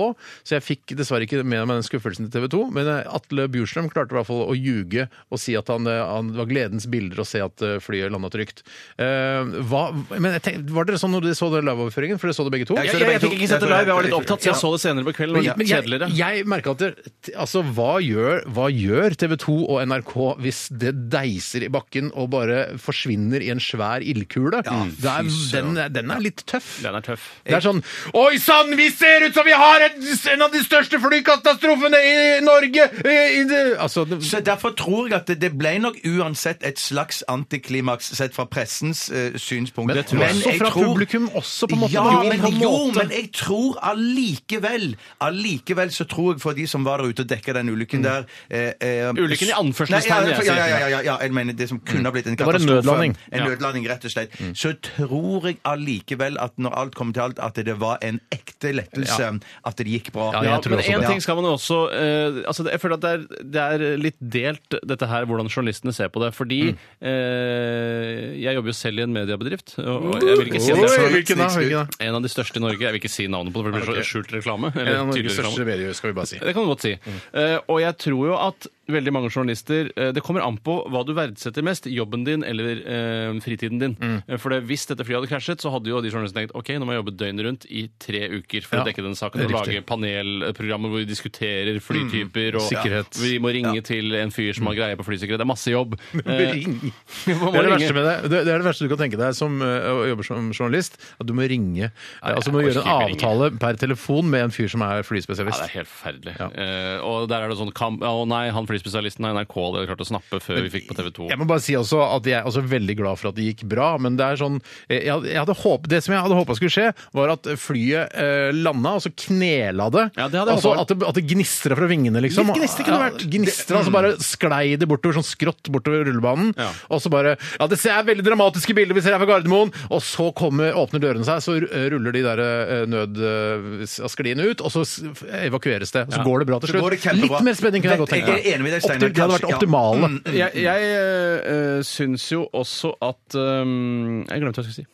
Speaker 1: så jeg fikk dessverre ikke med meg den skuffelsen til TV 2. Men eh, Atle Bjurstrøm klarte i hvert fall å ljuge og si at han, eh, han det var gledens bilder å se at eh, flyet landa trygt. Eh, hva, men jeg tenk, var dere sånn når dere så den liveoverføringen? For dere så det begge to?
Speaker 3: Jeg
Speaker 2: Jeg,
Speaker 3: så
Speaker 2: jeg,
Speaker 3: det begge
Speaker 2: jeg fikk
Speaker 3: to.
Speaker 2: ikke sett det
Speaker 3: Jeg så det
Speaker 2: live, jeg var
Speaker 3: begge
Speaker 2: litt
Speaker 3: to.
Speaker 2: opptatt, så
Speaker 3: Ja.
Speaker 2: jeg så det senere på kvelden.
Speaker 1: Men,
Speaker 2: Det var
Speaker 1: men
Speaker 2: litt
Speaker 1: jeg,
Speaker 2: kjedeligere.
Speaker 1: jeg merker at det, t- altså, hva, gjør, hva gjør TV 2 og NRK hvis det deiser i bakken og bare forsvinner i en svær ildkule? Mm. Det er, den, er- den er litt tøff.
Speaker 2: Den er tøff.
Speaker 1: Det er sånn Oi sann, vi ser ut som vi har et, en av de største flykatastrofene i Norge! I, i det. Altså, det,
Speaker 3: Så Derfor tror jeg at det, det ble nok uansett et slags antiklimaks sett fra pressens eh, synspunkt.
Speaker 1: men, også
Speaker 3: jeg
Speaker 1: fra
Speaker 3: tror-
Speaker 1: publikum også, på en måte.
Speaker 3: Ja,
Speaker 1: Jo,
Speaker 3: men,
Speaker 1: på en
Speaker 3: jo,
Speaker 1: måte.
Speaker 3: men jeg tror allikevel Allikevel så tror jeg for de som var der ute og dekka den
Speaker 1: Mm.
Speaker 3: ulykken der eh, eh,
Speaker 2: Ulykken i anførselstegn,
Speaker 3: Nei,
Speaker 2: jeg
Speaker 3: Ja, ja,
Speaker 2: sier.
Speaker 3: ja, ja, ja, ja, jeg mener det som kunne ha blitt en
Speaker 1: var en
Speaker 3: katastrofe.
Speaker 1: nødlanding. Mm.
Speaker 3: En nødlanding, rett og slett. Så tror jeg allikevel at når alt kommer til alt, at det var en ekte lettelse. At det gikk bra.
Speaker 2: Ja, men
Speaker 1: også
Speaker 2: en
Speaker 3: det.
Speaker 2: ting skal man jo også eh, altså det- Jeg føler at det er, det er litt delt, dette her, hvordan journalistene ser på det. Fordi
Speaker 1: Mm.
Speaker 2: eh, jeg jobber jo selv i en mediebedrift, og og jeg vil ikke si at det
Speaker 1: Oi,
Speaker 2: er så-
Speaker 1: hvilken da? Hvilken da?
Speaker 2: en av de største i Norge. Jeg vil ikke si navnet på det, for det blir så skjult reklame. eller
Speaker 1: En av
Speaker 2: tydelig
Speaker 1: Norges
Speaker 2: reklame.
Speaker 1: største medier, skal vi bare si.
Speaker 2: Det kan du godt si.
Speaker 1: Mm.
Speaker 2: Eh, og jeg tror jo at veldig mange journalister eh, Det kommer an på hva du verdsetter mest, jobben din eller eh, fritiden din.
Speaker 1: Mm.
Speaker 2: Eh, For det, hvis dette flyet hadde krasjet, så hadde jo de journalistene tenkt ok, nå må jeg jobbe døgnet rundt i tre uker for
Speaker 1: Ja,
Speaker 2: å dekke den saken.
Speaker 1: det
Speaker 2: Og
Speaker 1: er Mm.
Speaker 2: lage panelprogrammer hvor vi diskuterer flytyper og
Speaker 1: Sikkerhet. Mm.
Speaker 2: Vi må ringe til en fyr som har greie på flysikkerhet. Det er masse jobb. Eh,
Speaker 1: Ring.
Speaker 2: man må
Speaker 1: Det er det,
Speaker 2: ringe.
Speaker 1: verste med det. Det, det er det verste du kan tenke deg som eh, å jobbe som journalist, at du må ringe. eh, altså du må
Speaker 2: jeg
Speaker 1: gjøre en
Speaker 2: orker ikke
Speaker 1: avtale per telefon med en fyr som er
Speaker 2: Ja, det
Speaker 1: flyspesialist.
Speaker 2: er helt forferdelig. Eh, og der er det sånn kamp Å nei, han flyspesialisten har NRK det klart å snappe før vi fikk på TV 2.
Speaker 1: Jeg må bare si også at jeg er også veldig glad for at det gikk bra, men det er sånn eh, jeg hadde, jeg hadde håp, Det som jeg hadde håpa skulle skje, var at flyet eh, landa, og så knela det.
Speaker 2: Ja, det hadde jeg
Speaker 1: altså,
Speaker 2: håpet.
Speaker 1: at det, at det gnistra fra vingene, liksom.
Speaker 2: Litt gnister kunne det vært.
Speaker 1: Gnistra, så bare sklei det bortover, sånn skrått bortover rullebanen. Og så bare Ja, det er veldig dramatiske bilder vi ser her fra Gardermoen! Og så kommer, åpner dørene seg, så eh, ruller de der eh, nød... eh, skliene ut, og så s- evakueres det. Så går det bra til
Speaker 3: går det
Speaker 1: slutt.
Speaker 3: kjempebra.
Speaker 1: Litt mer spenning kunne jeg godt
Speaker 3: Jeg
Speaker 1: tenke
Speaker 3: er enig med deg, Steinar.
Speaker 1: Optim- Det hadde vært
Speaker 3: Kanskje-
Speaker 1: optimale.
Speaker 3: Ja. Mm.
Speaker 2: Jeg, jeg eh, syns jo også at eh, Jeg glemte hva jeg skulle si.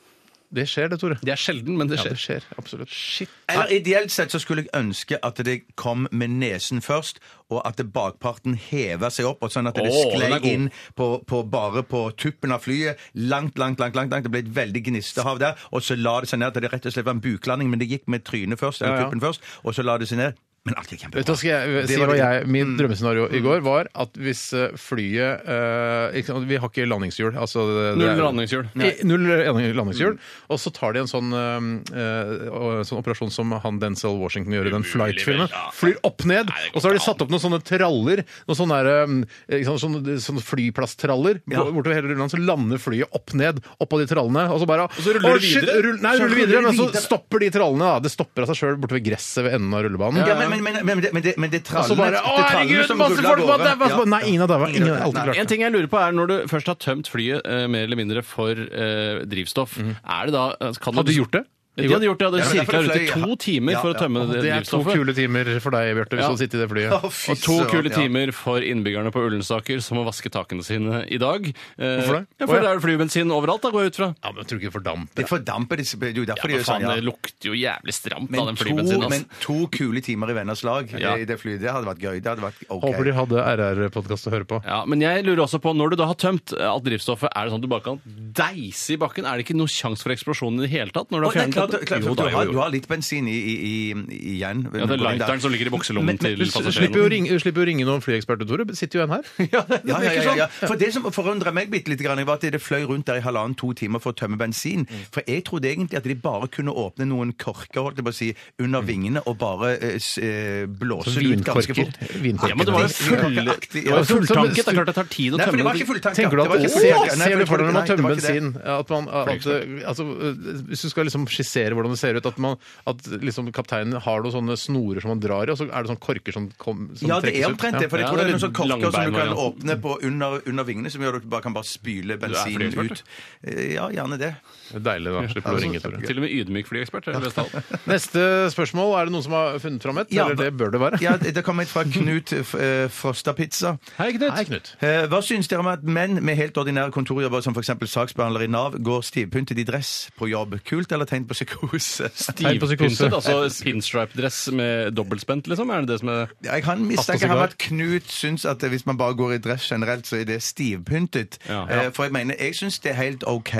Speaker 1: Det skjer det, Tore.
Speaker 2: Det er sjelden, men det
Speaker 1: Ja,
Speaker 2: skjer.
Speaker 1: det skjer. Absolutt. Shit.
Speaker 3: Eller ideelt sett så skulle jeg ønske at det kom med nesen først, og at det bakparten heva seg opp, og sånn at det
Speaker 2: Åh, den er
Speaker 3: sklei
Speaker 2: god.
Speaker 3: inn på, på, bare på tuppen av flyet. Langt, langt, langt. langt, langt. Det ble et veldig gnistehav der. Og så la det seg ned. at Det rett og slett var en buklanding, men det gikk med trynet først, eller
Speaker 1: Ja, ja.
Speaker 3: tuppen først, og så la det seg ned. Men alt gikk
Speaker 1: Vet du
Speaker 3: kjempebra.
Speaker 1: hva skal jeg si
Speaker 3: Det var
Speaker 1: hva
Speaker 3: det.
Speaker 1: jeg Min drømmescenario i går var at hvis eh, flyet eh, ikke sant, Vi har ikke landingshjul. Altså, det- det er-
Speaker 2: Null landingshjul.
Speaker 1: I- Null landingshjul. Og så tar de en sånn, eh, eh, og- sånn operasjon som han Denzel Washington gjør i den Flight-filmen. Flyr opp ned, og så har de satt opp noen sånne traller. Noen sånne, der, um, ikke sant, sånne, sånne flyplasstraller
Speaker 3: Ja.
Speaker 1: Hvor- bortover hele rullen. Så lander flyet opp ned oppå de trallene, og så bare
Speaker 2: så ruller
Speaker 1: «Å,
Speaker 2: det
Speaker 1: shit,
Speaker 2: videre?»
Speaker 1: Rull, nei,
Speaker 3: Så
Speaker 1: ruller
Speaker 3: ruller
Speaker 1: videre,
Speaker 3: det
Speaker 1: men så
Speaker 3: videre.
Speaker 1: stopper de trallene. da. Det stopper av seg sjøl bortover gresset ved enden av rullebanen.
Speaker 3: Ja, men, men, men, men, det- men, det- men det
Speaker 1: Og så
Speaker 3: trallene
Speaker 1: bare Å, herregud, masse folk var daua!
Speaker 3: Ja.
Speaker 1: Nei, ingen har daua. Ingen har alltid klart
Speaker 2: En ting jeg lurer på er Når du først har tømt flyet eh, mer eller mindre for eh, drivstoff, er det da eh, kan
Speaker 1: Hadde du gjort det?
Speaker 2: De hadde gjort det. De
Speaker 3: Ja, men
Speaker 2: hadde sirkla
Speaker 3: derfor
Speaker 2: rundt i
Speaker 3: fløy-
Speaker 2: to timer
Speaker 3: Ja,
Speaker 2: for å
Speaker 3: ja.
Speaker 2: tømme det
Speaker 1: Det er to
Speaker 2: drivstoffet.
Speaker 1: kule timer for deg, Bjarte, hvis
Speaker 2: Ja.
Speaker 1: du hadde sittet i det flyet.
Speaker 3: Å, fy
Speaker 2: Og to
Speaker 3: søren,
Speaker 2: kule
Speaker 3: ja.
Speaker 2: timer for innbyggerne på Ullensaker som må vaske takene sine i dag. Eh,
Speaker 1: Hvorfor det?
Speaker 2: Ja,
Speaker 1: Å,
Speaker 2: for
Speaker 1: ja.
Speaker 2: det er jo flybensin overalt, da, går jeg ut fra.
Speaker 1: Ja, men jeg tror ikke det fordamper.
Speaker 3: Det fordamper disse Det er jo derfor de
Speaker 2: Ja,
Speaker 3: gjør
Speaker 2: faen,
Speaker 3: sånn. ja.
Speaker 2: det lukter jo jævlig stramt av
Speaker 3: Men
Speaker 2: den
Speaker 3: to,
Speaker 2: flybensinen.
Speaker 3: men to kule timer i venners lag
Speaker 2: Ja.
Speaker 3: eh, i det flyet, det hadde vært gøy. Det hadde vært OK.
Speaker 1: Håper de hadde RR-podkast å høre på.
Speaker 2: Ja, men jeg lurer også på, når du da har tømt alt drivstoffet, er det sånn at du bare kan deise i bakken? Er det ikke noen sjanse for eksplosjon i det hele tatt? når du
Speaker 3: Å,
Speaker 2: har fjernet
Speaker 3: det er klart, klart, klart,
Speaker 2: Jo da,
Speaker 3: du, har,
Speaker 2: jo, jo.
Speaker 3: du har litt bensin i, i, i, igjen.
Speaker 2: Ja, det er lighteren som ligger i bukselommen til
Speaker 1: Du slipper jo å
Speaker 2: passasjeren.
Speaker 1: ringe, slipper jo å ringe noen flyeksperter, Tore. Sitter jo en her.
Speaker 3: Ja, ja, ja, ja, ja. For Det som forundra meg bitte litt, grann, var at det fløy rundt der i halvannen-to timer for å tømme bensin. For jeg trodde egentlig at de bare kunne åpne noen korker holdt jeg på å si, under vingene og bare eh, s- eh, blåse
Speaker 1: Sånn
Speaker 3: ut ganske
Speaker 1: vinkorker.
Speaker 3: fort.
Speaker 1: Vinkorker.
Speaker 2: Ja, men det var jo
Speaker 3: Det er
Speaker 2: full-
Speaker 3: vinkorkeraktig,
Speaker 2: det
Speaker 3: ja.
Speaker 2: var jo fulltanket. Det er klart det tar tid å
Speaker 3: Nei, for
Speaker 2: tømme
Speaker 3: det var ikke fulltanke.
Speaker 1: Tenker du
Speaker 3: Det
Speaker 1: at
Speaker 3: var
Speaker 1: Å,
Speaker 3: ikke fulltanke. Nei,
Speaker 1: Ser du for deg når man
Speaker 3: det var
Speaker 1: tømmer
Speaker 3: ikke det.
Speaker 1: bensin at man, at, eh, altså, eh, Hvis du skal liksom skissere hvordan det ser ut At, man, at liksom kapteinen har noen sånne snorer som man drar i Og så er det sånne korker som, kom, som
Speaker 3: Ja, det er
Speaker 1: trekkes ut
Speaker 3: omtrent det. For jeg
Speaker 2: Ja,
Speaker 3: tror det
Speaker 2: det
Speaker 3: er
Speaker 2: er
Speaker 3: noen sånne korker som du kan
Speaker 2: langbeinvarianten.
Speaker 3: åpne på under, under vingene, som gjør at du bare kan bare spyle bensinen
Speaker 2: flyekspert,
Speaker 3: ut. Eh, Ja, gjerne det.
Speaker 1: Det er Deilig da, slipper du å ringe Tore
Speaker 2: Til og med ydmyk flyekspert. er det beste av alt.
Speaker 1: Neste spørsmål, er det noen som har funnet fram et?
Speaker 3: Ja,
Speaker 1: Eller det bør det være
Speaker 3: Ja, det det kommer et fra Knut eh, Frosta-pizza.
Speaker 2: Hei,
Speaker 1: Hei,
Speaker 2: Knut.
Speaker 1: Knut
Speaker 3: Eh, Hva syns dere om at menn med helt ordinære kontorjobber som f.eks. saksbehandler i Nav, går stivpyntet i dress på jobb? Kult eller tegn på psykose?
Speaker 1: Tegn på psykose.
Speaker 2: Stivpyntet, altså pinstripe-dress med dobbeltspent, liksom? Er det det som er
Speaker 3: Ja, Jeg kan mistenke
Speaker 1: Hatt og
Speaker 3: ham
Speaker 1: sigar.
Speaker 3: at Knut syns at hvis man bare går i dress generelt, så er det stivpyntet.
Speaker 2: Ja.
Speaker 3: Eh, For jeg mener, jeg syns det er helt OK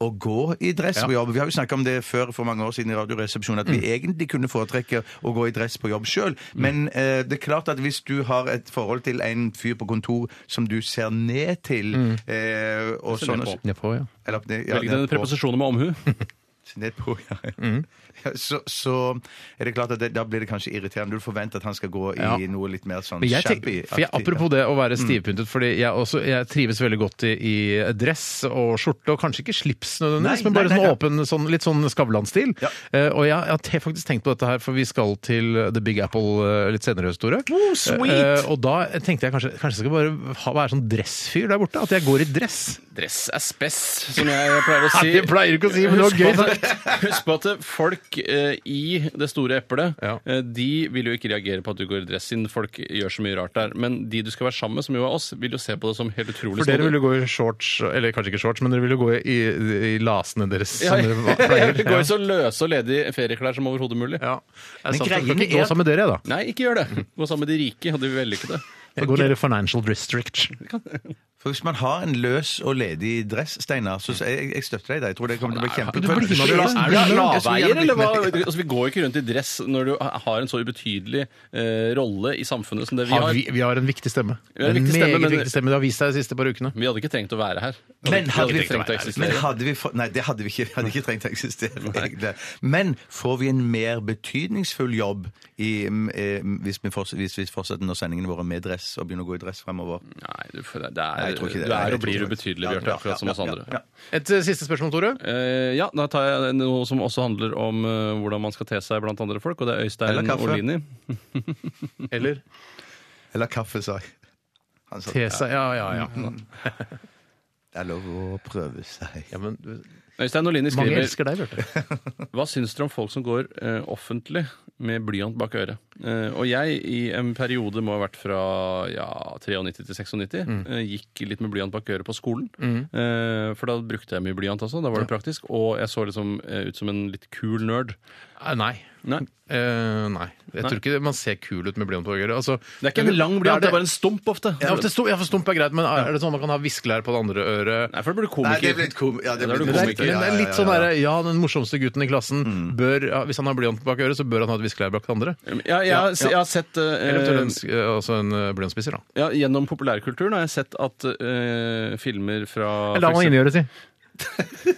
Speaker 3: å gå i dress
Speaker 1: Ja.
Speaker 3: på jobb. Vi har jo snakka om det før for mange år siden i
Speaker 2: Mm.
Speaker 3: Radioresepsjonen, at vi egentlig kunne foretrekke å gå i dress på jobb sjøl. Men eh, det er klart at hvis du har et forhold til en fyr på kontor som du ser ned til eh,
Speaker 2: Mm.
Speaker 3: og
Speaker 2: Ser ned
Speaker 3: sånn,
Speaker 2: på.
Speaker 1: Nedpå, ja
Speaker 3: Eller, ned- ja,
Speaker 2: Velg den
Speaker 3: ned på-
Speaker 2: preposisjonen med omhu.
Speaker 3: Nedpå, ja.
Speaker 1: Mm.
Speaker 3: ja så, så er det klart at det, da blir det kanskje irriterende. Du forventer at han skal gå i
Speaker 1: Ja.
Speaker 3: noe litt mer sånn
Speaker 1: Men jeg tenker, for jeg,
Speaker 3: shabby-aktig.
Speaker 1: apropos det å være stivpyntet, fordi jeg, også, jeg trives veldig godt i, i dress og skjorte, og kanskje ikke slips nødvendigvis,
Speaker 3: Nei,
Speaker 1: men bare
Speaker 3: nei, nei,
Speaker 1: sånn
Speaker 3: ja.
Speaker 1: åpen, sånn, litt sånn Skavlan-stil.
Speaker 3: Ja.
Speaker 1: Eh, og jeg, jeg har te- faktisk tenkt på dette her, for vi skal til The Big Apple eh, litt senere, Store. Eh, og da tenkte jeg kanskje, kanskje jeg skal bare ha, være sånn dressfyr der borte, at jeg går i dress.
Speaker 2: Dress er spess, som jeg pleier å
Speaker 1: Nei, det pleier du ikke å si, men det var
Speaker 2: Husk på
Speaker 1: gøy
Speaker 2: at- Husk på at folk eh, i det store eplet,
Speaker 1: Ja.
Speaker 2: eh, de vil jo ikke reagere på at du går i dress, siden folk gjør så mye rart der. Men de du skal være sammen med, som jo er oss, vil jo se på det som helt utrolig
Speaker 1: For dere
Speaker 2: snodig.
Speaker 1: ville gå i shorts, eller kanskje ikke shorts, men dere ville gå i, i lasene deres.
Speaker 2: Ja,
Speaker 1: som dere pleier.
Speaker 2: jeg går i så løse og ledige ferieklær som overhodet mulig.
Speaker 1: Ja.
Speaker 3: Men
Speaker 1: Men greien er...
Speaker 3: greien
Speaker 1: Ikke gå
Speaker 3: er-
Speaker 1: sammen med dere, da.
Speaker 2: Nei, ikke gjør det. Gå sammen med de rike og de vellykkede.
Speaker 1: Jeg går ned i Financial District.
Speaker 3: For hvis man har en løs og ledig dress, Steinar, så så- jeg, jeg støtter deg der. Jeg tror det kommer til å bli kjempe...
Speaker 1: du blir
Speaker 2: Er du
Speaker 1: med på det?
Speaker 3: Ja, ja, jeg skulle
Speaker 2: slaveier,
Speaker 3: gjerne
Speaker 2: eller hva?
Speaker 3: blitt med.
Speaker 2: Altså, vi går jo ikke rundt i dress når du har en så ubetydelig eh, rolle i samfunnet som det vi
Speaker 1: Har
Speaker 2: har.
Speaker 1: vi, vi har en viktig stemme.
Speaker 2: har en viktig stemme,
Speaker 1: meget
Speaker 2: men-
Speaker 1: viktig stemme. Det har vist seg de siste par ukene.
Speaker 2: Vi hadde ikke trengt å være her.
Speaker 3: Men hadde, vi,
Speaker 2: ikke trengt å eksistere.
Speaker 3: men hadde vi fått Nei, det hadde vi ikke. Vi Hadde ikke trengt å eksistere. egentlig. Men får vi en mer betydningsfull jobb i, mm, eh, hvis, vi fortsetter, hvis vi fortsetter når sendingene våre med dress og begynner å gå i dress fremover?
Speaker 2: Nei, du, det er,
Speaker 3: Nei, jeg tror ikke det.
Speaker 2: du er
Speaker 3: Nei,
Speaker 2: og
Speaker 3: jeg tror
Speaker 2: blir
Speaker 3: ikke det.
Speaker 2: ubetydelig,
Speaker 3: Ja,
Speaker 2: Bjarte,
Speaker 3: ja,
Speaker 2: akkurat som
Speaker 3: ja,
Speaker 2: oss andre.
Speaker 3: ja, ja.
Speaker 1: Et eh, siste spørsmål, Tore.
Speaker 2: Eh, ja, da tar jeg noe som også handler om eh, hvordan man skal te seg blant andre folk, og det er
Speaker 3: Eller
Speaker 2: Øystein
Speaker 3: kaffe.
Speaker 2: Olini.
Speaker 1: Eller
Speaker 3: Eller kaffe, sa jeg. Han sa
Speaker 1: Tesa Ja, ja, ja.
Speaker 3: det er lov å prøve seg.
Speaker 1: ja men,
Speaker 2: Øystein Olini
Speaker 1: mange
Speaker 2: skriver
Speaker 1: elsker deg, Bjarte.
Speaker 2: Hva syns dere om folk som går eh, offentlig med blyant bak øret? Eh, og jeg, i en periode må ha vært fra ja, 93 til 96,
Speaker 3: Mm.
Speaker 2: eh, gikk litt med blyant bak øret på skolen. Eh, for da brukte jeg mye blyant også, da var det praktisk. Og jeg så liksom eh, ut som en litt kul nerd.
Speaker 1: Eh, Nei.
Speaker 2: Nei,
Speaker 1: Eh, nei. Jeg
Speaker 2: Nei.
Speaker 1: tror ikke det- man ser kul ut med blyant på øyet. Altså,
Speaker 2: det er ikke en lang blyant, det er bare en stump ofte.
Speaker 1: ja, ofte stum- ja, for stump er greit, men er det sånn man kan ha viskelær på det andre øret?
Speaker 2: Nei, for det blir
Speaker 3: Nei,
Speaker 2: komiker.
Speaker 3: det blir litt kom... Ja, det
Speaker 2: Ja, da er
Speaker 3: blir
Speaker 2: du
Speaker 1: Men
Speaker 3: litt
Speaker 1: det er,
Speaker 2: komiker.
Speaker 3: komiker.
Speaker 1: men det er litt sånn derre Ja, den morsomste gutten i klassen bør ja, Hvis han har blyant bak øret, så bør han ha et viskelær bak det andre.
Speaker 2: Ja, jeg, har- jeg har sett eh,
Speaker 1: Eventuelt en, sk- eh, altså en eh, blyantspisser, da.
Speaker 2: ja, Gjennom populærkulturen har jeg sett at eh, filmer fra
Speaker 1: La
Speaker 2: for
Speaker 1: meg
Speaker 2: eksempel-
Speaker 1: inni øret, si.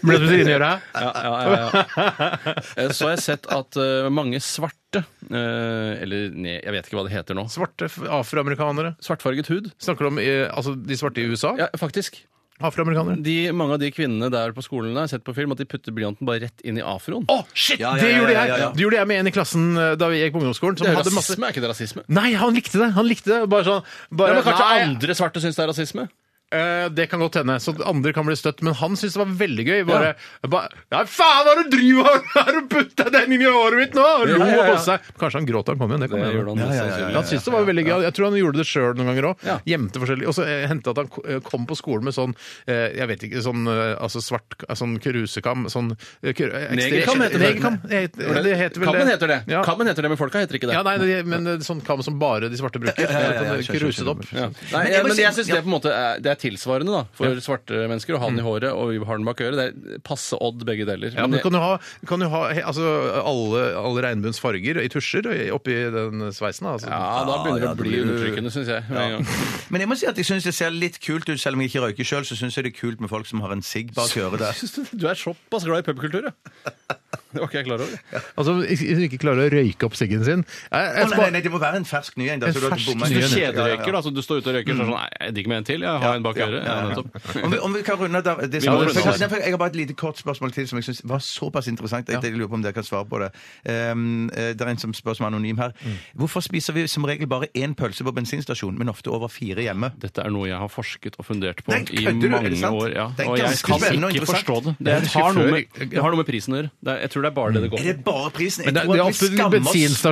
Speaker 1: Blyantspisser inni øret?
Speaker 2: ja, ja, ja, ja. Eh, Så har jeg sett at eh, mange svarte eh, Eller ne, jeg vet ikke hva det heter nå.
Speaker 1: Svarte f- afroamerikanere.
Speaker 2: Svartfarget hud.
Speaker 1: Snakker du om eh, altså, de svarte i USA?
Speaker 2: Ja, faktisk.
Speaker 1: Afroamerikanere?
Speaker 2: De, mange av de kvinnene der på skolen har jeg sett på film at de putter blyanten bare rett inn i afroen.
Speaker 1: Å, shit!
Speaker 3: Ja, ja,
Speaker 1: det
Speaker 3: ja,
Speaker 1: gjorde
Speaker 3: ja,
Speaker 1: jeg!
Speaker 3: ja, ja.
Speaker 1: Det gjorde jeg med en i klassen eh, da vi gikk på ungdomsskolen. Som
Speaker 2: det er
Speaker 1: hadde
Speaker 2: rasisme,
Speaker 1: masse...
Speaker 2: er ikke det rasisme?
Speaker 1: Nei, han likte det! Han likte det. Bare sånn bare,
Speaker 2: ja, men kanskje
Speaker 1: nei,
Speaker 2: andre svarte syns det er rasisme?
Speaker 1: eh, Det kan godt hende. Så andre kan bli støtt. Men han syntes det var veldig gøy. Bare, bare Nei, faen, hva er det du driver med?! Har du putta den inn i håret mitt nå?! Og
Speaker 2: Ja,
Speaker 1: Lo
Speaker 2: ja, ja.
Speaker 1: og koste seg. Kanskje han gråt da han kom igjen. Det kan
Speaker 2: Det
Speaker 1: hende.
Speaker 2: gjorde han mest sannsynlig.
Speaker 1: Han syntes det var veldig gøy. Jeg tror han gjorde det sjøl noen ganger òg.
Speaker 2: Ja.
Speaker 1: Gjemte forskjellig. Og så eh, hendte at han ko- eh, kom på skolen med sånn eh, jeg vet ikke, sånn eh, altså svart eh, sånn krusekam sånn, eh, kru- eh,
Speaker 2: Negerkam heter det.
Speaker 1: Negerkam, eh, det heter vel
Speaker 2: Kammen heter det.
Speaker 1: Ja.
Speaker 2: Kammen heter det, men folka heter ikke det.
Speaker 1: Ja, nei, det, men eh, sånn kam som bare de svarte bruker.
Speaker 3: ja, ja,
Speaker 1: Så kan du
Speaker 3: skjønner,
Speaker 1: Kruse det opp.
Speaker 2: Ja. Nei, men
Speaker 3: Men jeg
Speaker 2: jeg,
Speaker 3: må
Speaker 2: men
Speaker 3: si-
Speaker 2: jeg syns
Speaker 3: ja. Mm.
Speaker 2: det på en måte er, det er tilsvarende da, for svarte mennesker. Å ha den i håret og vi har den bak øret. Det er passe odd, begge deler.
Speaker 1: Ja, men kan du ha, kan du ha he- altså, alle, alle regnbuens farger i tusjer og i- oppi den sveisen? da, Altså.
Speaker 2: Ja, da begynner det å
Speaker 3: Ja, det
Speaker 2: bli
Speaker 3: blir-
Speaker 2: undertrykkende, syns jeg. med en gang.
Speaker 3: Men jeg må si at jeg syns det ser litt kult ut, selv om jeg ikke røyker sjøl. Så synes jeg det er kult med folk som har en sigg bak øret der.
Speaker 2: Syns Du du er såpass glad i pubkultur, ja. Det var ikke jeg klar over.
Speaker 1: Altså, hvis du ikke klarer å røyke opp siggen sin jeg,
Speaker 3: Å,
Speaker 1: jeg,
Speaker 3: nei, nei, nei, det må være en fersk ny en. da,
Speaker 1: En
Speaker 3: så du har ikke
Speaker 1: fersk
Speaker 3: bommet.
Speaker 1: ny en,
Speaker 2: Hvis
Speaker 1: ja.
Speaker 2: du kjederøyker, da, så du står ute og røyker så er det sånn Nei, jeg digger med en til. Jeg har en bak
Speaker 3: Ja,
Speaker 2: øret.
Speaker 3: ja,
Speaker 2: Ja,
Speaker 3: ja.
Speaker 2: nettopp.
Speaker 3: Om vi, om vi kan runde av det
Speaker 2: Vi må
Speaker 3: spørsmålet.
Speaker 2: runde av.
Speaker 3: Nei, for Jeg har bare et lite kort spørsmål til som jeg synes var såpass interessant. at Jeg lurer på om dere kan svare på det. Um, eh, det er en som spør som er anonym her. Hvorfor spiser vi som regel bare én pølse på bensinstasjon, men ofte over fire hjemme?
Speaker 2: Dette er noe jeg har forsket og fundert på
Speaker 3: Nei,
Speaker 2: i
Speaker 3: kødder du? Er
Speaker 2: mange
Speaker 3: det sant?
Speaker 2: år. Ja.
Speaker 3: Det er
Speaker 2: Og jeg
Speaker 3: ganske
Speaker 2: kan
Speaker 3: spennende og
Speaker 2: ikke
Speaker 3: interessant.
Speaker 2: forstå det. Det,
Speaker 1: Jeg husker
Speaker 2: har, noe
Speaker 1: før-
Speaker 2: med, det har noe med prisen å gjøre. Det er- Jeg tror det er bare det det går
Speaker 3: Er
Speaker 2: på.
Speaker 3: det bare prisen? Jeg
Speaker 1: Men det,
Speaker 3: tror
Speaker 1: det er
Speaker 3: at vi
Speaker 1: ofte
Speaker 3: skammer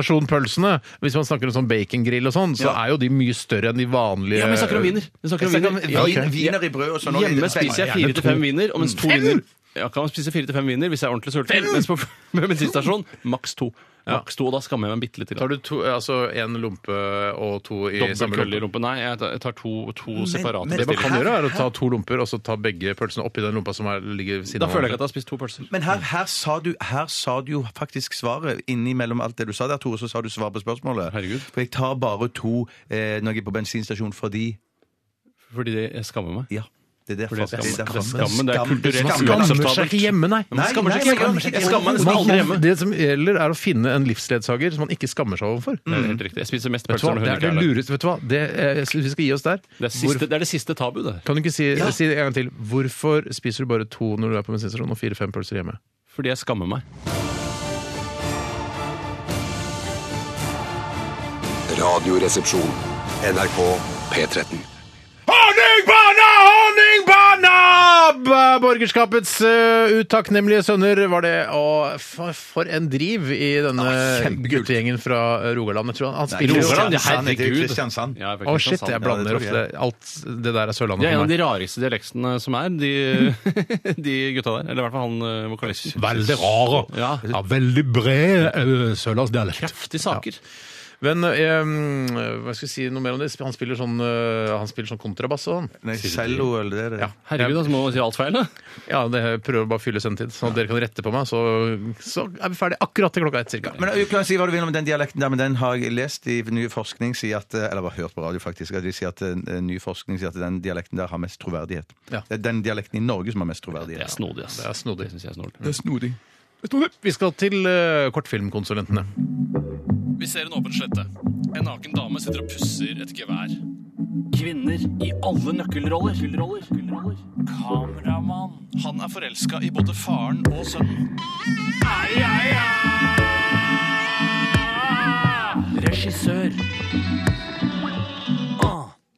Speaker 3: oss.
Speaker 1: bensinstasjonpølsene. Hvis man snakker om sånn bacongrill og sånn, så
Speaker 3: Ja.
Speaker 1: er jo de mye større enn de vanlige
Speaker 2: Ja, men vi snakker om viner. Vi snakker om
Speaker 3: Jeg snakker om
Speaker 2: viner.
Speaker 3: vin-
Speaker 2: Ja, ok.
Speaker 3: Viner i brød og sånn. og-
Speaker 2: Hjemme spiser jeg
Speaker 1: gjerne
Speaker 2: fire til fem
Speaker 1: to.
Speaker 2: viner, og mens to viner Ja, kan man spise fire til fem viner hvis jeg er ordentlig sulten, mens på på bensinstasjon maks to. Maks to, og da skammer jeg meg bitte litt.
Speaker 1: Tar du to, altså en lompe og to i samme
Speaker 2: Dobbeltkølle i
Speaker 1: lompe?
Speaker 2: rumpen. Nei, jeg tar- jeg tar to, to separate
Speaker 3: men-
Speaker 1: Det man kan
Speaker 2: bestillinger.
Speaker 1: gjøre, er å ta to lomper og så ta begge pølsene oppi den lompa som er, ligger ved siden
Speaker 2: Da føler jeg ikke at jeg har spist to pølser.
Speaker 3: Men her, her, sa du, her sa du jo faktisk svaret innimellom alt det du sa der, Tore. Så sa du svar på spørsmålet.
Speaker 2: Herregud.
Speaker 3: For jeg tar bare to eh, når jeg er på bensinstasjon fordi
Speaker 2: Fordi det, jeg skammer meg.
Speaker 3: Ja. Det er derfor.
Speaker 2: Fordi det er
Speaker 3: derfor-
Speaker 2: skam- skammen, det er
Speaker 3: skam-
Speaker 2: kulturelt
Speaker 3: skam-
Speaker 2: uakseptabelt.
Speaker 1: Skammer seg ikke hjemme,
Speaker 2: Men
Speaker 1: nei.
Speaker 3: Nei,
Speaker 2: jeg skammer
Speaker 3: nei,
Speaker 2: seg ikke
Speaker 3: jeg skammer
Speaker 2: hjemme.
Speaker 3: meg ikke.
Speaker 2: Jeg skammer meg nesten aldri hjemme.
Speaker 1: Det som gjelder, er å finne en livsledsager som man ikke skammer seg overfor.
Speaker 2: Det er helt riktig. Jeg spiser mest
Speaker 1: Vet du
Speaker 2: pølser når
Speaker 1: hva?
Speaker 2: hun
Speaker 1: Det er det
Speaker 2: ikke er der.
Speaker 1: lureste. Vet du hva? Det, eh, jeg synes vi skal gi oss der.
Speaker 2: Det er, siste, det er det siste tabu, det.
Speaker 1: Kan du ikke si, si det en gang til? Hvorfor spiser du bare to når du er på bensinstasjonen, og fire-fem pølser hjemme?
Speaker 2: Fordi jeg skammer meg.
Speaker 6: Radioresepsjon. NRK P13.
Speaker 1: Honningbarna, honningbarna! B- Borgerskapets eh, utakknemlige sønner var det. Og for, for en driv i denne guttegjengen fra Rogaland. Jeg tror han, han spiller jo-
Speaker 2: Rogaland, ja,
Speaker 3: Kristiansand, det er jo
Speaker 2: herregud.
Speaker 3: Kristiansand.
Speaker 2: Ja, jeg er fra
Speaker 1: Å, shit,
Speaker 2: Kristiansand.
Speaker 1: jeg
Speaker 3: Ja,
Speaker 1: blander
Speaker 3: det tror jeg.
Speaker 1: ofte alt det der er
Speaker 2: Det
Speaker 1: Sørlandet
Speaker 2: er en av
Speaker 1: for
Speaker 2: de
Speaker 1: meg.
Speaker 2: rareste dialektene som er, de, de gutta der. Eller i hvert fall han eh, vokalisten.
Speaker 1: Veldig rar.
Speaker 2: Ja.
Speaker 1: veldig bred uh, sørlandsdialekt.
Speaker 2: Kraftige saker.
Speaker 1: Men eh, hva skal jeg si noe mer om det? Han spiller sånn, eh, han spiller sånn kontrabass og sånn.
Speaker 3: Nei, cello eller det er det.
Speaker 1: Ja.
Speaker 2: Herregud, altså, må man si alt feil, da?
Speaker 1: Ja, det jeg prøver bare å fylle sendetid, sånn at dere kan rette på meg. Så, så er vi ferdig akkurat til klokka ett, cirka.
Speaker 3: Men du kan si hva du vil om den dialekten der, men den har jeg lest i ny forskning sier at, eh, Eller bare hørt på radio, faktisk. At de sier at eh, ny forskning sier at den dialekten der har mest troverdighet.
Speaker 1: Ja.
Speaker 3: Det er den dialekten i Norge som har mest
Speaker 2: Det
Speaker 3: troverdighet.
Speaker 2: er snodig, ass.
Speaker 1: Det er snodig.
Speaker 2: Det synes jeg er snodig.
Speaker 3: er snodig.
Speaker 1: Vi skal til eh, kortfilmkonsulentene.
Speaker 2: Vi ser en åpen slette. En naken dame sitter og pusser et gevær. Kvinner i alle nøkkelroller. Kameramann. Han er forelska i både faren og sønnen. Regissør.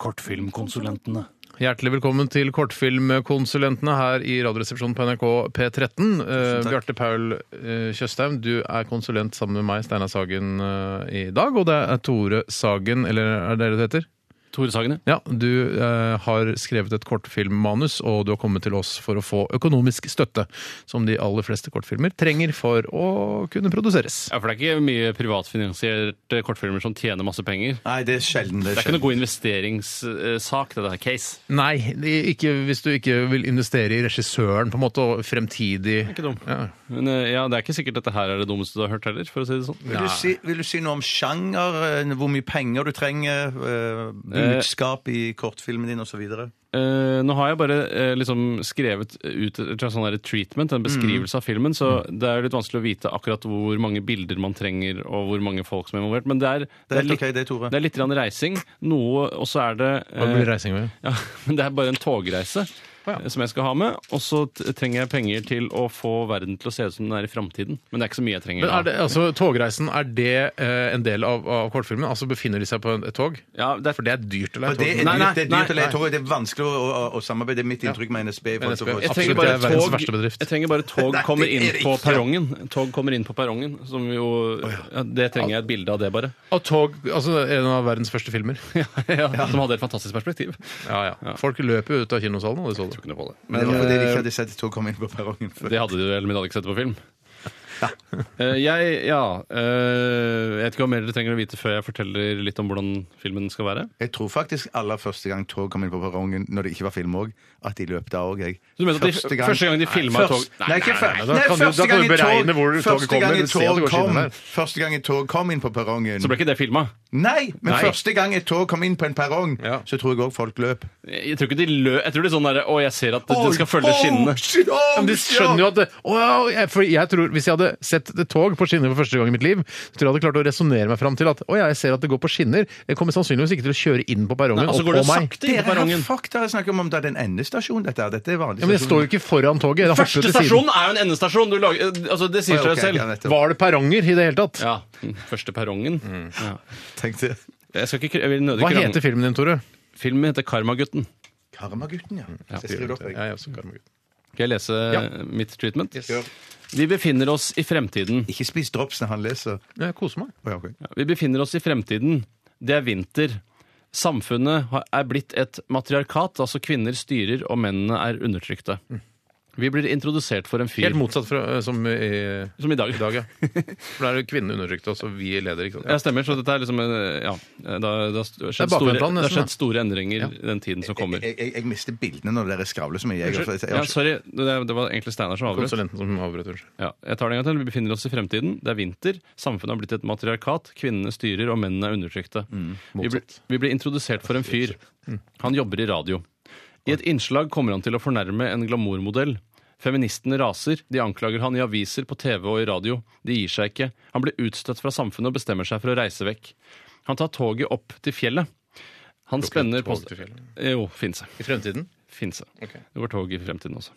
Speaker 2: Kortfilmkonsulentene.
Speaker 1: Hjertelig velkommen til Kortfilmkonsulentene her i Radioresepsjonen på NRK P13. Eh, Bjarte Paul eh, Tjøstheim, du er konsulent sammen med meg, Steinar Sagen, eh, i dag. Og det er Tore Sagen, eller er det det du heter?
Speaker 2: Tore Sagene.
Speaker 1: Ja, du eh, har skrevet et kortfilmmanus, og du har kommet til oss for å få økonomisk støtte, som de aller fleste kortfilmer trenger for å kunne produseres.
Speaker 2: Ja, for det er ikke mye privatfinansierte kortfilmer som tjener masse penger.
Speaker 3: Nei, det er sjelden.
Speaker 2: Det
Speaker 3: Det er
Speaker 2: er ikke
Speaker 3: sjelden.
Speaker 2: noe god investeringssak, det der case.
Speaker 1: Nei, det- ikke hvis du ikke vil investere i regissøren, på en måte, og fremtidig
Speaker 2: Ikke dum.
Speaker 1: Ja.
Speaker 2: Men eh, ja, det er ikke sikkert dette her er det dummeste du har hørt heller, for å si det sånn.
Speaker 3: Vil du, si, vil du si noe om sjanger? eh, Hvor mye penger du trenger? eh, Budskap i kortfilmen din osv.?
Speaker 2: Eh, nå har jeg bare eh, liksom skrevet ut et slags sånn der treatment, en beskrivelse av filmen, så
Speaker 3: Mm.
Speaker 2: det er litt vanskelig å vite akkurat hvor mange bilder man trenger, og hvor mange folk som er involvert. Men det er,
Speaker 3: Det er helt
Speaker 2: litt,
Speaker 3: ok, det, Tore.
Speaker 2: det er litt grann reising, noe, og så er det
Speaker 1: Hva blir
Speaker 2: eh,
Speaker 1: reisingen min?
Speaker 2: ja, men det er bare en togreise eh, som jeg skal ha med. Og så t- trenger jeg penger til å få verden til å se ut som den er i framtiden. Men det er ikke så mye jeg trenger.
Speaker 1: Men
Speaker 2: da.
Speaker 1: er det, altså, togreisen, er det eh, en del av, av kortfilmen? Altså befinner de seg på en- et tog?
Speaker 2: Ja, det er-
Speaker 1: For det er dyrt å leie
Speaker 3: Og Det
Speaker 1: tog.
Speaker 3: er
Speaker 2: Nei, nei,
Speaker 3: dyrt, det er dyrt å
Speaker 2: nei,
Speaker 3: leie tog, og det er vanskelig å, å, å samarbeide. Det er mitt inntrykk med NSB. i forhold
Speaker 1: NSB.
Speaker 3: til å få-
Speaker 2: Jeg
Speaker 1: Absolutt,
Speaker 2: trenger bare
Speaker 1: det er verdens
Speaker 2: tog-
Speaker 1: verste bedrift.
Speaker 2: Jeg trenger bare tog
Speaker 3: Nei, det
Speaker 2: kommer
Speaker 3: er
Speaker 2: inn
Speaker 3: det
Speaker 2: på
Speaker 3: ikke.
Speaker 2: perrongen. Tog kommer inn på perrongen, som jo ja, Det trenger jeg et bilde av det, bare.
Speaker 1: Og tog, altså en av verdens første filmer.
Speaker 2: Ja, Som hadde et fantastisk perspektiv.
Speaker 1: Ja, ja. Folk løper jo ut av kinosalen, og de så det.
Speaker 2: Kunne på det.
Speaker 3: Men det var fordi de ikke hadde sett et tog komme inn på perrongen før.
Speaker 2: Det hadde de vel, men de hadde ikke sett det på film. Eh, Jeg, ja eh, Jeg vet ikke hva mer dere trenger å vite før jeg forteller litt om hvordan filmen skal være.
Speaker 3: Jeg tror faktisk aller første gang tog kom inn på perrongen, når det ikke var film òg, at de løp da òg, jeg.
Speaker 2: du mener at de- første gang de filmet
Speaker 3: Nei, først-
Speaker 2: tog- Nei,
Speaker 3: Nei, ikke
Speaker 2: nei,
Speaker 3: før-
Speaker 1: nei, da
Speaker 3: nei,
Speaker 1: kan du- da
Speaker 3: første
Speaker 1: kan
Speaker 3: gang
Speaker 1: du
Speaker 3: i tog-
Speaker 1: beregne hvor toget
Speaker 3: første
Speaker 1: kommer,
Speaker 3: gang i
Speaker 1: men se at det
Speaker 3: tog
Speaker 1: går siden
Speaker 3: kom-
Speaker 1: der.
Speaker 3: Første gang et tog kom inn på perrongen
Speaker 2: Så ble ikke det filma.
Speaker 3: Nei, men
Speaker 2: Nei.
Speaker 3: første gang et tog kom inn på en perrong,
Speaker 1: Ja.
Speaker 3: så tror jeg òg folk løp.
Speaker 2: Jeg tror ikke de lø... Jeg tror det er sånn derre Å, jeg ser at det, det skal følge
Speaker 3: Oh,
Speaker 2: skinnene.
Speaker 3: shit, oh,
Speaker 1: Men de skjønner jo at det, Å, ja, jeg, for jeg tror, Hvis jeg hadde sett et tog på skinner for første gang i mitt liv, så tror jeg jeg hadde klart å resonnere meg fram til at å, ja, jeg ser at det går på skinner. Jeg kommer sannsynligvis ikke til å kjøre inn på perrongen.
Speaker 2: Nei, og så
Speaker 1: opp
Speaker 2: går det
Speaker 1: på meg.
Speaker 2: sakte inn
Speaker 3: Dere
Speaker 2: på
Speaker 3: har
Speaker 2: perrongen.
Speaker 3: fuck dere snakker om om det er en endestasjon. Dette er, dette er vanlig
Speaker 1: Ja, men jeg står jo ikke foran toget. Jeg hopper jo
Speaker 2: Første
Speaker 1: til siden.
Speaker 2: stasjon er jo en endestasjon! Du lager, eh, altså, det sier
Speaker 3: Ok,
Speaker 2: seg
Speaker 3: ok,
Speaker 2: selv.
Speaker 3: ja, nettopp.
Speaker 1: Var det perronger i det hele tatt?
Speaker 2: Ja. Første perrongen. Ja.
Speaker 3: Tenkte
Speaker 2: Jeg skal ikke, jeg vil nødig
Speaker 1: Hva
Speaker 2: krangle.
Speaker 1: heter filmen din, Tore?
Speaker 2: Filmen heter Karmagutten.
Speaker 3: Karmagutten, ja. Så jeg skriver det opp, jeg.
Speaker 1: Ja, jeg også, Karmagutt.
Speaker 2: Skal jeg lese eh, mitt treatment?
Speaker 3: Gjør.
Speaker 2: Vi befinner oss i fremtiden.
Speaker 3: Ikke spis drops når han leser.
Speaker 1: Jeg koser meg.
Speaker 3: Å, ja, ok.
Speaker 2: Ja, Vi befinner oss i fremtiden. Det er vinter. Samfunnet har- er blitt et matriarkat, altså kvinner styrer og mennene er undertrykte. Vi blir introdusert for en fyr
Speaker 1: Helt motsatt fra eh, som i,
Speaker 2: som i dag.
Speaker 1: i dag, ja. For da er det kvinnene undertrykt, og så vi leder, ikke sant?
Speaker 2: Jeg stemmer, så dette er liksom eh, Ja. Det har, det har st- skjedd, store,
Speaker 1: bakvendtland,
Speaker 2: det har
Speaker 1: nesten, da.
Speaker 2: skjedd store endringer i den tiden som kommer.
Speaker 3: Jeg, jeg, jeg mister bildene når dere skravler så mye. Jeg, jeg, jeg,
Speaker 2: Ja, sorry, det, det var egentlig Steinar som avbrøt.
Speaker 1: Konsulenten som avbrøt, unnskyld.
Speaker 2: Ja, jeg tar det en gang til. Vi befinner oss i fremtiden. Det er vinter. Samfunnet har blitt et matriarkat. Kvinnene styrer, og mennene er undertrykte.
Speaker 1: Mm,
Speaker 2: vi, blir, vi blir introdusert for en fyr. Han jobber i radio. I et innslag kommer han til å fornærme en glamourmodell. Feministene raser. De anklager han i aviser, på TV og i radio. De gir seg ikke. Han blir utstøtt fra samfunnet og bestemmer seg for å reise vekk. Han tar toget opp til fjellet. Han spenner på
Speaker 1: tog til fjellet?
Speaker 2: Jo, Finse.
Speaker 1: I fremtiden?
Speaker 2: Finse. Det går tog i fremtiden også.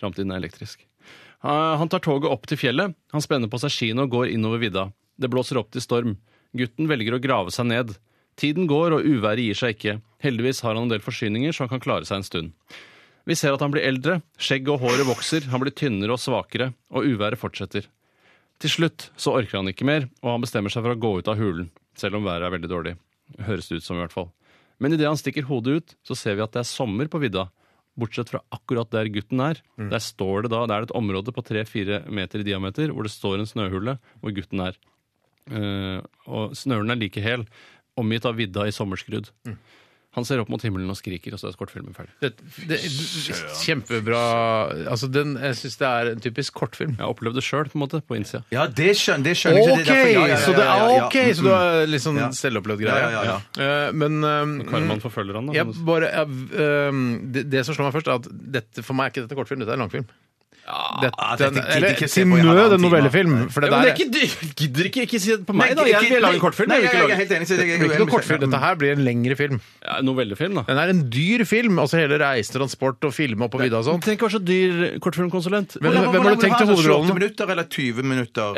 Speaker 2: Fremtiden er elektrisk. Eh, Han tar toget opp til fjellet. Han spenner på seg skiene og går innover vidda. Det blåser opp til storm. Gutten velger å grave seg ned. Tiden går, og uværet gir seg ikke. Heldigvis har han en del forsyninger, så han kan klare seg en stund. Vi ser at han blir eldre, skjegget og håret vokser, han blir tynnere og svakere, og uværet fortsetter. Til slutt så orker han ikke mer, og han bestemmer seg for å gå ut av hulen, selv om været er veldig dårlig. Høres det ut som i hvert fall. Men idet han stikker hodet ut, så ser vi at det er sommer på vidda. Bortsett fra akkurat der gutten er. Der står det da, det er et område på 3-4 meter i diameter hvor det står en snøhule hvor gutten er. Eh, og snøhulen er like hel, omgitt av vidda i sommerskrudd. Han ser opp mot himmelen og skriker, og så er kortfilmen ferdig.
Speaker 1: Det, det, kjempebra Altså, den, jeg syns det er en typisk kortfilm.
Speaker 2: Jeg har opplevd det sjøl, på en måte, på innsida.
Speaker 3: ja det skjønner, det skjønner
Speaker 1: OK!
Speaker 3: jeg ikke. Det er derfor- ja, ja, ja,
Speaker 1: Så det
Speaker 3: ja,
Speaker 1: er
Speaker 3: ja, ja.
Speaker 1: OK! Så du har litt sånn
Speaker 3: Ja.
Speaker 1: selvopplevd greie.
Speaker 3: Ja, ja, ja,
Speaker 1: Eh, Men eh,
Speaker 2: Karman forfølger han, da.
Speaker 1: jeg bare, jeg, eh, det, det som slår meg først, er at dette, for meg er ikke dette kortfilm, dette er langfilm.
Speaker 3: ah,
Speaker 1: Dette,
Speaker 3: dette gidder
Speaker 1: eller
Speaker 3: ikke se
Speaker 1: til
Speaker 3: på i
Speaker 1: nød
Speaker 3: halvannen
Speaker 1: en
Speaker 3: time.
Speaker 1: novellefilm. For det
Speaker 2: Ja, men
Speaker 1: der
Speaker 2: det er ikke, du gidder ikke ikke si det på
Speaker 3: Nei,
Speaker 2: meg, da. Jeg
Speaker 3: ikke-
Speaker 2: vil lage en kortfilm.
Speaker 3: Nei,
Speaker 2: jeg vil
Speaker 3: jeg,
Speaker 2: ikke
Speaker 3: jeg
Speaker 2: lage-
Speaker 3: er helt enig. så jeg- jeg-
Speaker 1: det er ikke
Speaker 3: jeg-
Speaker 1: noe kortfilm. Dette her blir en lengre film.
Speaker 2: Ja, novellefilm, da.
Speaker 1: Den er en dyr film. altså Hele reisen, transport og filme opp og videre og sånn.
Speaker 2: Tenk å være så dyr kortfilmkonsulent.
Speaker 1: Hvem-
Speaker 3: Mm. Hvordan-
Speaker 1: hvem har du
Speaker 3: hvordan
Speaker 1: tenkt til
Speaker 3: vil ha det?
Speaker 1: hovedrollen?
Speaker 3: 28 minutter eller 20 minutter?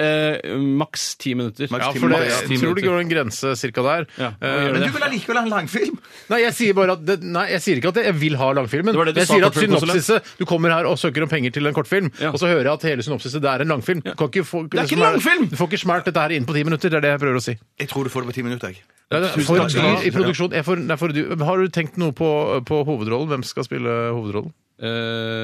Speaker 2: Eh, maks ti minutter.
Speaker 3: Maks
Speaker 1: Ja,
Speaker 3: ti
Speaker 1: for det,
Speaker 3: Ja,
Speaker 1: jeg tror det går en grense cirka der.
Speaker 2: Ja, hva
Speaker 1: Eh,
Speaker 2: gjør
Speaker 3: Men
Speaker 2: det.
Speaker 3: du vil allikevel ha en langfilm?
Speaker 1: Nei, jeg sier bare at det, nei, jeg sier ikke at jeg vil ha langfilmen.
Speaker 2: Det var det du
Speaker 1: jeg
Speaker 2: sa,
Speaker 1: sier at
Speaker 2: kortfilmkonsulent.
Speaker 1: synopsiset Du kommer her og søker om penger til en kortfilm,
Speaker 2: Ja.
Speaker 1: og så hører jeg at hele synopsiset det er en langfilm. Du, kan ikke få, det
Speaker 2: ikke
Speaker 1: som
Speaker 2: en langfilm!
Speaker 1: du får ikke smelt dette her inn på ti minutter. Det er det jeg prøver å si.
Speaker 3: Jeg tror du får det på ti minutter. jeg.
Speaker 1: Det er
Speaker 3: Tusen
Speaker 1: for
Speaker 3: takk skal du ha.
Speaker 1: dyr i produksjon. Jeg får- det er for dyr. Har du tenkt noe på, på hovedrollen? Hvem skal spille hovedrollen?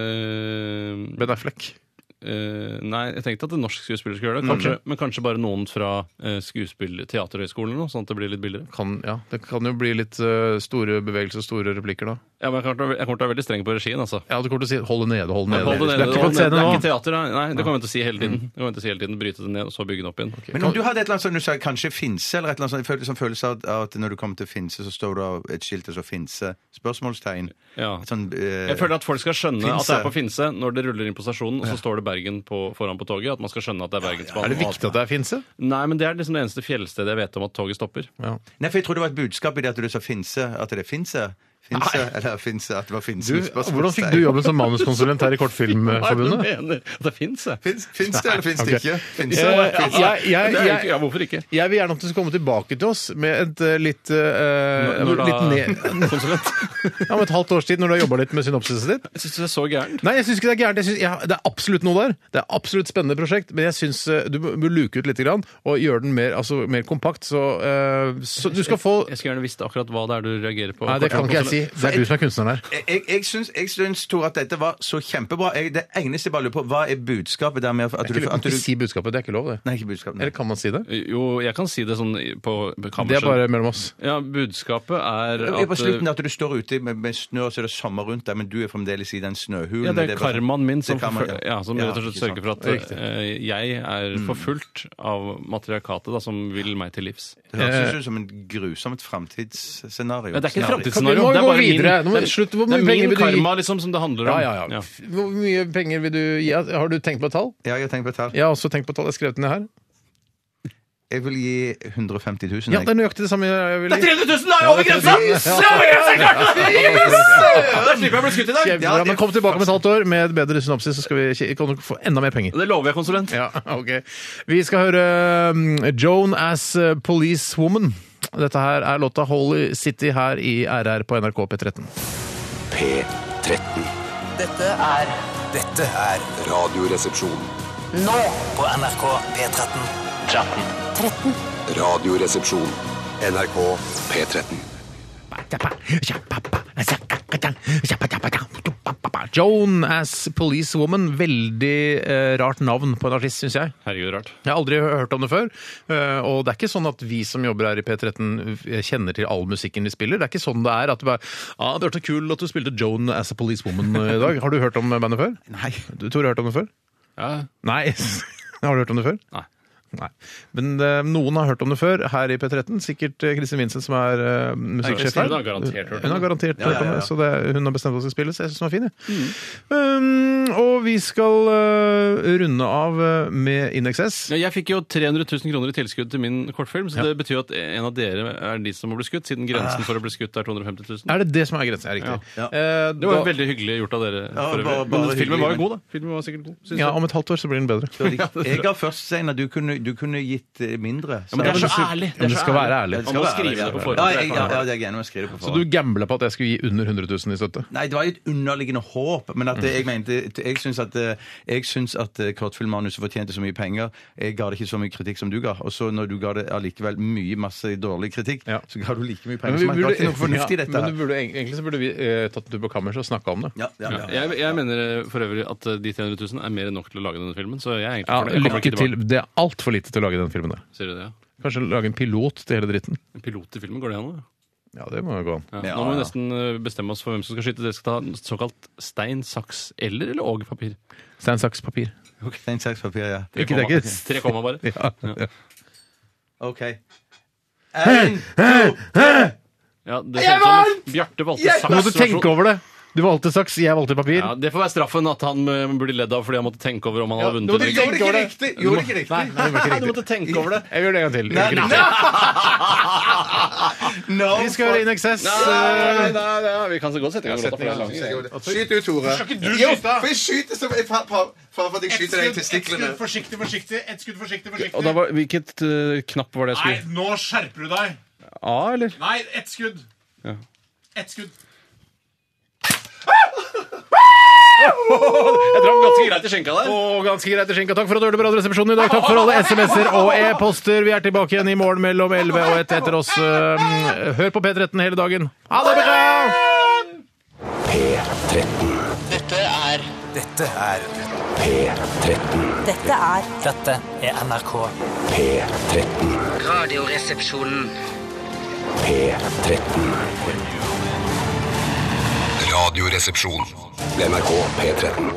Speaker 2: Eh,
Speaker 1: Ben Affleck.
Speaker 2: eh, nei, jeg tenkte at en norsk skuespiller skulle gjøre det. Kanskje, Men kanskje bare noen fra eh, skuespill Teaterhøgskolen, eller noe, sånn at det blir litt billigere.
Speaker 1: Kan, ja, det kan jo bli litt eh, store bevegelser og store replikker da.
Speaker 2: Ja, men jeg kommer til å- jeg kommer til å være veldig streng på regien, altså.
Speaker 1: Jeg hadde kort til å si 'hold det nede', hold det
Speaker 2: Jeg holder det nede,
Speaker 1: nede. Det er ikke på
Speaker 2: holder det- det er
Speaker 1: scenen
Speaker 2: ikke
Speaker 1: nå.
Speaker 2: teater, nei. nei det kommer jeg til å si hele tiden. Det kommer jeg til å si hele tiden, Bryte det ned, og så bygge det opp igjen.
Speaker 3: Men om du hadde et eller annet som du sa, kanskje Finse, eller et eller annet sånt, jeg følte- som følelse av at når du kom til Finse, så står det av et skilt som står Finse? Spørsmålstegn.
Speaker 2: Ja.
Speaker 3: Sånn, eh,
Speaker 2: Jeg føler at folk skal skjønne at det
Speaker 3: Finse.
Speaker 2: er på Finse når det ruller inn på stasjonen, og så står det Bergen på, foran på toget. At man skal skjønne at det er Bergensbanen.
Speaker 1: Er det viktig at det er finse?
Speaker 2: Nei, men det er liksom det eneste fjellstedet jeg vet om at toget stopper.
Speaker 3: Nei, for jeg tror det var et budskap i det at du sa Finse, at det er Finse. Finse, eller Finse, at det var Finse.
Speaker 1: Du,
Speaker 3: med spørsmålstegn.
Speaker 1: hvordan fikk du jobben som manuskonsulent her
Speaker 2: Hva er
Speaker 1: i
Speaker 2: det du
Speaker 1: Kortfilmforbundet?
Speaker 2: mener? At det fins, jeg.
Speaker 3: Fins, fins det, eller fins
Speaker 1: Ok.
Speaker 3: det ikke? Fins det, eller
Speaker 1: Jeg,
Speaker 3: fins det?
Speaker 1: jeg,
Speaker 2: Det er jo ikke,
Speaker 1: jeg,
Speaker 2: ja, hvorfor ikke?
Speaker 1: jeg vil gjerne at du skal komme tilbake til oss med et eh, litt, eh,
Speaker 2: Når
Speaker 1: litt ned,
Speaker 2: da, konsulent?
Speaker 1: ja, Om et halvt års tid, når du har jobba litt med synopsiset ditt.
Speaker 2: Jeg syns det er så gærent.
Speaker 1: Nei, jeg syns ikke det er gærent. Jeg synes, ja, det er absolutt noe der. Det er absolutt spennende prosjekt, men jeg syns du må må luke ut litt grann, og gjøre den mer, altså, mer kompakt. Så, eh, så du skal få
Speaker 2: Jeg skulle gjerne visst akkurat hva det er du reagerer på.
Speaker 1: Nei, det kan ikke jeg si. Fordi det er du som er kunstneren her.
Speaker 3: Jeg, jeg, jeg, syns, jeg syns, Tor, at dette var så kjempebra. Jeg, det eneste jeg bare lurer på, hva er budskapet der med at
Speaker 1: Du
Speaker 3: du,
Speaker 1: kan
Speaker 3: at
Speaker 1: ikke
Speaker 3: du
Speaker 1: si budskapet. Det er ikke lov, det.
Speaker 3: Nei, ikke budskapet. Nei.
Speaker 1: Eller kan man si det?
Speaker 2: Jo, jeg kan si det sånn i- på på
Speaker 1: Det er
Speaker 2: kammerset.
Speaker 1: bare mellom oss.
Speaker 2: Ja, budskapet er
Speaker 3: Det er på
Speaker 2: at eh,
Speaker 3: slutten at du står ute med, med snø, og så er det sommer rundt deg, men du er fremdeles i den snøhulen.
Speaker 2: ja, det er
Speaker 3: er bare-
Speaker 2: karmaen min som,
Speaker 3: Det er karmaen,
Speaker 2: forføl- ja, som rett og slett
Speaker 3: ikke sant.
Speaker 2: sørger for at
Speaker 1: Riktig.
Speaker 2: eh, jeg er
Speaker 1: Mm.
Speaker 2: forfulgt av matriarkatet, da, som vil meg til livs.
Speaker 3: Det høres ut som en grusomt framtidsscenario.
Speaker 2: Eh. Ja, det er ikke et
Speaker 3: Scenario.
Speaker 2: framtidsscenario. Det
Speaker 1: Kan vi- må vi
Speaker 2: er
Speaker 1: gå
Speaker 2: bare min,
Speaker 1: videre? Nå må-
Speaker 2: det er-
Speaker 1: slutt, hvor
Speaker 2: det
Speaker 1: mye
Speaker 2: er
Speaker 1: penger
Speaker 2: min
Speaker 1: vil du gi?
Speaker 2: karma liksom som det handler
Speaker 1: Ja,
Speaker 2: om.
Speaker 1: ja, ja. Hvor mye penger vil du gi? Har du tenkt på et tall?
Speaker 3: Ja, jeg har tenkt på et tall.
Speaker 1: Jeg har også tenkt på et tall. Jeg har skrevet det ned her.
Speaker 3: Jeg vil gi 150 000.
Speaker 1: Ja,
Speaker 3: jeg.
Speaker 1: det er nøyaktig det samme jeg vil gi.
Speaker 2: 300 000 er over grensa! Da slipper jeg å bli skutt i dag!
Speaker 1: Kjempebra, Men kom tilbake om et halvt år med et bedre synopsis, så skal vi kje- kan dere få enda mer penger.
Speaker 2: Det lover jeg, konsulent.
Speaker 1: Ja, ok. Vi skal høre um, Joan as uh, Policewoman. Dette her er låta Holy City her i RR på NRK P13.
Speaker 6: P13.
Speaker 5: Dette er Dette er
Speaker 6: Radioresepsjon.
Speaker 5: Nå på NRK P13.
Speaker 6: Radioresepsjon. NRK P13.
Speaker 1: Joan as Policewoman. Veldig eh, rart navn på en artist, syns jeg.
Speaker 2: Herregud, rart.
Speaker 1: Jeg har aldri hørt om det før. eh, og det er ikke sånn at vi som jobber her i P13 eh, kjenner til all musikken vi spiller. Det er ikke sånn det er at du bare Ja, ah, det hørtes kult at du spilte Joan as a Policewoman i dag. Har du hørt om bandet før? Nei. Du, Tore, har du hørt om det før?
Speaker 2: Ja.
Speaker 1: Nei. har du hørt om det før?
Speaker 2: Nei.
Speaker 1: Nei. Men eh, noen har hørt om det før her i P13. Sikkert eh, Kristin Vincent, som er eh, musikksjef
Speaker 2: Kristin,
Speaker 1: her.
Speaker 2: hun har garantert hørt om
Speaker 1: Hun har
Speaker 2: det.
Speaker 1: garantert hørt
Speaker 3: ja,
Speaker 1: om
Speaker 3: ja.
Speaker 1: det, så det, hun har bestemt hva som skal spilles. Jeg syns den var fin, jeg.
Speaker 2: Mm.
Speaker 1: Um, og vi skal eh, runde av eh, med In Excess.
Speaker 2: Ja, Jeg fikk jo 300 000 kroner i tilskudd til min kortfilm, så det betyr jo at en av dere er de som må bli skutt, siden grensen for å bli skutt er 250 000.
Speaker 1: Er det det som er grensen? Ja, riktig.
Speaker 3: Ja.
Speaker 1: Eh,
Speaker 2: Det var
Speaker 1: da-
Speaker 2: veldig hyggelig gjort av dere.
Speaker 3: Ja,
Speaker 2: for øvrig.
Speaker 3: bare- bare
Speaker 2: Men filmen var
Speaker 3: hyggelig,
Speaker 2: jo god, da. Filmen var sikkert god, synes
Speaker 1: ja,
Speaker 2: jeg.
Speaker 1: om et halvt år så blir den bedre.
Speaker 3: Så de- Jeg har først, Steinar. Du, kunne- du kunne gitt eh, mindre.
Speaker 2: men det er så
Speaker 3: Ja,
Speaker 2: ærlig.
Speaker 1: Men det skal være ærlig.
Speaker 3: det skal
Speaker 2: Man må
Speaker 3: være
Speaker 2: skrive
Speaker 3: ærlig.
Speaker 2: det på forhånd.
Speaker 3: Ja, jeg- ja, ja, det er jeg enig med å skrive det på
Speaker 1: Så
Speaker 3: forhånd.
Speaker 1: du gambla på at jeg skulle gi under 100 000 i støtte?
Speaker 3: Nei, det var jo et underliggende håp, men at
Speaker 1: Mm.
Speaker 3: jeg mente Jeg syns at, eh, jeg syns at eh, kortfilmmanuset fortjente så mye penger. Jeg ga det ikke så mye kritikk som du ga. Og så når du ga det allikevel mye masse dårlig kritikk,
Speaker 1: Ja.
Speaker 3: så ga du like mye
Speaker 1: Men
Speaker 3: penger.
Speaker 1: vi
Speaker 3: som han. Det var ikke noe
Speaker 1: burde-
Speaker 3: fornuftig i
Speaker 1: Ja,
Speaker 3: dette
Speaker 1: men
Speaker 3: her.
Speaker 1: du burde, eng- egentlig så burde vi eh, tatt en tur på kammers og snakka om det.
Speaker 3: Ja, ja, ja.
Speaker 2: Jeg, jeg mener eh, for øvrig at eh, de 300 000 er mer enn nok til å lage denne filmen, så jeg er egentlig
Speaker 1: Ja,
Speaker 2: fornøyd. Jeg kommer
Speaker 1: lykke
Speaker 2: ikke
Speaker 1: til.
Speaker 2: tilbake.
Speaker 1: Det er altfor lite til å lage den filmen der.
Speaker 2: Sier du det, ja?
Speaker 1: Kanskje lage en pilot til hele dritten.
Speaker 2: En pilot i filmen, går det an? da?
Speaker 1: Ja, det må jo gå an.
Speaker 2: Ja.
Speaker 3: Ja,
Speaker 2: Nå må vi
Speaker 3: ja.
Speaker 2: nesten eh, bestemme oss for hvem som skal skyte. Dere skal ta såkalt stein, saks eller eller og papir.
Speaker 1: Stein, saks, papir.
Speaker 3: Stein, saks, papir, ja.
Speaker 1: Ikke det, ikke s-
Speaker 2: Tre komma bare.
Speaker 1: ja, ja.
Speaker 3: OK. En, to,
Speaker 2: Ja, det ser ut som Bjarte valgte
Speaker 1: Du måtte tenke
Speaker 2: saks.
Speaker 1: over det! Du valgte saks, jeg valgte papir.
Speaker 2: Ja, det får være straffen at han eh, burde ledd av fordi han måtte tenke over om han hadde vunnet.
Speaker 1: nå må du
Speaker 2: eller ikke.
Speaker 3: Gjorde det ikke riktig! Gjorde det ikke riktig!
Speaker 1: Nei, det var
Speaker 2: Nei,
Speaker 1: ikke
Speaker 2: du
Speaker 1: riktig.
Speaker 2: måtte tenke over det.
Speaker 1: Jeg gjør det en gang til. Jeg gjør ikke riktig.
Speaker 3: No,
Speaker 1: Vi skal høre In Excess. eh,
Speaker 2: Nei, nei, nei, vi kan så godt sette i gang låta. for det er lang.
Speaker 3: Skyt du, Tore. Skal ikke du skyte? For jeg skyter som jeg fa- fa- Far for at jeg skyter deg i testiklene.
Speaker 8: Forsiktig, forsiktig. Ett skudd forsiktig,
Speaker 2: Og da
Speaker 8: forsiktig.
Speaker 2: var, Hvilket eh, knapp var det jeg
Speaker 8: Nei,
Speaker 2: skulle
Speaker 8: nå skjerper du deg!
Speaker 2: A, eller?
Speaker 8: Nei, ett skudd.
Speaker 2: Ja.
Speaker 8: Ett skudd.
Speaker 2: Jeg traff ganske greit i skjenka der.
Speaker 1: Og ganske greit i skinka. Takk for at du hørte på Radioresepsjonen i dag. Takk for alle SMS-er og e-poster. Vi er tilbake igjen i morgen mellom 11 og 1 etter oss. Eh, Hør på P13 hele dagen. Ha det bra!
Speaker 9: Dette er
Speaker 5: Dette er
Speaker 6: P13.
Speaker 10: Dette er
Speaker 5: Dette er NRK.
Speaker 6: P13.
Speaker 9: Radioresepsjonen.
Speaker 6: P13. Radioresepsjon. NRK P13.